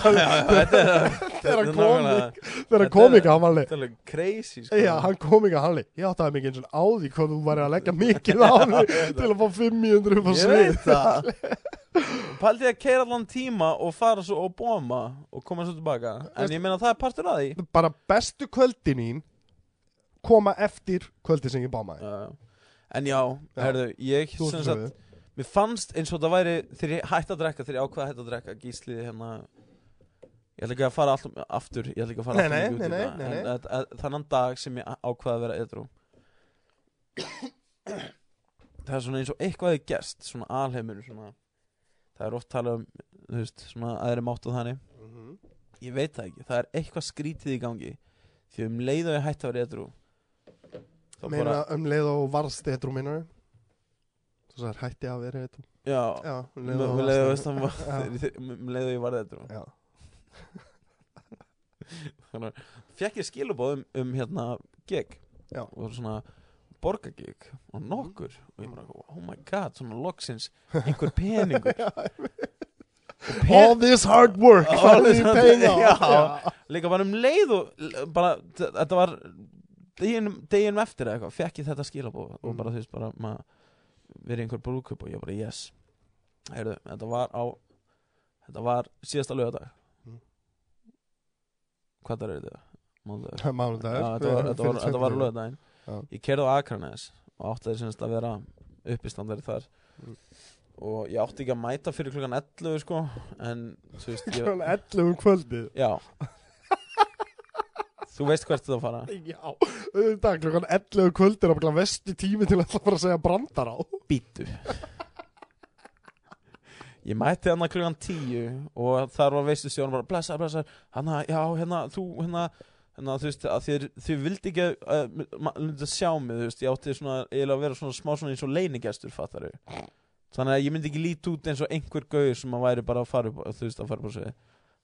[SPEAKER 1] tala um
[SPEAKER 2] er
[SPEAKER 1] Þegar hann kom
[SPEAKER 2] nákvæmlega-
[SPEAKER 1] þegar
[SPEAKER 2] Þetta
[SPEAKER 1] hann kom
[SPEAKER 2] er-
[SPEAKER 1] ekki, hann var alveg
[SPEAKER 2] þetta er alveg crazy sko
[SPEAKER 1] Já, hann kom ekki að hann leik. Ég áttaði mikið eins og á því hvað þú væri að leggja mikið á því til að fá 500 upp á
[SPEAKER 2] Ég
[SPEAKER 1] svið.
[SPEAKER 2] veit það Paldið að keira allan tíma og fara svo og bóma og koma svo tilbaka En ég meina það er partur að því
[SPEAKER 1] Bara bestu kvöldi mín koma eftir kvöldi sem ég bámaði.
[SPEAKER 2] uh, En já,
[SPEAKER 1] Já.
[SPEAKER 2] herðu, ég
[SPEAKER 1] Þú
[SPEAKER 2] sem
[SPEAKER 1] veist
[SPEAKER 2] sagt
[SPEAKER 1] það.
[SPEAKER 2] Mér fannst eins og það væri þegar ég hætti að drekka, þegar ég ákvaði að hætti að drekka gíslið hérna Ég ætla ekki að fara alltaf, aftur, ég ætla ekki að fara
[SPEAKER 1] Nei, nei,
[SPEAKER 2] aftur mikið út í
[SPEAKER 1] nei,
[SPEAKER 2] þetta,
[SPEAKER 1] nei, nei,
[SPEAKER 2] en
[SPEAKER 1] nei.
[SPEAKER 2] að- að- Þannan dag sem ég ákvaði að vera edrú Það er svona eins og eitthvað er gerst, svona alheimur svona. Það er oft talað um, þú veist, svona aðri mátt og þannig Mhm. Ég veit það ekki, það er eitthvað skrítið í gangi Því um leið og ég hætti að vera edru Þá bara,
[SPEAKER 1] Meina um leið og varst eitrú minnar Þú sagði hætti að vera eitrú
[SPEAKER 2] já
[SPEAKER 1] Já, um
[SPEAKER 2] Um um leið og veist hann var
[SPEAKER 1] Já.
[SPEAKER 2] Um leið og ég varði edru
[SPEAKER 1] Já,
[SPEAKER 2] Þannig Fekk ég skilubóð um, um hérna gig
[SPEAKER 1] Já.
[SPEAKER 2] Og svona borgargig Og nokkur Og ég bara, oh my god, svona loksins Einhver peningur Og
[SPEAKER 1] All this hard work
[SPEAKER 2] All
[SPEAKER 1] finally
[SPEAKER 2] this hard-
[SPEAKER 1] paying off.
[SPEAKER 2] Já. Líka bara um leið og bara, þ- þetta var deginum, deginum eftir eða eitthvað, fekk ég þetta skilabóð og
[SPEAKER 1] Mm.
[SPEAKER 2] bara þú veist bara maður verið í einhver brúkup og ég bara yes Heyrðu, þetta var á þetta var síðasta lögadag
[SPEAKER 1] Mm.
[SPEAKER 2] Hvað það er þetta? Mánudagur
[SPEAKER 1] Já, mánudagur
[SPEAKER 2] Já, þetta var, þetta var, þetta var lögadaginn
[SPEAKER 1] Já.
[SPEAKER 2] Ég kerði á Akranes og átti þeir semst að vera uppistandari þar
[SPEAKER 1] Mm.
[SPEAKER 2] og ég átti ekki að mæta fyrir klukkan 11 sko, en þú veist ég,
[SPEAKER 1] Klukkan 11 um kvöldið
[SPEAKER 2] Já Þú veist hvert þú að fara
[SPEAKER 1] Já, auðvitað um klokkan 11 kvöldir og vesti tími til að fara að segja brandar á
[SPEAKER 2] Bítu Ég mætti hann að klukkan tíu og þar var veistu sjónum bara blessa, blessa, hann að, já, hérna, þú, hérna, hérna, þú veist, að þér, þið vildi ekki eh, að, að sjá mig, þú veist, ég átti svona, eiginlega að vera svona smá svona eins og leinigestur, fattar þau. Þannig að ég myndi ekki líti út eins og einhver gauður sem að væri bara að fara upp, á- þú veist, að fara upp á sig.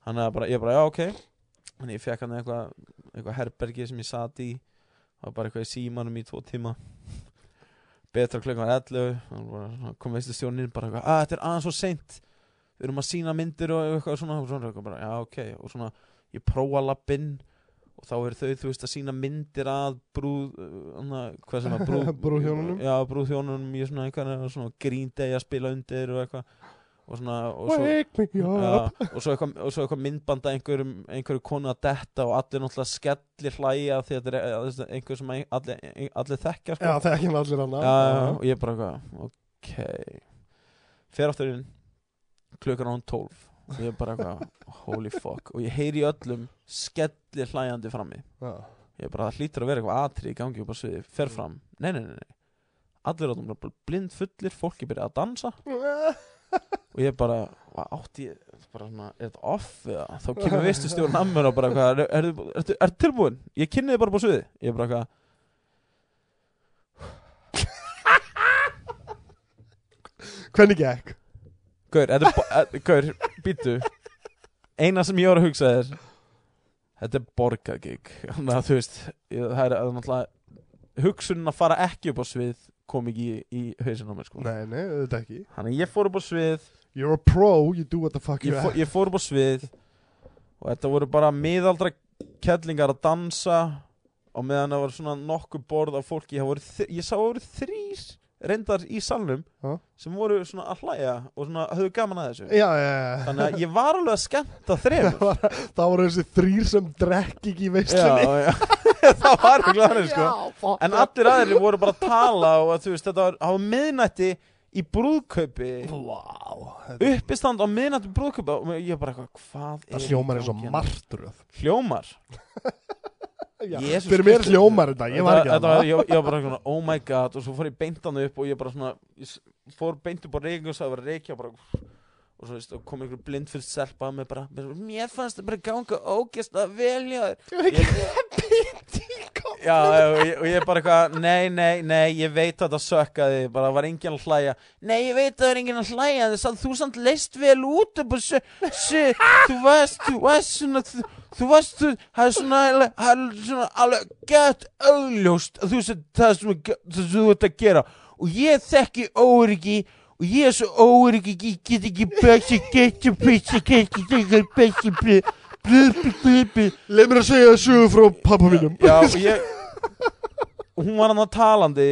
[SPEAKER 2] Þannig að bara, ég bara, já, ok, þannig ég fekk hann eitthvað, eitthvað herbergi sem ég sat í, það var bara eitthvað í símanum í tvo tíma betra klukkan 11 hann bara- hann kom veistu stjónin bara eitthvað að þetta er aðeins svo seint við erum að sína myndir og eitthvað svona og svona eitthvað bara já ok og svona ég prófa lappinn og þá eru þau þú veist að sína myndir að brúð uh, hana, hvað sem var brúð
[SPEAKER 1] Brúðhjónunum.
[SPEAKER 2] já brúðhjónunum í svona eitthvað svona Green Day að spila undir og eitthvað og svona og svo,
[SPEAKER 1] Wake me
[SPEAKER 2] Já,
[SPEAKER 1] up
[SPEAKER 2] og svo eitthvað, og svo eitthvað myndbanda einhverjum, einhverju konu að detta og allir náttúrulega skellir hlæja því að þetta er að þetta er einhver sem ein- allir, ein- allir þekkja
[SPEAKER 1] Já,
[SPEAKER 2] sko.
[SPEAKER 1] það er ekki með allir hana
[SPEAKER 2] já, já, já, og ég bara eitthvað ok fer aftur inn klukkan án 12 og ég bara eitthvað holy fuck og ég heyri í öllum skellir hlæjandi frammi
[SPEAKER 1] já.
[SPEAKER 2] ég bara það hlýtur að vera eitthvað atri í gangi og bara sviði fer fram nei nei nei, nei. allir áttum bara blind fullir fólki byrja að dansa og ég bara, hvað átti ég bara svona, er þetta off eða þá kemur veistu stjórn að mér og bara hvað, er, er, er, er, er tilbúin? Ég kynni þið bara búið sviði ég bara hvað
[SPEAKER 1] Hvernig gekk?
[SPEAKER 2] Gaur, þetta er, bo- eh, gaur, býtu Eina sem ég var að hugsa er Þetta er borgagig Þannig að þú veist ég, Það er að náttúrulega Hugsunin að fara ekki upp á svið Kom ekki í, í hausinn á mér sko
[SPEAKER 1] Nei, nei, auðvitað ekki
[SPEAKER 2] Þannig að ég fór upp á svið
[SPEAKER 1] You're a pro, you do what the fuck you
[SPEAKER 2] ég, fó,
[SPEAKER 1] ask
[SPEAKER 2] ég fór upp á svið Og þetta voru bara miðaldra Kellingar að dansa Og meðan það var svona nokkuð borð Af fólki, það voru, þr- ég sá það voru þrýr Reyndar í salnum
[SPEAKER 1] Ha?
[SPEAKER 2] Sem voru svona að hlæja Og svona höfðu gaman að þessu
[SPEAKER 1] Já, já, já
[SPEAKER 2] Þannig að ég var alveg að skemmta þremur
[SPEAKER 1] Það var- það voru þessi þrýr sem drekk ekki í veistlunni
[SPEAKER 2] já, já. það var ekki þannig sko
[SPEAKER 1] fuck
[SPEAKER 2] en allir aðrir voru bara að tala og að, þú veist, þetta var á miðnætti í brúðkaupi
[SPEAKER 1] Wow þetta-
[SPEAKER 2] uppistand á miðnætti í brúðkaupi og ég bara eitthvað, hvað er
[SPEAKER 1] Það
[SPEAKER 2] í
[SPEAKER 1] hljómar eins og
[SPEAKER 2] gangi hérna?
[SPEAKER 1] martröð
[SPEAKER 2] hljómar,
[SPEAKER 1] Já,
[SPEAKER 2] Jesús
[SPEAKER 1] Fyrir mér
[SPEAKER 2] Kristur.
[SPEAKER 1] hljómar þetta, ég var ekki
[SPEAKER 2] þetta,
[SPEAKER 1] hana
[SPEAKER 2] þetta, ég, ég var bara eitthvað, oh my god og svo fór ég beintan upp og ég bara svona ég s- fór beint upp á reiki og sagði bara reiki og bara og svo veist, og kom einhver blind fyrir selpa með bara, mér fannst það bara ganga ógæst að velja þér Já, og ég, og ég bara eitthvað, nei, nei, nei, ég veit að það sökkaði, bara var enginn að hlæja Nei, ég veit að það er enginn að hlæja, þess að þú samt leist vel út upp og sjö, sjö, þú varst, þú varst svona, þú, þú varst, þú, það er svona, alveg- það er svona alveg gett augljóst að þú veist það sem þú- það sem þú ert að gera Og ég þekki óryggi og ég er svo óryggi, ég get ekki bæsi, get ekki bæsi, get ekki bæsi, blið, blið, blið, blið, blið
[SPEAKER 1] Leif mér að segja sögu frá pappa mínum
[SPEAKER 2] Já, og ég og Hún var hann að talandi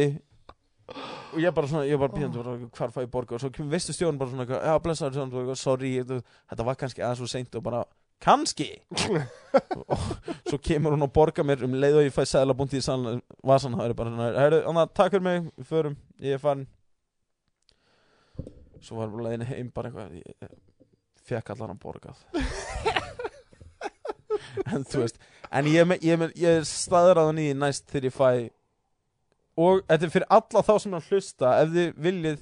[SPEAKER 2] Og ég bara svona, ég bara býðandi oh. Hvar fæ ég borga og svo kemur veistu stjórn bara svona eitthvað, Já, blessaður svona, eitthvað, sorry þú- Þetta var kannski aðeins og seint og bara Kannski og, Svo kemur hún að borga mér um leið og ég fæ Sæðlabúndi í salin, vasan Það er bara svona, heyrðu, annað, takk fyrir mig Við förum, ég er farin Svo var bara leiðin heim bara eitthvað Ég fekk allan að borgað En þú veist En ég, er með- ég, er með- ég er staðraðan í því næst þegar ég fæ Og þetta er fyrir alla þá sem er að hlusta Ef þið viljið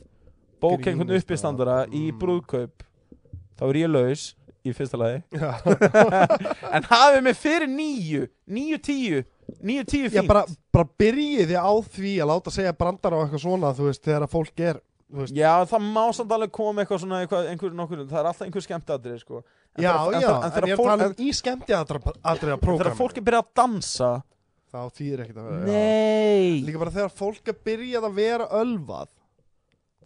[SPEAKER 2] bóka einhvern
[SPEAKER 1] Grínist,
[SPEAKER 2] uppistandara
[SPEAKER 1] já.
[SPEAKER 2] í
[SPEAKER 1] Mm.
[SPEAKER 2] brúðkaup Þá er ég laus í fyrsta lagi
[SPEAKER 1] Já.
[SPEAKER 2] En hafið mig fyrir níu Níu tíu Níu tíu
[SPEAKER 1] Já,
[SPEAKER 2] fínt
[SPEAKER 1] bara, bara byrjiði á því að láta segja brandar á eitthvað svona, þú veist, þegar að fólk er þú veist,
[SPEAKER 2] Já, það má samt alveg koma eitthvað svona eitthvað, einhver, nokkur, Það er alltaf einhver skemmtadri sko. En
[SPEAKER 1] Já,
[SPEAKER 2] þegar- en
[SPEAKER 1] já,
[SPEAKER 2] þegar-
[SPEAKER 1] en
[SPEAKER 2] En
[SPEAKER 1] ég er
[SPEAKER 2] þegar
[SPEAKER 1] talað
[SPEAKER 2] fólk-
[SPEAKER 1] um í skemmti aðriða
[SPEAKER 2] en þegar fólk
[SPEAKER 1] prógrami
[SPEAKER 2] er byrjað að dansa
[SPEAKER 1] Þá þýðir ekkert að vera já.
[SPEAKER 2] Nei
[SPEAKER 1] Líka bara þegar fólk er byrjað að vera ölvað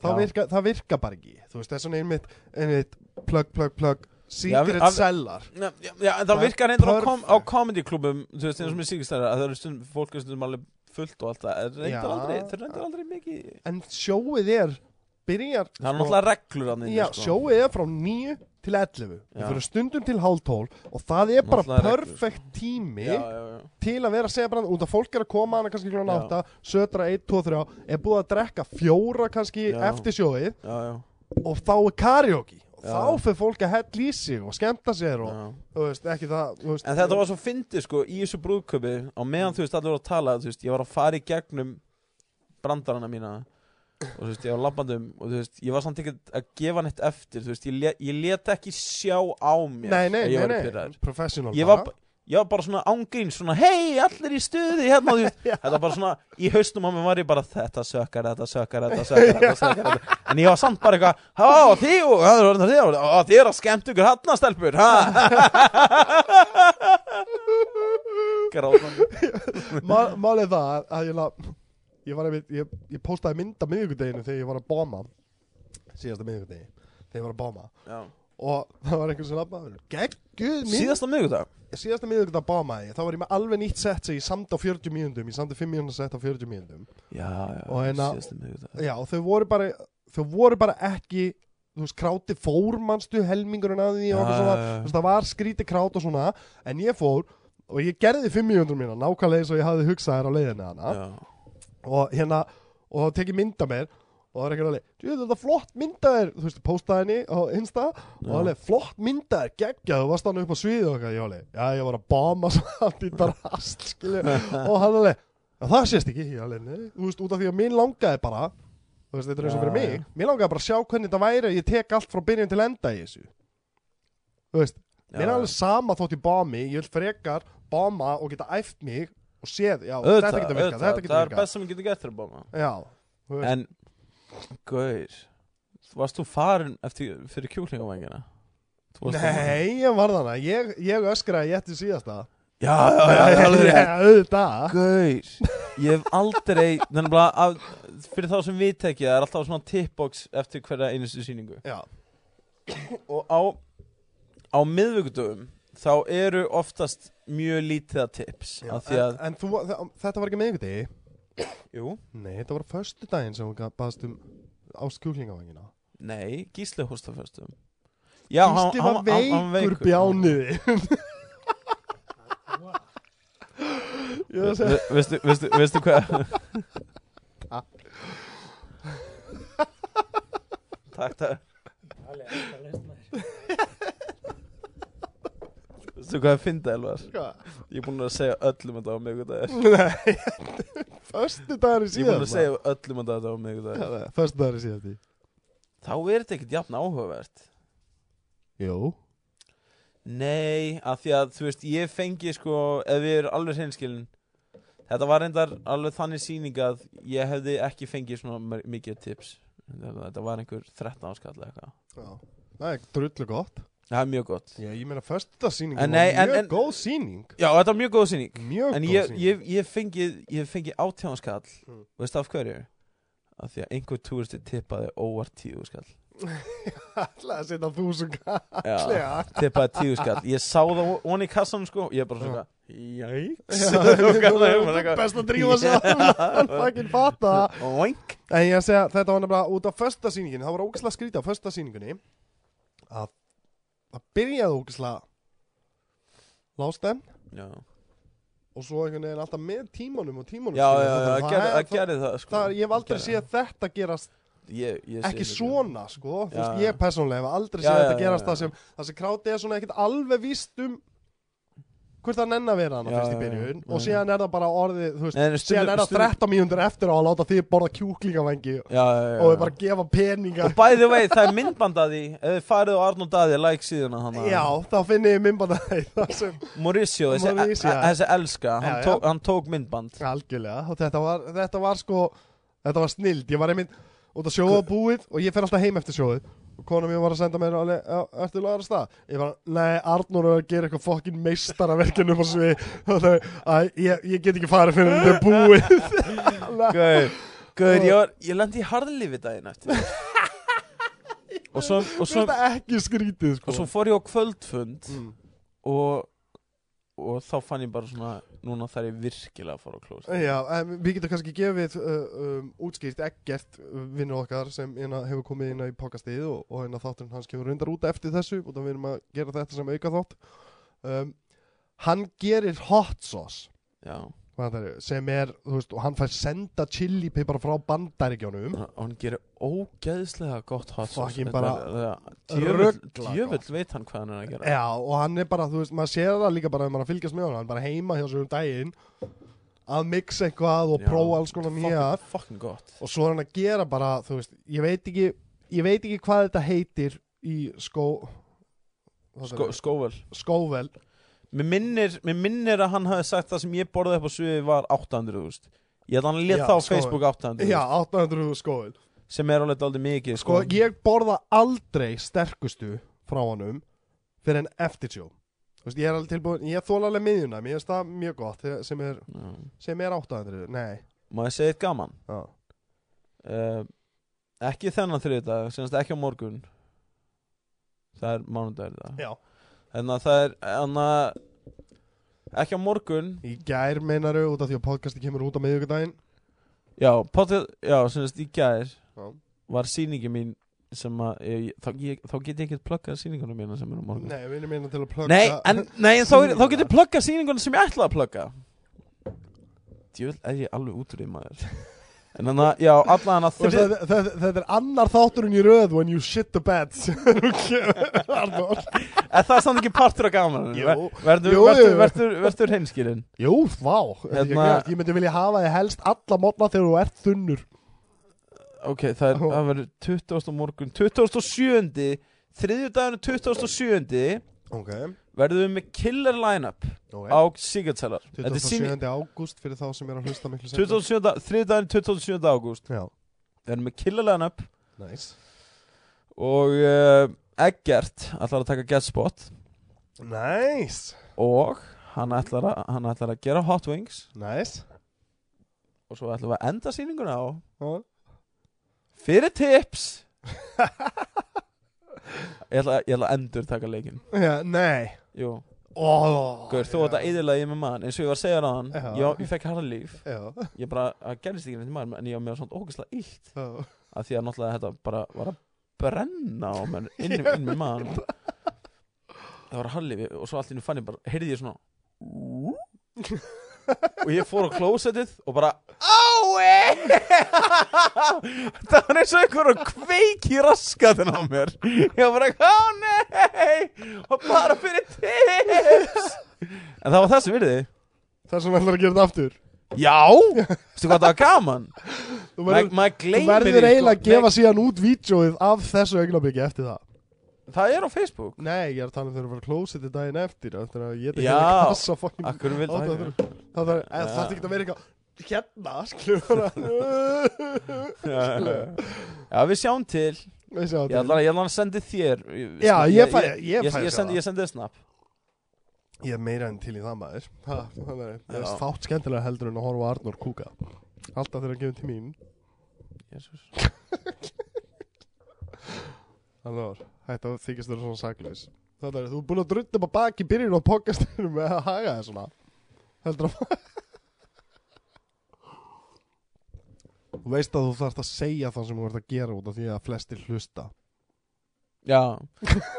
[SPEAKER 1] þá
[SPEAKER 2] Já.
[SPEAKER 1] virka, það virka bara ekki Þú veist, það er svona einmitt, einmitt plug, plug, plug,
[SPEAKER 2] við-
[SPEAKER 1] secret
[SPEAKER 2] af-
[SPEAKER 1] sellar
[SPEAKER 2] Já, já, já, en það
[SPEAKER 1] Það er
[SPEAKER 2] virkar reyndar á, kom,
[SPEAKER 1] perfect.
[SPEAKER 2] á comedy klubum þú veist eins og með síkistæra að það eru stund, fólk er stundum alveg fullt og allt það en reyndar
[SPEAKER 1] Já.
[SPEAKER 2] aldrei, þeir reyndar aldrei mikið það
[SPEAKER 1] En sjóið er, byrjar
[SPEAKER 2] er náttúrulega reglur sko. hann
[SPEAKER 1] Já, sjóið er frá 9 til 11
[SPEAKER 2] Já.
[SPEAKER 1] Við fyrir stundum til hálftól og það er bara
[SPEAKER 2] Náttúrulega reglur, sko.
[SPEAKER 1] perfekt tími
[SPEAKER 2] já, já, já.
[SPEAKER 1] til að vera að segja bara út að fólk er að koma hana kannski kljóna
[SPEAKER 2] Já.
[SPEAKER 1] átta, södra 1, 2, 3 er búið að drekka fjóra kannski
[SPEAKER 2] Já.
[SPEAKER 1] eftir sjóið
[SPEAKER 2] Já, já.
[SPEAKER 1] og þá er karaoke og þá fyrir fólk að hella í sig og skemmta sér og,
[SPEAKER 2] Já.
[SPEAKER 1] þú veist, ekki það þú veist,
[SPEAKER 2] En þetta var svo fyndið sko í þessu brúðköpi á meðan þú veist allir voru að tala þú veist ég var að fara í gegnum brandarana mína og þú veist ég var labbandum og þú veist ég var samt ekki að gefa neitt eftir þú veist ég, let, ég let ekki sjá á mér
[SPEAKER 1] Nei, nei,
[SPEAKER 2] að ég
[SPEAKER 1] nei,
[SPEAKER 2] væri
[SPEAKER 1] nei,
[SPEAKER 2] pirraður.
[SPEAKER 1] professional
[SPEAKER 2] Ég var, ba- ég var bara svona ángrín svona hei allir í stuði hérna þú veist þetta var bara svona í haustum á mér var ég bara þetta sökkar, þetta sökkar, þetta sökkar, þetta sökkar þetta. en ég var samt bara eitthvað á því og það er orðin að því og á, þið er að skemmt ykkur hann stelpur gráðan
[SPEAKER 1] Má- Málið er það að- að ég, la, ég, var einmitt, ég, ég postaði mynd á miðvikudeginu þegar ég var að bóma síðasta miðvikudegi þegar ég var að bóma og það var einhver sem lappaði gegguð mynd
[SPEAKER 2] síðasta miðgudag
[SPEAKER 1] síðasta miðvikudag bámaði ég, þá var ég með alveg nýtt set sem ég samt á 40 mínúndum, ég samdi 5 mínúndar set á 40 mínúndum.
[SPEAKER 2] já, já,
[SPEAKER 1] Og hérna-
[SPEAKER 2] síðasta miðgudag
[SPEAKER 1] Já, og þau voru bara, þau voru bara ekki, þú veist, kráti fór, manstu, helmingurinn að því og okkur svona, þú veist, það var skríti krát og svona, en ég fór og ég gerði 5 mínúndur mína, nákvæmlega eins og ég hafði hugsað þér á leiðinni hana
[SPEAKER 2] já,
[SPEAKER 1] og hérna, og þá tekið mynda mér og það er ekki alveg, þú veist, þetta er flott myndaðir, þú veist, postaði henni á Insta og
[SPEAKER 2] Já.
[SPEAKER 1] alveg, flott myndaðir, geggjað, þú varst hann upp á sviðið og eitthvað, ég alveg, já, ég var að bama samt í drast, skilju, og hann alveg, "Já, það sést ekki, ég alveg, nei, þú veist, út af því að mín langaði bara, þú veist, þetta er eins og
[SPEAKER 2] Já,
[SPEAKER 1] fyrir mig,
[SPEAKER 2] já.
[SPEAKER 1] mín langaði bara að sjá hvernig þetta væri, að ég tek allt frá byrjun til enda í þessu, þú veist,
[SPEAKER 2] Já.
[SPEAKER 1] mér er alveg sama þótt ég bami, ég vil frekar bama og geta æft mig og séð, já, þetta
[SPEAKER 2] auðvitað,
[SPEAKER 1] getur virkað,
[SPEAKER 2] auðvitað
[SPEAKER 1] þetta
[SPEAKER 2] það
[SPEAKER 1] getur
[SPEAKER 2] er
[SPEAKER 1] virkað,
[SPEAKER 2] best sem ég getur gert þér báma
[SPEAKER 1] já, þú veist,
[SPEAKER 2] en, gaur varst þú farin eftir, fyrir kjúklingavængina Þú varst farin-
[SPEAKER 1] Nei, ég var þannig Ég, ég öskraði ég eftir síðasta
[SPEAKER 2] já, já, já, já, alveg rétt.
[SPEAKER 1] auðvitað
[SPEAKER 2] Gaur, ég hef aldrei Þannig bara, af, fyrir þá sem við tekja Það er alltaf svona tipbox eftir hverja einustu sýningu
[SPEAKER 1] Já,
[SPEAKER 2] Og á, á miðvikudöfum Þá eru oftast mjög lítiða tips
[SPEAKER 1] já.
[SPEAKER 2] Af því
[SPEAKER 1] en,
[SPEAKER 2] að,
[SPEAKER 1] en þú, þetta var ekki meðvikti
[SPEAKER 2] jú,
[SPEAKER 1] Nei, þetta var föstu daginn sem hún baðst um áskjúklingavangina
[SPEAKER 2] nei, Gísli hósta fyrstum Já, hann-
[SPEAKER 1] Gísli var
[SPEAKER 2] hann- hann- hann
[SPEAKER 1] veikur bjániði Ég var að segja
[SPEAKER 2] Ve- Veistu, veistu, veistu hvað Takk, takk Veistu hvað að finna, Elvar?
[SPEAKER 1] hvað?
[SPEAKER 2] Ég er búin að segja öllum að það var miðvikudagur
[SPEAKER 1] Nei, föstu daginn
[SPEAKER 2] Ég er búin að
[SPEAKER 1] síðasta
[SPEAKER 2] segja öllum að það var miðvikudagur
[SPEAKER 1] Föstu daginn síðasta
[SPEAKER 2] Þá er þetta ekkert jafn áhugavert
[SPEAKER 1] Jú
[SPEAKER 2] Nei, af því að þú veist, ég fengi sko, ef við erum alveg hreinskilin Þetta var reyndar alveg þannig sýning að ég hefði ekki fengið svona mar- mikið tips Þetta var einhver 13 áskall eða eitthvað
[SPEAKER 1] Það er drullu gott
[SPEAKER 2] Það er mjög gott
[SPEAKER 1] Já, ég meina, föstudagssýning var
[SPEAKER 2] En nei, en-
[SPEAKER 1] mjög
[SPEAKER 2] en-
[SPEAKER 1] góð sýning
[SPEAKER 2] Já, þetta var mjög góð sýning
[SPEAKER 1] Mjög
[SPEAKER 2] En
[SPEAKER 1] góð
[SPEAKER 2] ég,
[SPEAKER 1] sýning
[SPEAKER 2] ég, ég fengið, ég fengið átjánskall
[SPEAKER 1] Mm.
[SPEAKER 2] Veistu af hverju? Af því að einhver túristi tippaði óvart tíu skall
[SPEAKER 1] ætlaði að setja þúsund
[SPEAKER 2] Já,
[SPEAKER 1] kallega
[SPEAKER 2] tippaði tíu skall Ég sá það onni í kassanum sko Ég er bara svona Jæks sko.
[SPEAKER 1] Best að drífa sig að fucking fatta það.
[SPEAKER 2] Oink
[SPEAKER 1] En ég að segja, þetta var nefnilega út af fösta sýningin Það var ógæslega skrítið á fösta sýningunni að það byrjaði ógæslega lástem
[SPEAKER 2] Já,
[SPEAKER 1] og svo einhvern veginn alltaf með tímanum og tímanum
[SPEAKER 2] já,
[SPEAKER 1] skilur,
[SPEAKER 2] já,
[SPEAKER 1] þannig
[SPEAKER 2] já,
[SPEAKER 1] að
[SPEAKER 2] það
[SPEAKER 1] það
[SPEAKER 2] gerði-
[SPEAKER 1] er-
[SPEAKER 2] það gerði það sko
[SPEAKER 1] Það er, ég hef aldrei
[SPEAKER 2] Gerði
[SPEAKER 1] séð þetta gerast
[SPEAKER 2] það. Ég- ég sé
[SPEAKER 1] ekki
[SPEAKER 2] mikið.
[SPEAKER 1] svona sko, þú
[SPEAKER 2] Já,
[SPEAKER 1] veist,
[SPEAKER 2] já.
[SPEAKER 1] ég persónulega hef aldrei
[SPEAKER 2] Já,
[SPEAKER 1] séð
[SPEAKER 2] já,
[SPEAKER 1] þetta
[SPEAKER 2] já,
[SPEAKER 1] gerast
[SPEAKER 2] já,
[SPEAKER 1] það
[SPEAKER 2] já.
[SPEAKER 1] sem það sem kráti er svona ekkert alveg víst um hvort það nenn að vera hana
[SPEAKER 2] Já,
[SPEAKER 1] fyrst í
[SPEAKER 2] já, já.
[SPEAKER 1] byrjun
[SPEAKER 2] Já,
[SPEAKER 1] og
[SPEAKER 2] já.
[SPEAKER 1] síðan er það bara orðið, þú veist,
[SPEAKER 2] Nei, en stundum-
[SPEAKER 1] síðan er það
[SPEAKER 2] stundum-
[SPEAKER 1] 13 mínútur eftir á að láta þið borða kjúklingavengi
[SPEAKER 2] Já, já, já
[SPEAKER 1] og við bara að gefa peninga
[SPEAKER 2] Og by the way, það er myndband að því Ef þið farið á Arnór Daði, like síðuna hana
[SPEAKER 1] Já, þá finn ég minnbanda það sem
[SPEAKER 2] Mauricio, þessi,
[SPEAKER 1] Mauricio.
[SPEAKER 2] a- a- þessi elska hann,
[SPEAKER 1] Já, já.
[SPEAKER 2] Tók, hann tók myndband
[SPEAKER 1] algjörlega og þetta var, þetta var sko þetta var snild, ég var einmitt út að sjóða búið og ég fer alltaf heim eftir sjóðið og konan mér var að senda mér alveg, "Já, ertu lagar að stað? Ég bara, nei, Arnur er að gera eitthvað fokkin meistaraverkinu og svo við, ég, ég get ekki farið fyrir þetta er búið
[SPEAKER 2] Gaur, gaur, ég, var- ég lendi í harðlífi daginn eftir og svo, og, svo,
[SPEAKER 1] Þetta er ekki skrítið sko
[SPEAKER 2] og svo fór ég á kvöldfund
[SPEAKER 1] Mm.
[SPEAKER 2] og, og þá fann ég bara svona Núna þarf ég virkilega að fara á klósa
[SPEAKER 1] Já, en við getum kannski gefið uh, um, útskýrt ekkert vinnur okkar sem hérna, hefur komið inn í pokastíð og, og hérna þátturinn hans kemur rundar út eftir þessu og það við erum að gera þetta sem auka þátt um, Hann gerir hot sauce
[SPEAKER 2] Já,
[SPEAKER 1] hvað það er, sem er, þú veist, og hann fær senda chilipipar frá bandaríkjónum
[SPEAKER 2] og hann gerir ógeðslega gott hot sauce.
[SPEAKER 1] Fucking
[SPEAKER 2] Þetta
[SPEAKER 1] bara
[SPEAKER 2] er- djöfull
[SPEAKER 1] ruglað
[SPEAKER 2] djöfull veit hann hvað hann er að gera
[SPEAKER 1] Já, og hann er bara, þú veist, maður sér það líka bara ef maður er að fylgjast með honum, hann er bara heima hjá sér um daginn að mixa eitthvað og
[SPEAKER 2] Já,
[SPEAKER 1] prófa alls konar nýja
[SPEAKER 2] fucking, fucking gott
[SPEAKER 1] og svo er hann að gera bara, þú veist, ég veit ekki ég veit ekki hvað þetta heitir í skó hvað
[SPEAKER 2] Skó,
[SPEAKER 1] það er,
[SPEAKER 2] Sko, skóvel
[SPEAKER 1] skóvel
[SPEAKER 2] mér minnir, mér minnir að hann hafi sagt það sem ég borðið upp á sviði var 800 úrst. ég held að hann
[SPEAKER 1] Já,
[SPEAKER 2] lét það á
[SPEAKER 1] skóvel.
[SPEAKER 2] Facebook 800
[SPEAKER 1] Já, 800 skóvel
[SPEAKER 2] þúsund, sem er alveg aldrei mikið
[SPEAKER 1] Sko, ég borða aldrei sterkustu frá honum fyrir en eftir sjó. Þú veist, ég er alveg tilbúin, ég þóla alveg miðjuna, mér finnst það mjög gott þegar- sem er,
[SPEAKER 2] Já.
[SPEAKER 1] sem er 800, nei.
[SPEAKER 2] má ég segja eitt gaman
[SPEAKER 1] Já.
[SPEAKER 2] uh, ekki þennan þriðdag senast ekki á morgun það er mánudagur í dag.
[SPEAKER 1] Já.
[SPEAKER 2] þannig að það er anna, ekki á morgun
[SPEAKER 1] Í gær meinaru út af því að podcasti kemur út á miðjögudaginn.
[SPEAKER 2] já, potið, já senast í gær
[SPEAKER 1] Já.
[SPEAKER 2] var sýningi mín sem að ég, þá, ég, þá get ég ekkert pluggað sýningunum mína sem er á morgun
[SPEAKER 1] Nei, við erum meina til að plugga.
[SPEAKER 2] Nei, en, nei, en þá, er- þá
[SPEAKER 1] Sýninguna.
[SPEAKER 2] get ég pluggað sýningunum sem ég ætlaði að plugga djövel er ég alveg út úr því maður en þannig að, já, alla hana
[SPEAKER 1] Og
[SPEAKER 2] þrið
[SPEAKER 1] þetta, þetta, þetta er annar þátturinn í röð when you shit the beds. Arnór.
[SPEAKER 2] er það samt ekki partur af gaman
[SPEAKER 1] Jú.
[SPEAKER 2] verður,
[SPEAKER 1] Jú,
[SPEAKER 2] verður,
[SPEAKER 1] jú.
[SPEAKER 2] verður, verður hinskilin
[SPEAKER 1] Jú, vá.
[SPEAKER 2] Hérna-
[SPEAKER 1] Ég, ég myndi vilja hafa þið helst alla mótna þegar þú ert þunnur.
[SPEAKER 2] Ok, það, er, það verður 20. morgun 27. þriðjudaginu 27.
[SPEAKER 1] Ok.
[SPEAKER 2] verðum við með killer lineup
[SPEAKER 1] okay.
[SPEAKER 2] á Sigurdsælar Þetta er síni
[SPEAKER 1] 27. ágúst fyrir þá sem er að hlusta miklu seinna.
[SPEAKER 2] 27. þriðjudaginu 27. ágúst
[SPEAKER 1] Já,
[SPEAKER 2] verðum með killer lineup
[SPEAKER 1] næs
[SPEAKER 2] og uh, Eggert ætlar að taka guest spot
[SPEAKER 1] Næs
[SPEAKER 2] og hann ætlar, að, hann ætlar að gera hot wings
[SPEAKER 1] Næs
[SPEAKER 2] og svo ætlum við að enda sýninguna á fyrir tips ég ætla, ég ætla að endur taka leikin
[SPEAKER 1] Já, nei
[SPEAKER 2] Jú
[SPEAKER 1] Ó,
[SPEAKER 2] Gaur, þú átt að eðilega ég með mann eins og ég var að segja hann
[SPEAKER 1] Já.
[SPEAKER 2] ég, ég fekk harða líf
[SPEAKER 1] Já,
[SPEAKER 2] ég bara, það gerðist ekki neitt í maður en ég var með svona ógeðslega illt
[SPEAKER 1] já
[SPEAKER 2] af því að náttúrulega þetta bara var að brenna á mér inn, inn með mann það var harða lífi og svo allt í nú fann ég bara, heyrði ég svona og ég fór á klósetið og bara ái það var eins og einhver að kveiki raskatin á mér ég var bara, ó nei og bara fyrir tips en það var það sem virði
[SPEAKER 1] Það sem ætlar að gera þetta aftur
[SPEAKER 2] Já, veistu hvað það var gaman
[SPEAKER 1] Þú
[SPEAKER 2] Ma-
[SPEAKER 1] verður,
[SPEAKER 2] Maður
[SPEAKER 1] þú
[SPEAKER 2] gleymir því,
[SPEAKER 1] verður
[SPEAKER 2] sko.
[SPEAKER 1] eiginlega að gefa
[SPEAKER 2] Nei,
[SPEAKER 1] síðan út vídjóið af þessu augnabíki eftir það
[SPEAKER 2] Það er á Facebook
[SPEAKER 1] Nei, ég er að tala um þegar þú verður að klósa þetta daginn eftir Eftir að ég þetta
[SPEAKER 2] Já.
[SPEAKER 1] ekki að kassa fokkin
[SPEAKER 2] Akkur vil
[SPEAKER 1] Á,
[SPEAKER 2] það
[SPEAKER 1] Það þarf
[SPEAKER 2] Já.
[SPEAKER 1] það ekki að vera eitthvað Hérna, skilur bara
[SPEAKER 2] Já, við sjáum til
[SPEAKER 1] Við sjáum
[SPEAKER 2] Ég
[SPEAKER 1] til.
[SPEAKER 2] ætla ég ætla að sendi þér
[SPEAKER 1] Já, ég fæ Ég,
[SPEAKER 2] Ég,
[SPEAKER 1] ég,
[SPEAKER 2] ég,
[SPEAKER 1] fæ
[SPEAKER 2] ég,
[SPEAKER 1] það.
[SPEAKER 2] sendi, ég sendi þér snap
[SPEAKER 1] Ég er meira enn til í það maður ha, Það er það er
[SPEAKER 2] Já.
[SPEAKER 1] fátt skemmtilega heldur en að horfa á Arnór kúka Alltaf þegar hann gefur til mín
[SPEAKER 2] Jesus.
[SPEAKER 1] Arnór, þetta þykist þér svona saklaus Það er, þú er búin að drutta upp að baki byrjun á podcastinu með að haga þér svona Heldur að Þú veist að þú þarft að segja það sem þú ert að gera út af því að flestir hlusta
[SPEAKER 2] Já,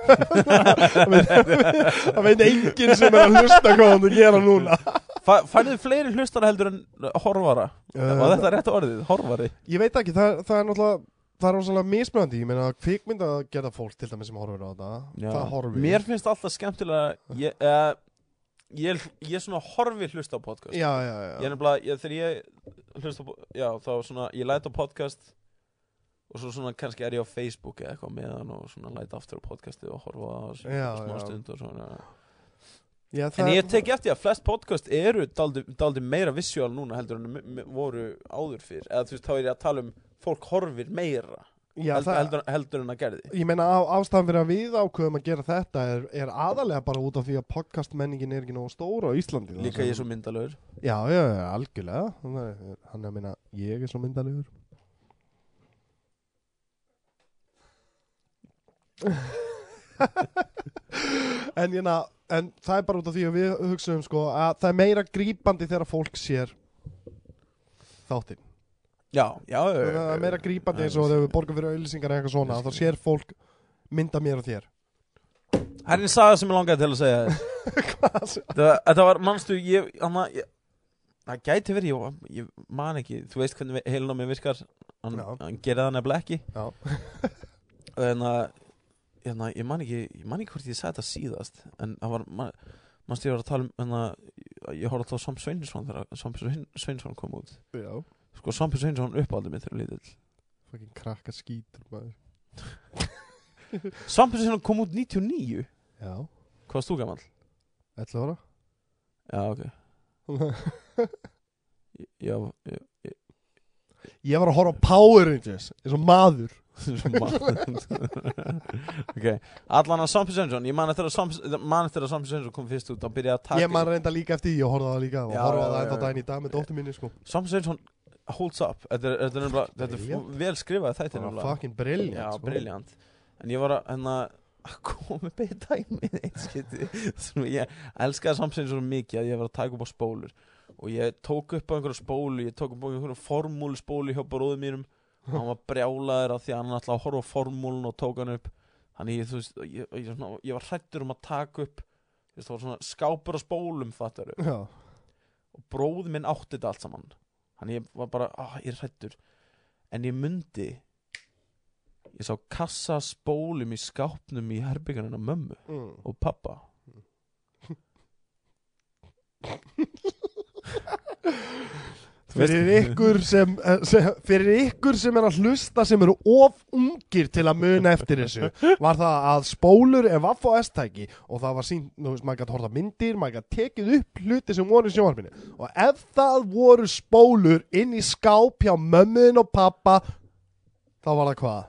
[SPEAKER 1] Það veit- það veit enginn sem er að hlusta hvað hann er að gera núna
[SPEAKER 2] Fæ- færðu fleiri hlustara heldur en horfara
[SPEAKER 1] Eh,
[SPEAKER 2] Var þetta rétt orðið, horfari
[SPEAKER 1] Ég veit ekki, það, það er náttúrulega Það er rosalega mismunandi, ég meina kvikmynd að gera fólk til dæmis sem horfir á þetta
[SPEAKER 2] Já.
[SPEAKER 1] Það horfir
[SPEAKER 2] Mér finnst alltaf skemmtilega Ég, uh, ég, ég svona horfi hlusta á podcast
[SPEAKER 1] Já, já, já
[SPEAKER 2] ég er nefnilega, ég, þegar ég hlusta á, po- já, þá svona, ég læt á podcast og svo svona kannski er ég á Facebook eða eitthvað meðan og svona læt aftur á podcasti og horfa á s-
[SPEAKER 1] Já,
[SPEAKER 2] smá
[SPEAKER 1] já.
[SPEAKER 2] stund og svona
[SPEAKER 1] Já,
[SPEAKER 2] en
[SPEAKER 1] það-
[SPEAKER 2] ég teki eftir að flest podcast eru daldi, daldi meira visual núna heldur en m- m- voru áður fyrr eða þú veist, þá er ég að tala um fólk horfir meira
[SPEAKER 1] já,
[SPEAKER 2] heldur,
[SPEAKER 1] það,
[SPEAKER 2] heldur, heldur en að gerði
[SPEAKER 1] Ég meina á, ástæðan fyrir að við ákveðum að gera þetta er, er aðalega bara út af því að podcastmenningin er ekki nógu stóra á Íslandi það
[SPEAKER 2] líka
[SPEAKER 1] sem-
[SPEAKER 2] ég er svo myndalögur
[SPEAKER 1] Já, já, já, algjörlega Hann er- Hann er að meina, ég er svo myndalegur en, jæna, en það er bara út af því að við hugsaum sko að það er meira grípandi þegar fólk sér þáttinn
[SPEAKER 2] já, já, já, já,
[SPEAKER 1] Það er meira grípandi
[SPEAKER 2] Já,
[SPEAKER 1] eins og
[SPEAKER 2] ég
[SPEAKER 1] þegar við borgum fyrir auðlýsingar eða eitthvað svona
[SPEAKER 2] Ég
[SPEAKER 1] þá
[SPEAKER 2] skil.
[SPEAKER 1] sér fólk mynda mér og þér
[SPEAKER 2] Það er einn saga sem ég langaði til að segja þér. Þetta- Þetta var, manstu, ég, hana, ég það gæti verið, ég, ég man ekki þú veist hvernig heilin á mér virkar hann,
[SPEAKER 1] Já.
[SPEAKER 2] hann gerir það nefnilega ekki
[SPEAKER 1] Já.
[SPEAKER 2] en að hérna, ég man ekki, ég man ekki hvort ég sagði þetta síðast en það var man, mannst ég var að tala um en að ég horfði alltaf á Sam Sveinsson þegar Sam Svein- Sveinsson kom út
[SPEAKER 1] Já,
[SPEAKER 2] sko Sam Sveinsson uppáldið mitt þegar lítill
[SPEAKER 1] fucking krakka skítur maður
[SPEAKER 2] Sam Sveinsson kom út 99
[SPEAKER 1] Já,
[SPEAKER 2] hvað varst þú gamall?
[SPEAKER 1] 11 ára
[SPEAKER 2] Já, ok Ég- Já, já,
[SPEAKER 1] Ég var að horfa á Power Rangers eins og maður
[SPEAKER 2] Svo maður. ok, allan að Sampi Svensson ég man eftir að Sampi- man eftir að Sampi Svensson kom fyrst út að byrja að
[SPEAKER 1] Ég man
[SPEAKER 2] taka
[SPEAKER 1] reynda líka eftir því, ég horfði á það líka og
[SPEAKER 2] Já,
[SPEAKER 1] horfa á
[SPEAKER 2] já,
[SPEAKER 1] það
[SPEAKER 2] já,
[SPEAKER 1] ennþá
[SPEAKER 2] já.
[SPEAKER 1] daginn í dag með dóttir minni sko
[SPEAKER 2] Sampi Svensson holds up þetta er, þetta er, nefnilega, þetta er
[SPEAKER 1] Brilliant.
[SPEAKER 2] f- vel skrifað þetta
[SPEAKER 1] Það
[SPEAKER 2] er
[SPEAKER 1] var fucking brilliant
[SPEAKER 2] já,
[SPEAKER 1] sko.
[SPEAKER 2] briljant en ég var að hérna að koma upp eitt dæmi eitt skipti sem ég elskaði samsinn svo mikið að ég var að taka upp á spólur og ég tók upp á einhverja spólu ég tók upp á einhverja formúlu spólu hjá bróðum mínum og hann var brjálaður af því að hann ætlaði að horfa á formúlun og tók hann upp þannig ég, þú veist, ég, ég, svona, ég var hrættur um að taka upp þú veist, það var svona skápur á spólum fattar
[SPEAKER 1] Já,
[SPEAKER 2] og bróð minn átti þetta allt saman hann ég var bara, ah, ég er hrættur en ég myndi ég sá kassa af spólum í skápnum í herbyggarnina mömmu
[SPEAKER 1] mm.
[SPEAKER 2] og pappa
[SPEAKER 1] Fyrir ykkur sem, eh, sem Fyrir ykkur sem er að hlusta sem eru of ungir til að muna eftir þessu var það að spólur er vaff og S-tæki og það var sínt, þú veist, maður gætt horta myndir maður gætt tekið upp hluti sem voru í sjónvarpinu og ef það voru spólur inn í skáp hjá mömmuðin og pappa þá var það hvað?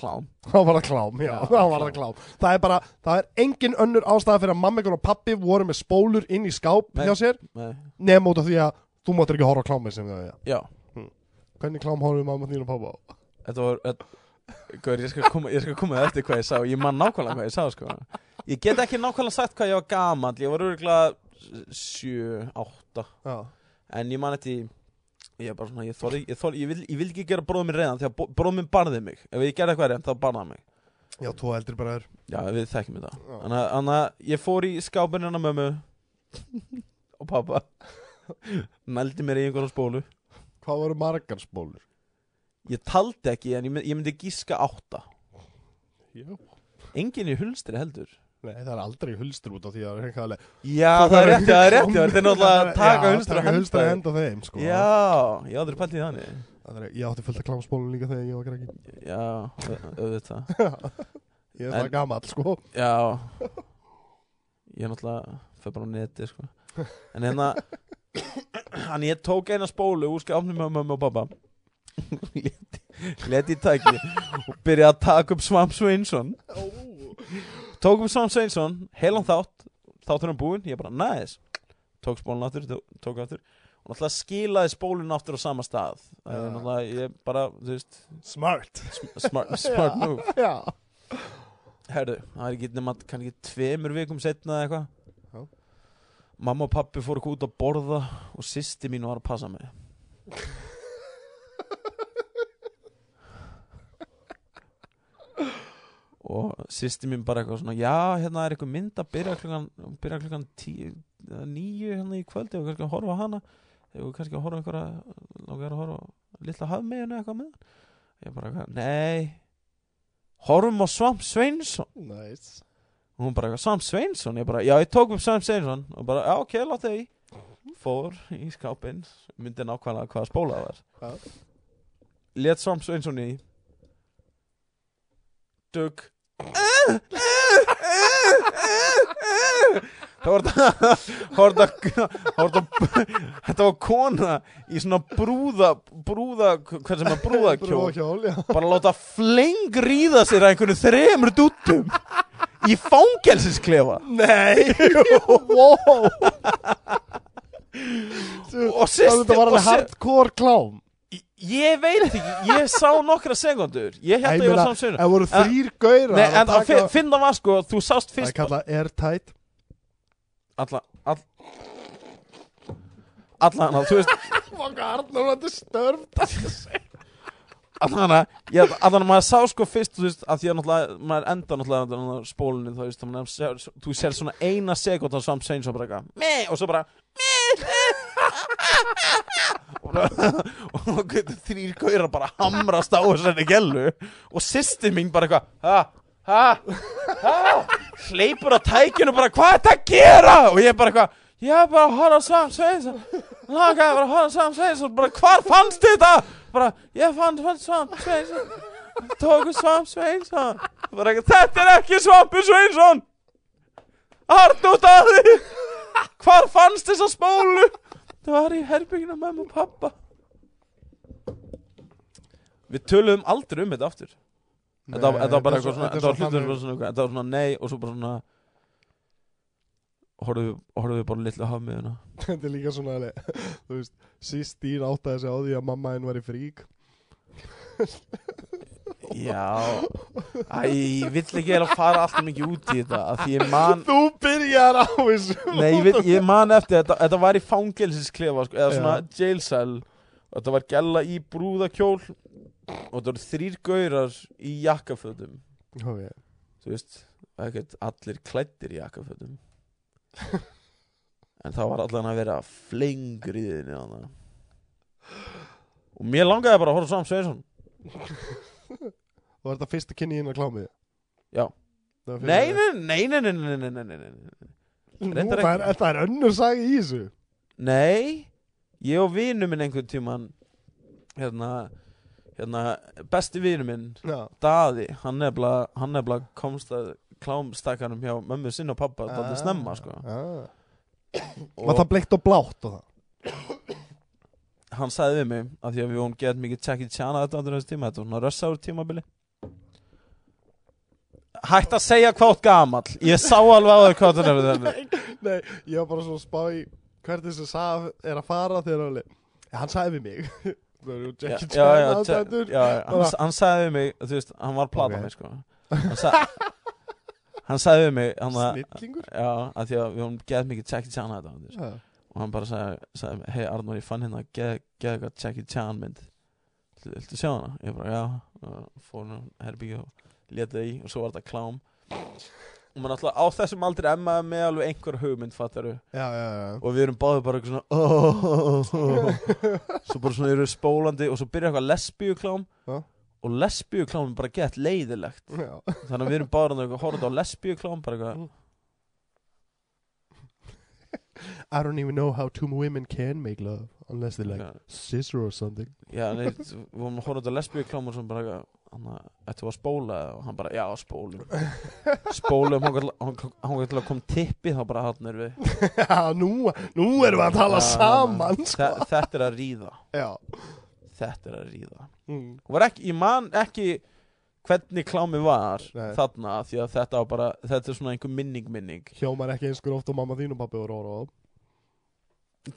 [SPEAKER 2] klám
[SPEAKER 1] Þá var það klám, já,
[SPEAKER 2] Já,
[SPEAKER 1] þá var það
[SPEAKER 2] klám.
[SPEAKER 1] klám Það er bara, það er engin önnur ástæða fyrir að mamma ykkur og pappi voru með spólur inn í skáp
[SPEAKER 2] Nei.
[SPEAKER 1] hjá sér
[SPEAKER 2] Nei.
[SPEAKER 1] nefn út af því að þú máttir ekki horfa á klámi sem það er
[SPEAKER 2] já,
[SPEAKER 1] hvernig klám horfum mamma þín og pappa á
[SPEAKER 2] þetta var þetta, Gaur, ég skal koma, ég skal koma að eftir hvað ég sá ég man nákvæmlega hvað ég sá sko. ég get ekki nákvæmlega sagt hvað ég var gamall ég var örgulega 7, 8
[SPEAKER 1] já,
[SPEAKER 2] en ég man eftir ég er bara svona, ég þorði, ég þorði, ég vil, ég vil ekki gera bróðum minn reyðan því að bróðum minn barði mig ef ég gerði eitthvað reyðan þá barði hann mig
[SPEAKER 1] já, tvo eldri bræður
[SPEAKER 2] já, við þekkjum þetta
[SPEAKER 1] Já.
[SPEAKER 2] þannig að- þannig að ég fór í skápinn hennar mömmu og pappa nældi mér í einhverjum spólu
[SPEAKER 1] hvað voru margar spólur?
[SPEAKER 2] ég taldi ekki en ég, mynd, ég myndi gíska átta
[SPEAKER 1] já,
[SPEAKER 2] engin í hulstri heldur
[SPEAKER 1] nei, það er aldrei hulstur út af því að það er
[SPEAKER 2] já, það er rétt, já, það er rétt já, þetta er náttúrulega að taka hulstri
[SPEAKER 1] taka hulstur að
[SPEAKER 2] henda
[SPEAKER 1] henda þeim sko.
[SPEAKER 2] já, ég aldrei pælt í þannig
[SPEAKER 1] Það er, ég átti fullt af klámspólum líka þegar ég var krakki
[SPEAKER 2] já, au- auðvitað
[SPEAKER 1] ég er það
[SPEAKER 2] En-
[SPEAKER 1] gamall sko
[SPEAKER 2] Já Ég er náttúrulega fyrir bara á neti sko. En hérna Hann ég tók eina spólu úr skjáfnum með mömmu og pappa Leti, leti í tæki Og byrjaði að taka upp Svamp Sveinsson Tók upp Svamp Sveinsson Heilan þátt Þáttur hann búinn Ég bara næðis Tók spólun aftur tó- Tók aftur Og náttúrulega skilaði spólun aftur á sama stað Það
[SPEAKER 1] Já.
[SPEAKER 2] er náttúrulega Ég bara, þú veist
[SPEAKER 1] smart
[SPEAKER 2] Smart, smart move
[SPEAKER 1] já,
[SPEAKER 2] Herðu, það er ekki nema kannski tveimur vikum setna eða
[SPEAKER 1] Já.
[SPEAKER 2] eitthvað Mamma og pappi fóru eitthvað út að borða og sýsti mín var að passa mig og sýsti mín bara eitthvað svona já, hérna er eitthvað mynd að byrja klukkan byrja klukkan tíu, eða níu hérna í kvöldi og kannski að horfa á hana og kannski að horfa á einhverja langar að horfa á litla hafmeyjunu eitthvað með ég bara eitthvað, nei horfum á Svamp Sveinsson
[SPEAKER 1] nice
[SPEAKER 2] og hún bara, eitthvað, Sam Sveinsson ég bara, já ég tók upp Sam Sveinsson og bara, já ok, láta þau í fór í skápinn, myndi nákvæmlega hvaða spóla það var let Sam Sveinsson í dugg það var þetta það var þetta það var þetta- þetta var kona í svona brúða brúða, hvað sem er brúðakjól
[SPEAKER 1] brúakjól, já
[SPEAKER 2] bara láta fleng ríða sér að einhvernum þremur dúttum í fangelsisklefa
[SPEAKER 1] nei, wow Þú-
[SPEAKER 2] og
[SPEAKER 1] Það
[SPEAKER 2] sýsti
[SPEAKER 1] þetta var
[SPEAKER 2] og
[SPEAKER 1] alveg
[SPEAKER 2] sýsti
[SPEAKER 1] hardcore klám
[SPEAKER 2] ég veit ekki, ég sá nokkra segundur ég
[SPEAKER 1] Ég
[SPEAKER 2] held að ég var
[SPEAKER 1] meina,
[SPEAKER 2] samsögn
[SPEAKER 1] Það voru þrýr gaurar
[SPEAKER 2] Nei,
[SPEAKER 1] að
[SPEAKER 2] en að
[SPEAKER 1] taka-
[SPEAKER 2] fi- finna var sko, þú sást
[SPEAKER 1] Það er
[SPEAKER 2] fyrst
[SPEAKER 1] kallað airtight
[SPEAKER 2] alla, all, alla hana, þú veist
[SPEAKER 1] Fokka Arnur, þetta er störft
[SPEAKER 2] alla hana, ég, alla hana maður sá sko fyrst, þú veist, að því að náttúrulega maður enda náttúrulega náttúrulega spólunni, þú veist þannig að sér, þú sér svona eina sekund á samsögn svo bara eitthvað, meh, og svo bara meh, meh, og bara- og þá getur þrýr gaurar bara að hamrast á þessari gellu og sýsti mín bara eitthvað ha, ha, ha hleypur á tækinu bara hvað er þetta að gera og ég bara eitthvað ég er bara að horfa á Sam Sveinsson langaði bara að horfa á Sam Sveinsson bara hvar fannst þetta bara ég fann, fann Sam Sveinsson tóku Sam Sveinsson bara eitthvað þetta er ekki Svampur Sveinsson harn út að því hvar fannst þessa spólu Það var í herbygginu með mamma og pappa Við töluðum aldrei um þetta aftur Þetta var- þetta var bara eitthvað svona Þetta var hlutur bara svona eitthvað Þetta var svona nei og svo bara svona Horfðu horfðu bara á litlu hafmiðuna
[SPEAKER 1] Þetta er líka svona alveg, Þú veist, síst dýr áttaði sig á því að mamma henn var í frík
[SPEAKER 2] Já Æ, ég vill ekki eiginlega fara alltaf mikið út í þetta af Því ég man
[SPEAKER 1] Þú byrjar á þessu
[SPEAKER 2] Nei, ég, veit, ég man eftir þetta Þetta var í fangelsisklefa sko, Eða svona
[SPEAKER 1] Já.
[SPEAKER 2] jail cell og Þetta var gælla í brúðakjól Og þetta voru þrýr gaurar í jakkafötum
[SPEAKER 1] Ok,
[SPEAKER 2] þú veist, ekkert allir klættir í jakkafötum en það var allan að vera flengriðin í þannig og mér langaði bara að horfa á Sam Sveinsson
[SPEAKER 1] Þú var þetta fyrsta kynni inn á klámið
[SPEAKER 2] Já.
[SPEAKER 1] Það var fyrsta-
[SPEAKER 2] nei, nei, nei, nei, nei, nei, nei, nei, nei, nei
[SPEAKER 1] Nú,
[SPEAKER 2] reyndar
[SPEAKER 1] það er,
[SPEAKER 2] ekki.
[SPEAKER 1] það er önnur sagi í þessu
[SPEAKER 2] nei ég og vinu minn einhvern tíman hérna, hérna besti vinu minn,
[SPEAKER 1] Já,
[SPEAKER 2] Daði hann nefnilega, hann nefnilega komst að klámstakkanum hjá mömmu sinna og pappa ah, snemma sko
[SPEAKER 1] ah.
[SPEAKER 2] Og-
[SPEAKER 1] Var það bleikt og blátt og það?
[SPEAKER 2] hann sagði við mig að því að við vorum gett mikið Jackie Chan að þetta andur þessu tíma þetta var svona rössáru tímabili Hætt að segja hvað átt gamall Ég sá alveg á þér hvað þetta er
[SPEAKER 1] Nei, ég var bara svona að spá í hvert þessi sag er að fara þegar hann ja, Hann sagði við mig Það eru
[SPEAKER 2] Já,
[SPEAKER 1] Jackie
[SPEAKER 2] já,
[SPEAKER 1] Chan
[SPEAKER 2] já,
[SPEAKER 1] að
[SPEAKER 2] Jack-
[SPEAKER 1] þetta
[SPEAKER 2] já, já, hann,
[SPEAKER 1] Bara-
[SPEAKER 2] hann sagði við mig Þú veist, hann var að plata
[SPEAKER 1] Ok.
[SPEAKER 2] mig sko Hann, sa hann sagði við mig hann að,
[SPEAKER 1] Snillingur
[SPEAKER 2] Já, að því að við vorum gett mikið Jackie Chan að þetta andur
[SPEAKER 1] Já,
[SPEAKER 2] og hann bara sagði, sagði hei Arnur ég fann hérna geð eitthvað Jackie Chan mynd Viltu- viltu sjá hana? ég bara já og fór hann herbyggja og leta í og svo var þetta klám og maður alltaf á þessum aldrei emmaði með alveg einhver hugmynd fattaru
[SPEAKER 1] já, já,
[SPEAKER 2] og við erum báðið bara eitthvað svona oh, svo bara svona eru við spólandi og svo byrja eitthvað lesbíu klám
[SPEAKER 1] Já.
[SPEAKER 2] og lesbíu klám er bara gett leiðilegt
[SPEAKER 1] já, já.
[SPEAKER 2] þannig að við erum báðið að horfa á lesbíu klám bara eitthvað
[SPEAKER 1] I don't even know how two women can make love Unless they like scissor or something
[SPEAKER 2] Já, nei, við vorum að horfa út á lesbíu klámur sem bara, hann að, þetta var spóla og hann bara, já, spólum spólum, hann gæti til að kom tippi þá bara hann er við
[SPEAKER 1] Já, nú, nú erum við að tala
[SPEAKER 2] Já,
[SPEAKER 1] saman sko.
[SPEAKER 2] þe- Þetta er að ríða
[SPEAKER 1] Já
[SPEAKER 2] þetta er að ríða
[SPEAKER 1] mm.
[SPEAKER 2] Og var ekki, ég man ekki hvernig klámi var
[SPEAKER 1] Nei.
[SPEAKER 2] þarna því að þetta var bara, þetta er svona einhver minning minning
[SPEAKER 1] Hjómar ekki einskur oft og mamma þín og pappi voru að horfa á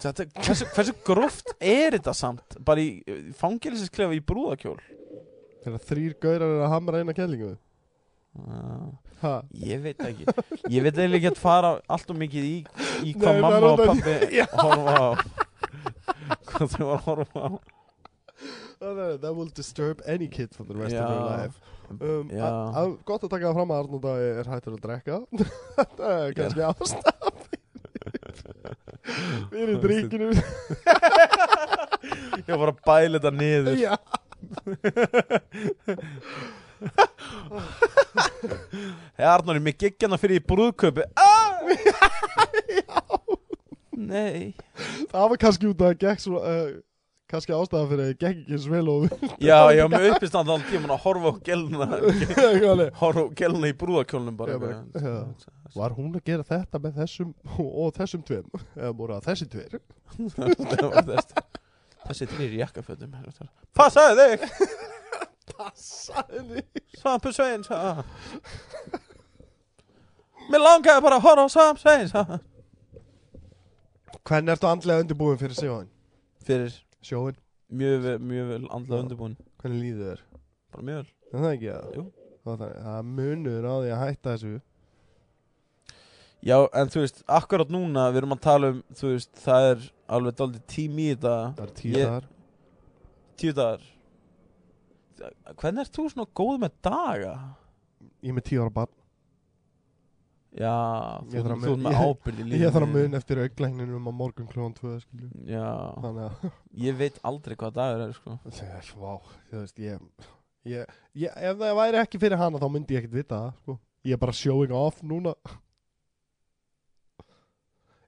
[SPEAKER 2] þetta, hversu, hversu gróft er þetta samt bara í fangelsisklefa í brúðakjól
[SPEAKER 1] Þegar þrýr gaurar er að hamra eina kellingu
[SPEAKER 2] uh,
[SPEAKER 1] Ha
[SPEAKER 2] Ég veit ekki Ég veit eiginlega ekki að fara allt og mikið í, í hvað
[SPEAKER 1] Nei,
[SPEAKER 2] mamma og
[SPEAKER 1] það er út
[SPEAKER 2] pappi
[SPEAKER 1] Já.
[SPEAKER 2] horfa á Hvað þau var að horfa á
[SPEAKER 1] No, no, that will disturb any kid for the rest of
[SPEAKER 2] Já.
[SPEAKER 1] their life um,
[SPEAKER 2] Já.
[SPEAKER 1] a- a- Gott að taka það fram að Arnóð Dagi er hættur að drekka Þetta er kannski ástaf Við erum drikkinu
[SPEAKER 2] Ég var að bæla þetta niður
[SPEAKER 1] Já,
[SPEAKER 2] Hei Arnóri, mér gekk hana fyrir í brúðköpi ah! Nei
[SPEAKER 1] það var kannski út að það gekk svo uh, Kannski ástæða fyrir að það gekk ekki svo vel og
[SPEAKER 2] Já, ég var með uppistand allan tíman að horfa á geluna
[SPEAKER 1] Eitthvað alveg.
[SPEAKER 2] Horfa á geluna í brúðakjólnum bara
[SPEAKER 1] Já, bara, Var hún að gera þetta með þessum og, og þessum tveim Eða voru það þessi tveir
[SPEAKER 2] Það var þess- Þessi þrýr í jakkafötum Passaðu þig,
[SPEAKER 1] Passaði
[SPEAKER 2] Svampur Sveins ha. Mér langaði bara að horfa á Svampur Sveins ha.
[SPEAKER 1] Hvernig ertu andlega undirbúin fyrir sjóin?
[SPEAKER 2] Fyrir
[SPEAKER 1] Sjóin,
[SPEAKER 2] mjög vel, mjög vel
[SPEAKER 1] Já.
[SPEAKER 2] andla undirbúin
[SPEAKER 1] hvernig líður þér?
[SPEAKER 2] Bara mjög vel
[SPEAKER 1] Er Það ekki að
[SPEAKER 2] Jú.
[SPEAKER 1] Það er- það er munur á því að hætta þessu
[SPEAKER 2] Já, en þú veist, akkurat núna við erum að tala um, þú veist, það er alveg daldið tími í þetta
[SPEAKER 1] Það er tíu
[SPEAKER 2] Ég-
[SPEAKER 1] dagar
[SPEAKER 2] Tíu dagar Hvernig ert þú svona góð með daga?
[SPEAKER 1] Ég er með tíu ára barn
[SPEAKER 2] Já,
[SPEAKER 1] Ég þarf
[SPEAKER 2] þú,
[SPEAKER 1] að
[SPEAKER 2] þú ert
[SPEAKER 1] muna-
[SPEAKER 2] með
[SPEAKER 1] ég-
[SPEAKER 2] ábyrð í lífinu
[SPEAKER 1] Ég þarf að muna eftir auglæninu á morgun klón 2 skilju.
[SPEAKER 2] Já,
[SPEAKER 1] Þannig að
[SPEAKER 2] ég veit aldrei hvað dagur er sko
[SPEAKER 1] Þegar, Vá, þú veist, ég, ég, ég, ef það væri ekki fyrir hana þá myndi ég ekkert vita það, sko. Ég er bara showing off núna.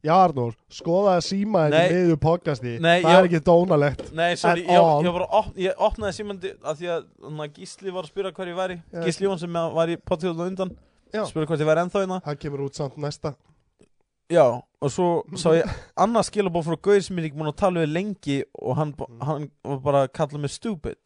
[SPEAKER 1] Já, Arnór, skoðaði síma þetta
[SPEAKER 2] Nei.
[SPEAKER 1] í miður podcasti.
[SPEAKER 2] Nei,
[SPEAKER 1] það
[SPEAKER 2] já.
[SPEAKER 1] er ekki dónalegt.
[SPEAKER 2] Nei,
[SPEAKER 1] At
[SPEAKER 2] sorry, ég,
[SPEAKER 1] all.
[SPEAKER 2] ég, bara op, ég opnaði símandi að því að na, Gísli var að spyrja hver ég væri
[SPEAKER 1] Já.
[SPEAKER 2] Gísli Jón sem var í potthjóðla undan
[SPEAKER 1] Já.
[SPEAKER 2] spurði hvort ég væri ennþá hérna
[SPEAKER 1] Það kemur út samt næsta.
[SPEAKER 2] Já, og svo sá ég annars skilabóð frá Gauðir sem ég er ekki múin að tala við lengi og hann,
[SPEAKER 1] Mm.
[SPEAKER 2] b- hann var bara að kalla mig stupid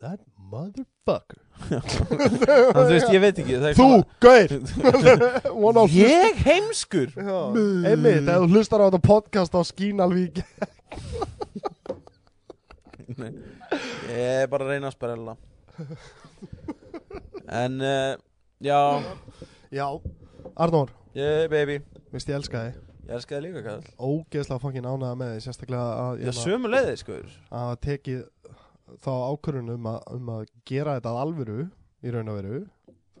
[SPEAKER 1] That motherfucker.
[SPEAKER 2] Þannig að þú veist, ég veit ekki það er
[SPEAKER 1] Þú, gaur!
[SPEAKER 2] svona-
[SPEAKER 1] One of
[SPEAKER 2] Ég heimskur
[SPEAKER 1] Já, einmitt, ef þú hlustar á þetta podcast þá skín alveg ekki.
[SPEAKER 2] Nei. Ég er bara að reyna að sperla En uh, Já,
[SPEAKER 1] Já, Arnór,
[SPEAKER 2] yeah, baby
[SPEAKER 1] veist ég elska þig.
[SPEAKER 2] Ég elska þig líka kall
[SPEAKER 1] Ógeðslega fangin ánæða með þig, sérstaklega að... hérna,
[SPEAKER 2] Já, sömu leiði sko
[SPEAKER 1] að hafa tekið þá ákvörðun um, að- um að gera þetta að alvöru í raun og veru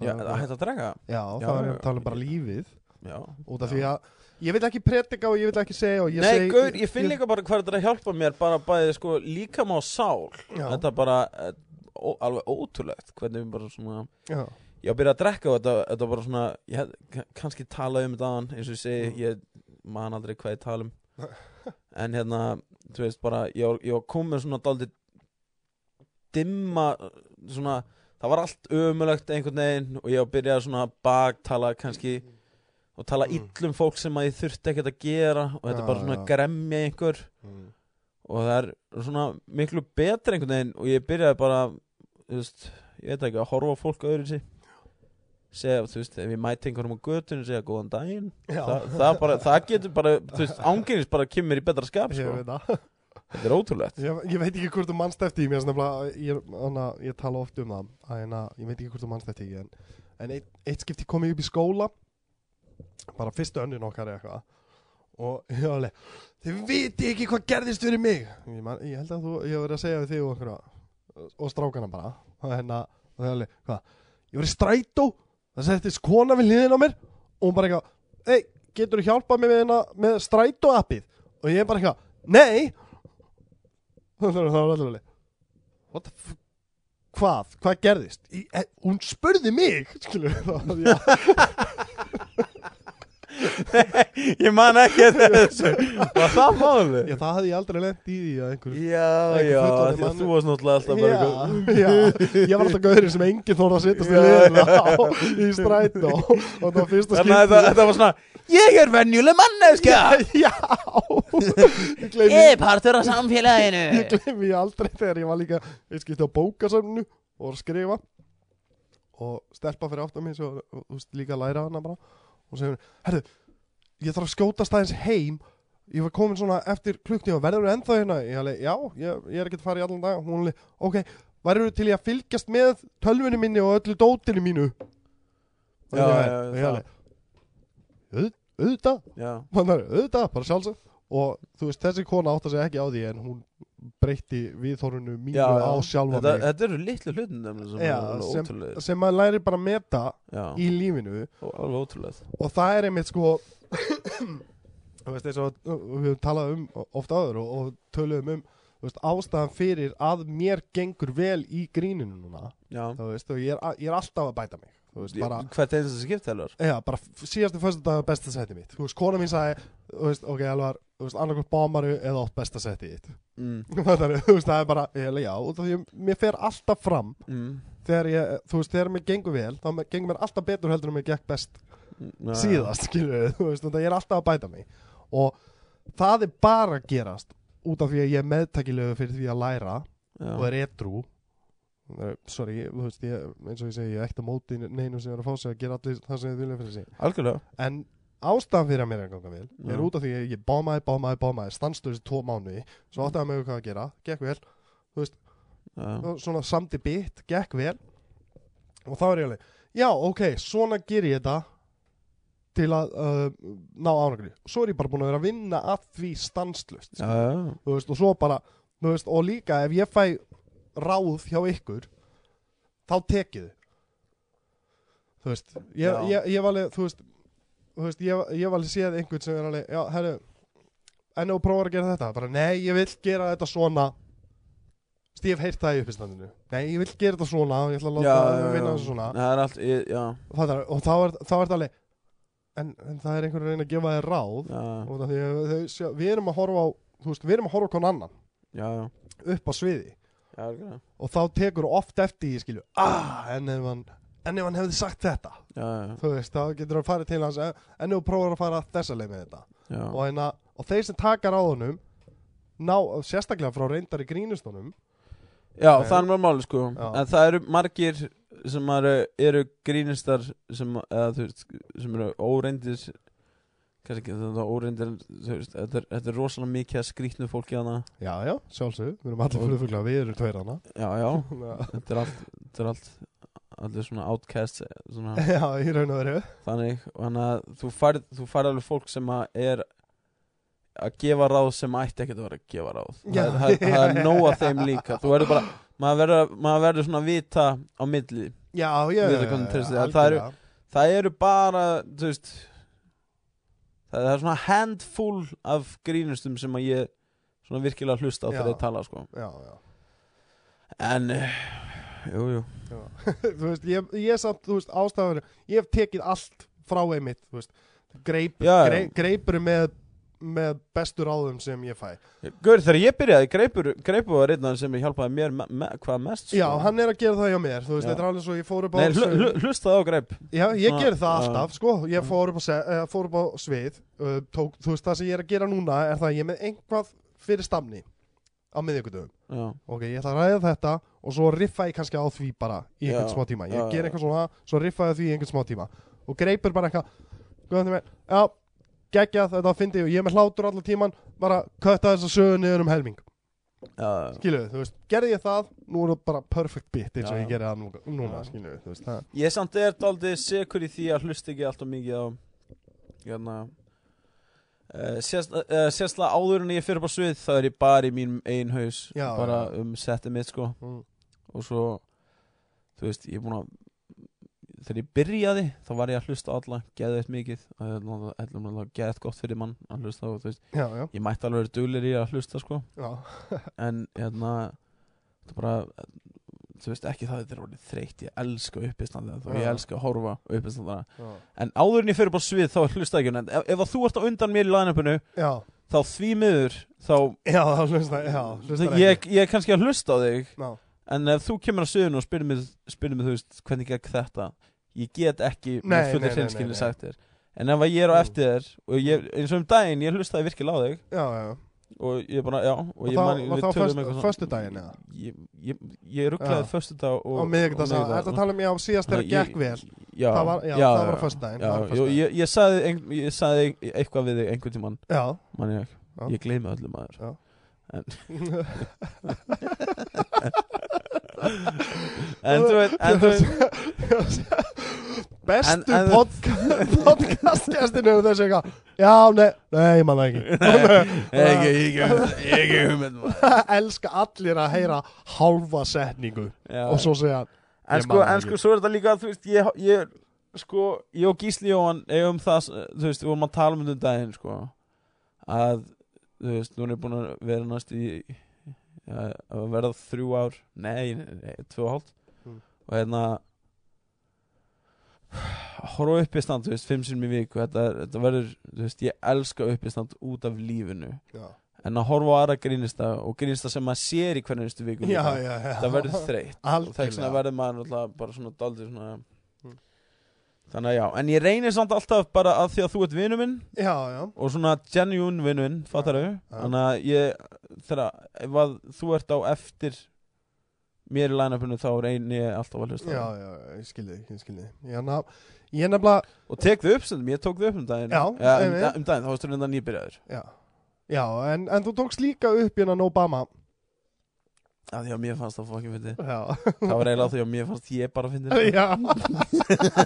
[SPEAKER 2] Já,
[SPEAKER 1] það
[SPEAKER 2] að
[SPEAKER 1] var,
[SPEAKER 2] hætta að drega
[SPEAKER 1] já,
[SPEAKER 2] já,
[SPEAKER 1] það var
[SPEAKER 2] já,
[SPEAKER 1] að tala um
[SPEAKER 2] já.
[SPEAKER 1] bara lífið
[SPEAKER 2] Já
[SPEAKER 1] út af því að ég vil ekki predika og ég vil ekki segja og ég
[SPEAKER 2] Nei,
[SPEAKER 1] segi
[SPEAKER 2] gaur, ég finn líka bara hvað þetta er að hjálpa mér bara bæði sko líkam á sál
[SPEAKER 1] já,
[SPEAKER 2] Þetta er bara eh, ó, alveg ótrúlegt hvernig við bara svona
[SPEAKER 1] já,
[SPEAKER 2] Ég byrja að drekka og þetta, þetta var bara svona ég hef kann- kannski talað um þetta aðan eins og ég segi,
[SPEAKER 1] Mm.
[SPEAKER 2] ég man aldrei hvað ég tala um en hérna, þú veist bara ég var, ég var komið svona daldið dimma svona, það var allt ömulegt einhvern veginn og ég var byrjað svona að baktala kannski og tala
[SPEAKER 1] Mm.
[SPEAKER 2] illum fólk sem að ég þurfti ekkert að gera og þetta
[SPEAKER 1] Já,
[SPEAKER 2] er bara svona
[SPEAKER 1] já.
[SPEAKER 2] gremja einhver
[SPEAKER 1] Mm.
[SPEAKER 2] og það er svona miklu betra einhvern veginn og ég byrjaði bara þú veist, ég veit ekki að horfa á fólk öðru sér segja, þú veist, ef ég mæti einhverjum á götunum segja góðan daginn
[SPEAKER 1] já
[SPEAKER 2] Þa, það, bara, það getur bara, þú veist, ánginnist bara kemur í betra skap,
[SPEAKER 1] Ég
[SPEAKER 2] sko
[SPEAKER 1] veit, það.
[SPEAKER 2] þetta er ótrúlegt
[SPEAKER 1] ég, ég veit ekki hvort þú mannst eftir því, mér er nefnilega- ég, anna, ég tala oft um það að, hérna, ég veit ekki hvort þú mannst eftir því en, en eitt, eitt skipti kom ég upp í skóla bara fyrstu önnun okkar eða eitthvað og ég var alveg þið viti ekki hvað gerðist fyrir mig ég, man, ég held að þú, ég hef verið að segja við þig og einhverja og strákana bara og hérna, og það er alveg, hvað ég var í strætó, það settist kona við hliðin á mér og hún bara eitthvað ei, getur þú hjálpað mér með, hérna, með strætó appið og ég bara eitthvað, nei og það var allir alveg what the fuck hvað, hvað gerðist í, e, hún spurði mig skilur, þá, já,
[SPEAKER 2] ég man ekki eftir þessu var það máli?
[SPEAKER 1] ég, það hafði ég aldrei lent í því að einhver
[SPEAKER 2] já,
[SPEAKER 1] Einhver
[SPEAKER 2] já,
[SPEAKER 1] fullorðinn
[SPEAKER 2] því
[SPEAKER 1] mann.
[SPEAKER 2] að þú varst náttúrulega alltaf bara eitthvað
[SPEAKER 1] já, já, ég var alltaf gauðurinn sem enginn þóra að sittast í
[SPEAKER 2] Já,
[SPEAKER 1] liðina á, í strætó og það var fyrsta
[SPEAKER 2] þannig að þetta-
[SPEAKER 1] skipti
[SPEAKER 2] þetta var svona ég er venjuleg manneskja
[SPEAKER 1] já, ég gleymi
[SPEAKER 3] Ég er partur af samfélaginu
[SPEAKER 1] ég glemmi ég aldrei þegar ég var líka ég skipti á bókasöfnu og var að skrifa og stelpa fyrir aftan mig svo, og, þú veist, líka að læra hana bara og segir hún, herru, ég þarf að skjóta staðins heim ég var komin svona eftir klukkni og verður ennþá hérna ég alveg, já, ég, ég er ekkert farið í allan dag hún alveg, ok, verður til ég að fylgjast með tölvunni minni og öllu dótinu mínu Og
[SPEAKER 2] Já,
[SPEAKER 1] ég-
[SPEAKER 2] já,
[SPEAKER 1] og
[SPEAKER 2] já,
[SPEAKER 1] ég
[SPEAKER 2] það.
[SPEAKER 1] alveg, auð- auðvitað
[SPEAKER 2] já,
[SPEAKER 1] Manar, auðvitað, bara sjálfsagt og þú veist, þessi kona átti sig ekki á því en hún breytti viðþórunu mínu
[SPEAKER 2] já,
[SPEAKER 1] á sjálfa
[SPEAKER 2] þetta, þetta eru litlu hlutin nefnilega sem
[SPEAKER 1] Já,
[SPEAKER 2] er alveg
[SPEAKER 1] sem-
[SPEAKER 2] ótrúlega
[SPEAKER 1] mig sem maður læri bara að meta
[SPEAKER 2] já,
[SPEAKER 1] í lífinu
[SPEAKER 2] alveg ótrúlega
[SPEAKER 1] og það er einmitt sko þú veist, eins og við höfum talað um ofta áður og, og töluðum um þú veist, ástæðan fyrir að mér gengur vel í gríninu núna
[SPEAKER 2] já,
[SPEAKER 1] þú veist, og ég er, a- ég er alltaf að bæta mig þú veist, bara
[SPEAKER 2] hvert eins og skipt helvar
[SPEAKER 1] Já, bara f- síðasti fyrstu dag besta setið mitt Þú veist, kona mín sagði þú veist, Ok, alvar, þú veist, annarkvort bámaru eða átt besta setið þitt
[SPEAKER 2] mm,
[SPEAKER 1] Þannig, þú veist, það er bara, eða já út af því, að Mér fer alltaf fram
[SPEAKER 2] mm,
[SPEAKER 1] Þegar ég, þú veist, þegar mér gengur vel Þá me- gengur mér alltaf betur heldur en mér gekk best
[SPEAKER 2] mm,
[SPEAKER 1] Síðast, skilur við, þú veist Þannig að ég er alltaf að bæta mig Og það er bara að gerast Út af því að ég er meðtakilegu fyrir því að læra
[SPEAKER 2] já,
[SPEAKER 1] og er edru Sorry, ég- þú veist, ég, eins og ég segi Ég er ekkert á móti neinum sem er að fá sig að gera allir það sem þið vilja fyrir sig
[SPEAKER 2] algjörlega
[SPEAKER 1] En ástæðan fyrir að mér er að ganga vel er
[SPEAKER 2] Já.
[SPEAKER 1] út af því að ég bámaði, bámaði, bámaði stannstöðis tvo mánuði, svo átti að mig hvað að gera gekk vel,
[SPEAKER 2] já,
[SPEAKER 1] og svona samdi bit, gekk vel og þá er ég alveg já, ok, svona ger ég þetta til að uh, ná ánægri svo er ég bara búin að vera að vinna að því sko. stanslust
[SPEAKER 2] já, já,
[SPEAKER 1] þú veist, og svo bara þú veist, og líka ef ég fæ ráð hjá ykkur þá tekið þið. þú veist,
[SPEAKER 2] Já.
[SPEAKER 1] ég, ég, ég var alveg, þú veist, þú veist ég, ég var alveg séð einhvern sem er alveg, já, herru, en þú prófar að gera þetta, bara nei, ég vil gera þetta svona, Þú veist, ég hef heyrt það í uppistandinu, nei, ég vil gera þetta svona, og ég ætla að láta það vinna þessu svona,
[SPEAKER 2] Það er allt, ég, já,
[SPEAKER 1] og það er, og þá er, þá er það alveg, en, en það er einhverjum að reyna að gefa þér ráð,
[SPEAKER 2] já,
[SPEAKER 1] og það því að þau, sjá, við erum að horfa á, þú veist, við erum að horfa á konu annan,
[SPEAKER 2] já, já,
[SPEAKER 1] upp á sviði,
[SPEAKER 2] já, algjörlega.
[SPEAKER 1] og þá tekur þú oft eftir í skilju, ah, en ef hann, en ef hann hefði sagt þetta,
[SPEAKER 2] já, já,
[SPEAKER 1] þú veist, þá getur hann farið til hans en en þú prófar að fara þessa leið með þetta
[SPEAKER 2] já,
[SPEAKER 1] og, hérna, og þeir sem taka ráðunum ná, sérstaklega frá reyndari grínustunum
[SPEAKER 2] já,
[SPEAKER 1] Nei.
[SPEAKER 2] þannig var máli sko
[SPEAKER 1] Já.
[SPEAKER 2] En það eru margir sem eru, eru grínistar sem, eða, þú veist, sem eru óreindir kannski ekki þetta óreindir en, þú veist, þetta er, þetta er rosalega mikið að skrýtnu fólki hana
[SPEAKER 1] já, já, sjálfsög, við erum allir fyrir fugla við erum tveir hana
[SPEAKER 2] Já, já, þetta er allt, þetta er allt allir svona outcasts eh, svona,
[SPEAKER 1] já, í raun og veru
[SPEAKER 2] þannig, þannig að þú færð, þú færð alveg fólk sem að er að gefa ráð sem ætti ekkert að vera að gefa ráð
[SPEAKER 1] Já.
[SPEAKER 2] það, það, það er nóg af þeim líka þú verður bara, maður verður, maður verður svona að vita á milli,
[SPEAKER 1] já, já,
[SPEAKER 2] Við
[SPEAKER 1] já,
[SPEAKER 2] erum komin til þess að
[SPEAKER 1] algjörlega.
[SPEAKER 2] það eru- það eru bara þú veist það er svona handful af grínustum sem að ég svona virkilega hlusta á
[SPEAKER 1] Já.
[SPEAKER 2] þegar ég tala sko
[SPEAKER 1] já, já,
[SPEAKER 2] en, eh, jú, jú
[SPEAKER 1] já. þú veist, ég, ég samt, þú veist, ástæður ég hef tekið allt frá einmitt þú veist, greip,
[SPEAKER 2] Já, já.
[SPEAKER 1] grei, greipur með með bestu ráðum sem ég fæ
[SPEAKER 2] Gaur, þegar ég byrjaði, greipur, greipur var einn af þeim sem hjálpaði mér me, me, hvað mest
[SPEAKER 1] já, hann er að gera það hjá mér, þú veist,
[SPEAKER 2] Sko. Já.
[SPEAKER 1] þetta er alveg svo ég fór upp á
[SPEAKER 2] Nei, hlu,
[SPEAKER 1] söng-
[SPEAKER 2] hlu, Ah, Mm. hlustaði á greip
[SPEAKER 1] Já, ég
[SPEAKER 2] Svona,
[SPEAKER 1] gerði það
[SPEAKER 2] já.
[SPEAKER 1] alltaf, sko, ég
[SPEAKER 2] Já.
[SPEAKER 1] fór upp á, se- eh, fór upp á svið, uh, tók, þú veist það sem ég er að gera núna er það að ég er með einhvað fyrir stamni á miðjökudöfum.
[SPEAKER 2] Já,
[SPEAKER 1] Ok, ég ætla að ræða þetta og svo riffa ég kannski á því bara í einhvern
[SPEAKER 2] Já,
[SPEAKER 1] smá tíma. Ég
[SPEAKER 2] já, já.
[SPEAKER 1] ger eitthvað svona, svo riffa ég á því í einhvern smá tíma og greipur bara eitthvað, góðan því með, já, geggjað þetta fyndi og ég er með hlátur allan tíman, bara kötta þess að sögu niður um helming.
[SPEAKER 2] já,
[SPEAKER 1] Skiluðu, þú veist, gerði ég það, nú er það bara perfect bit eins og
[SPEAKER 2] Já.
[SPEAKER 1] ég gerði það nú- núna,
[SPEAKER 2] Já.
[SPEAKER 1] skiluðu, þú veist, það.
[SPEAKER 2] ég samt er daldið sekur í því að hlusta ekki alltaf mikið á hérna uh, sérst, uh, Sérslega áður en ég fyrir bara svið þá er ég bara í mínum ein haus
[SPEAKER 1] Já,
[SPEAKER 2] bara
[SPEAKER 1] já.
[SPEAKER 2] um settið mitt sko
[SPEAKER 1] Mm.
[SPEAKER 2] og svo, þú veist, ég er búin að þegar ég byrjaði þá var ég að hlusta á alla, geða eitt mikið og hérna, hérna, geða eitt gott fyrir mann að hlusta á, þú veist
[SPEAKER 1] Já, já,
[SPEAKER 2] ég mætti alveg verið duglir í að hlusta sko
[SPEAKER 1] já,
[SPEAKER 2] en hérna þetta er bara þú veist ekki það þetta er orðið þreytt ég elska uppistandina og ég
[SPEAKER 1] Já.
[SPEAKER 2] elska að horfa uppistandina
[SPEAKER 1] já,
[SPEAKER 2] en áður en ég fyrir bara svið þá hlusta ekki á neitt. ef, ef að þú ert á undan mér í line-upinu
[SPEAKER 1] já.
[SPEAKER 2] þá því miður þá
[SPEAKER 1] Já, þá hlusta, já, hlusta
[SPEAKER 2] ég, ég er kannski að hlusta á þig
[SPEAKER 1] Já,
[SPEAKER 2] en ef þú kemur að sviðinu og spyrir mig, spyrir mig þú veist hvernig gekk þetta ég get
[SPEAKER 1] Nei,
[SPEAKER 2] ekki með
[SPEAKER 1] nei,
[SPEAKER 2] fullir
[SPEAKER 1] nei, nei,
[SPEAKER 2] hreinskilni
[SPEAKER 1] nei.
[SPEAKER 2] sagt þér en ef að ég er á
[SPEAKER 1] Mm.
[SPEAKER 2] eftir þér og ég, eins og um daginn ég hlustaði virkilega á þig
[SPEAKER 1] já, já,
[SPEAKER 2] og ég bara, já og,
[SPEAKER 1] Og
[SPEAKER 2] ég
[SPEAKER 1] þá-
[SPEAKER 2] man,
[SPEAKER 1] var
[SPEAKER 2] við
[SPEAKER 1] þá
[SPEAKER 2] tölum
[SPEAKER 1] föst-
[SPEAKER 2] eitthvað svona-
[SPEAKER 1] föstudaginn, eða?
[SPEAKER 2] ég, ég, ég rugglaði
[SPEAKER 1] Já.
[SPEAKER 2] föstu dag og,
[SPEAKER 1] og miðvikudagsa,
[SPEAKER 2] og
[SPEAKER 1] er þetta að tala um, já, síðast þegar
[SPEAKER 2] Þannig að ég-
[SPEAKER 1] gekk vel
[SPEAKER 2] já,
[SPEAKER 1] það var- já, það var á föstudaginn,
[SPEAKER 2] já,
[SPEAKER 1] það var á
[SPEAKER 2] jú,
[SPEAKER 1] föstudaginn.
[SPEAKER 2] ég, ég, sagði ein, ég sagði ein- eitthvað við þig einhvern tímann
[SPEAKER 1] Já,
[SPEAKER 2] man ég,
[SPEAKER 1] Já.
[SPEAKER 2] ég gleymi öllu maður
[SPEAKER 1] Já.
[SPEAKER 2] en en þú veit en þú veit En-
[SPEAKER 1] bestu
[SPEAKER 2] en-
[SPEAKER 1] podca- podcastgestinu og þessu eitthvað Já, nei, nei, ég man það
[SPEAKER 2] Ég-
[SPEAKER 1] ekki
[SPEAKER 2] ég- ég- ég ekki um- hugmynd maður.
[SPEAKER 1] Elska allir að heyra hálfa setningu
[SPEAKER 2] Já.
[SPEAKER 1] og svo segja
[SPEAKER 2] En
[SPEAKER 1] Ég man
[SPEAKER 2] sko,
[SPEAKER 1] það
[SPEAKER 2] en
[SPEAKER 1] ekki.
[SPEAKER 2] sko, svo er þetta líka, þú veist, ég, ég, sko, ég og Gísli Jóhann eigum það, þú veist, við vorum að tala um þetta um daginn, sko, að, þú veist, nú er ég búin að vera næst í, að að verða þrjú ár, nei, nei, tvö og hálft,
[SPEAKER 1] Mm.
[SPEAKER 2] og hérna, að horfa á uppistand, þú veist, fimm sinni í viku, þetta, er- þetta verður, þú veist, ég elska uppistand út af lífinu,
[SPEAKER 1] Já,
[SPEAKER 2] en að horfa á aðra grínista og grínista sem maður sér í hvernig einstu viku,
[SPEAKER 1] já,
[SPEAKER 2] líka,
[SPEAKER 1] já
[SPEAKER 2] þetta verður þreytt og þess vegna
[SPEAKER 1] Algjörlega
[SPEAKER 2] verður maður náttúrulega bara svona daldið svona
[SPEAKER 1] Mm.
[SPEAKER 2] þannig að já, en ég reynir samt alltaf bara að því að þú ert vinnu minn
[SPEAKER 1] Já, já,
[SPEAKER 2] og svona genuine vinnu minn, fattar þau
[SPEAKER 1] já.
[SPEAKER 2] þannig að ég, þegar ef að þú ert á eftir mér í line-upinu þá reynir ég alltaf að hlusta
[SPEAKER 1] já,
[SPEAKER 2] á þig.
[SPEAKER 1] já, ég skilði, ég skilði Ég na- ég er nefnilega
[SPEAKER 2] og tek þau upp sem ég tók þau upp um daginn
[SPEAKER 1] Já,
[SPEAKER 2] Eh, um,
[SPEAKER 1] einmitt.
[SPEAKER 2] um daginn, þá varstu reynda nýbyrjaður
[SPEAKER 1] Já, já en, en þú tókst líka upp hérna Obama
[SPEAKER 2] að því að mér fannst það fokkin fyndi
[SPEAKER 1] Já,
[SPEAKER 2] það var eiginlega því að mér fannst ég bara fyndi
[SPEAKER 1] já.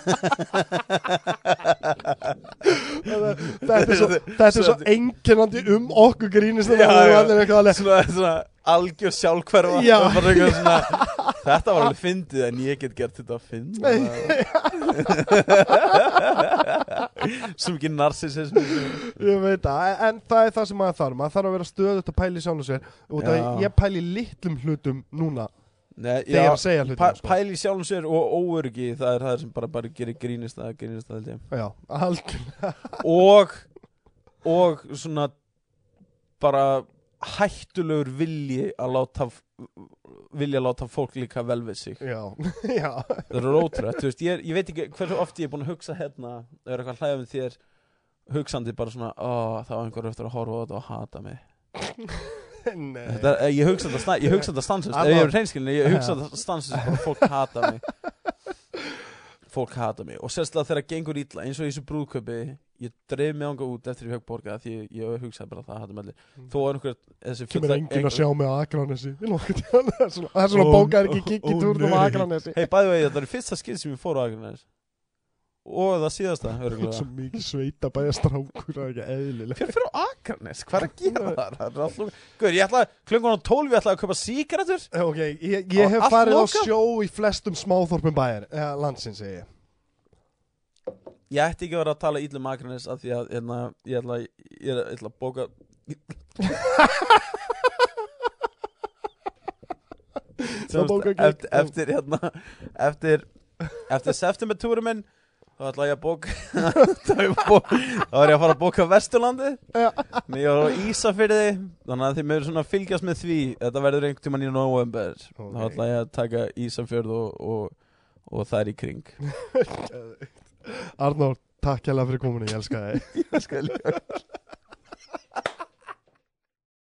[SPEAKER 1] þetta er svo, þetta er svo einkennandi um okkur grínist
[SPEAKER 2] Já,
[SPEAKER 1] þannig að
[SPEAKER 2] já.
[SPEAKER 1] það er eitthvað alveg
[SPEAKER 2] svona, svona algjör sjálfhverfa
[SPEAKER 1] Já.
[SPEAKER 2] Það er bara eitthvað svona Þetta var alveg fyndið en ég get gert þetta að fyndið Svo mikið narsisismi
[SPEAKER 1] Ég veit það, en það er það sem maður þarf Maður þarf að vera stöðut að pæli sjálf og sér Út að
[SPEAKER 2] Já.
[SPEAKER 1] ég pæli litlum hlutum núna
[SPEAKER 2] Nei,
[SPEAKER 1] Þegar ég er
[SPEAKER 2] já,
[SPEAKER 1] að segja sko. hlutum
[SPEAKER 2] pæ, Pæli sjálfum sér og óöryggi Það er það er sem bara, bara gerir grínist að grínist að held ég
[SPEAKER 1] Já, algjörlega
[SPEAKER 2] Og Og svona Bara hættulegur vilji að láta f- vilja að láta fólk líka vel við sig
[SPEAKER 1] Já, já,
[SPEAKER 2] það eru rótröð, þú veist, ég, er, ég veit ekki hversu oft ég er búin að hugsa hérna það er eitthvað hlæðum þér hugsandi bara svona, ó, það var einhver eftir að horfa á þetta og hata mig
[SPEAKER 1] nei
[SPEAKER 2] þetta, er- ég hugsa þetta, sna- ég hugsa þetta stansust ef ég er reynskilin, ég hugsa þetta stansust bara fólk hata mig fólk hata mig og sérstaklega þegar það gengur ítla eins og í þessu brúðköpi ég dreif mig ánga út eftir ég högg borga því ég, ég hugsaði bara að það hata mig allir. þó er einhver þessi
[SPEAKER 1] Mm. Kemur
[SPEAKER 2] fulla-
[SPEAKER 1] enginn að
[SPEAKER 2] einhver-
[SPEAKER 1] sjá mig á Akranesi Ég nokkuð til hann um Það er svona- það er svona
[SPEAKER 2] Ó,
[SPEAKER 1] bókað ekki kikki
[SPEAKER 2] ó,
[SPEAKER 1] túrnum á um
[SPEAKER 2] nei.
[SPEAKER 1] Akranesi
[SPEAKER 2] Hey, bæði vegi, þetta er í fyrsta skil sem ég fór á Akranes og það síðasta örugglega.
[SPEAKER 1] Svo mikið sveita bæja strákur Það er ekki eðlilega
[SPEAKER 2] Hver fyrir á Akarnes? Hvað er að gera þar? Það er alltaf... Guður, ég ætla að... Klungun á 12, ég ætla að kaupa síkaretur.
[SPEAKER 1] Ok, ég,
[SPEAKER 2] Og
[SPEAKER 1] ég hef
[SPEAKER 2] allt
[SPEAKER 1] farið á
[SPEAKER 2] lokað?
[SPEAKER 1] sjó í flestum smáþorpum bæjar eh, Landsins, segi ég
[SPEAKER 2] Ég ætti ekki að vera að tala ítlum Akarnes af því að, hérna, ég ætla að... Ég ætla- ég ætla að bóka...
[SPEAKER 1] Það bókar gegn-
[SPEAKER 2] eftir, eftir, hérna... Eftir... Eftir septembertúrum minn, þá ætla ég að bóka... þá er ég að bóka- þá er ég að fara að bóka Vesturlandi.
[SPEAKER 1] Já.
[SPEAKER 2] Mér ég var á Ísafyrði, þannig að þið mögur svona fylgjast með því. Þetta verður einhvern tímann í november.
[SPEAKER 1] Ok.
[SPEAKER 2] Þá ætla ég að taka Ísafjörð og, og, og það er í kring
[SPEAKER 1] Arnór, takk hérlega fyrir kominu, ég elska þig
[SPEAKER 2] Ég skal líka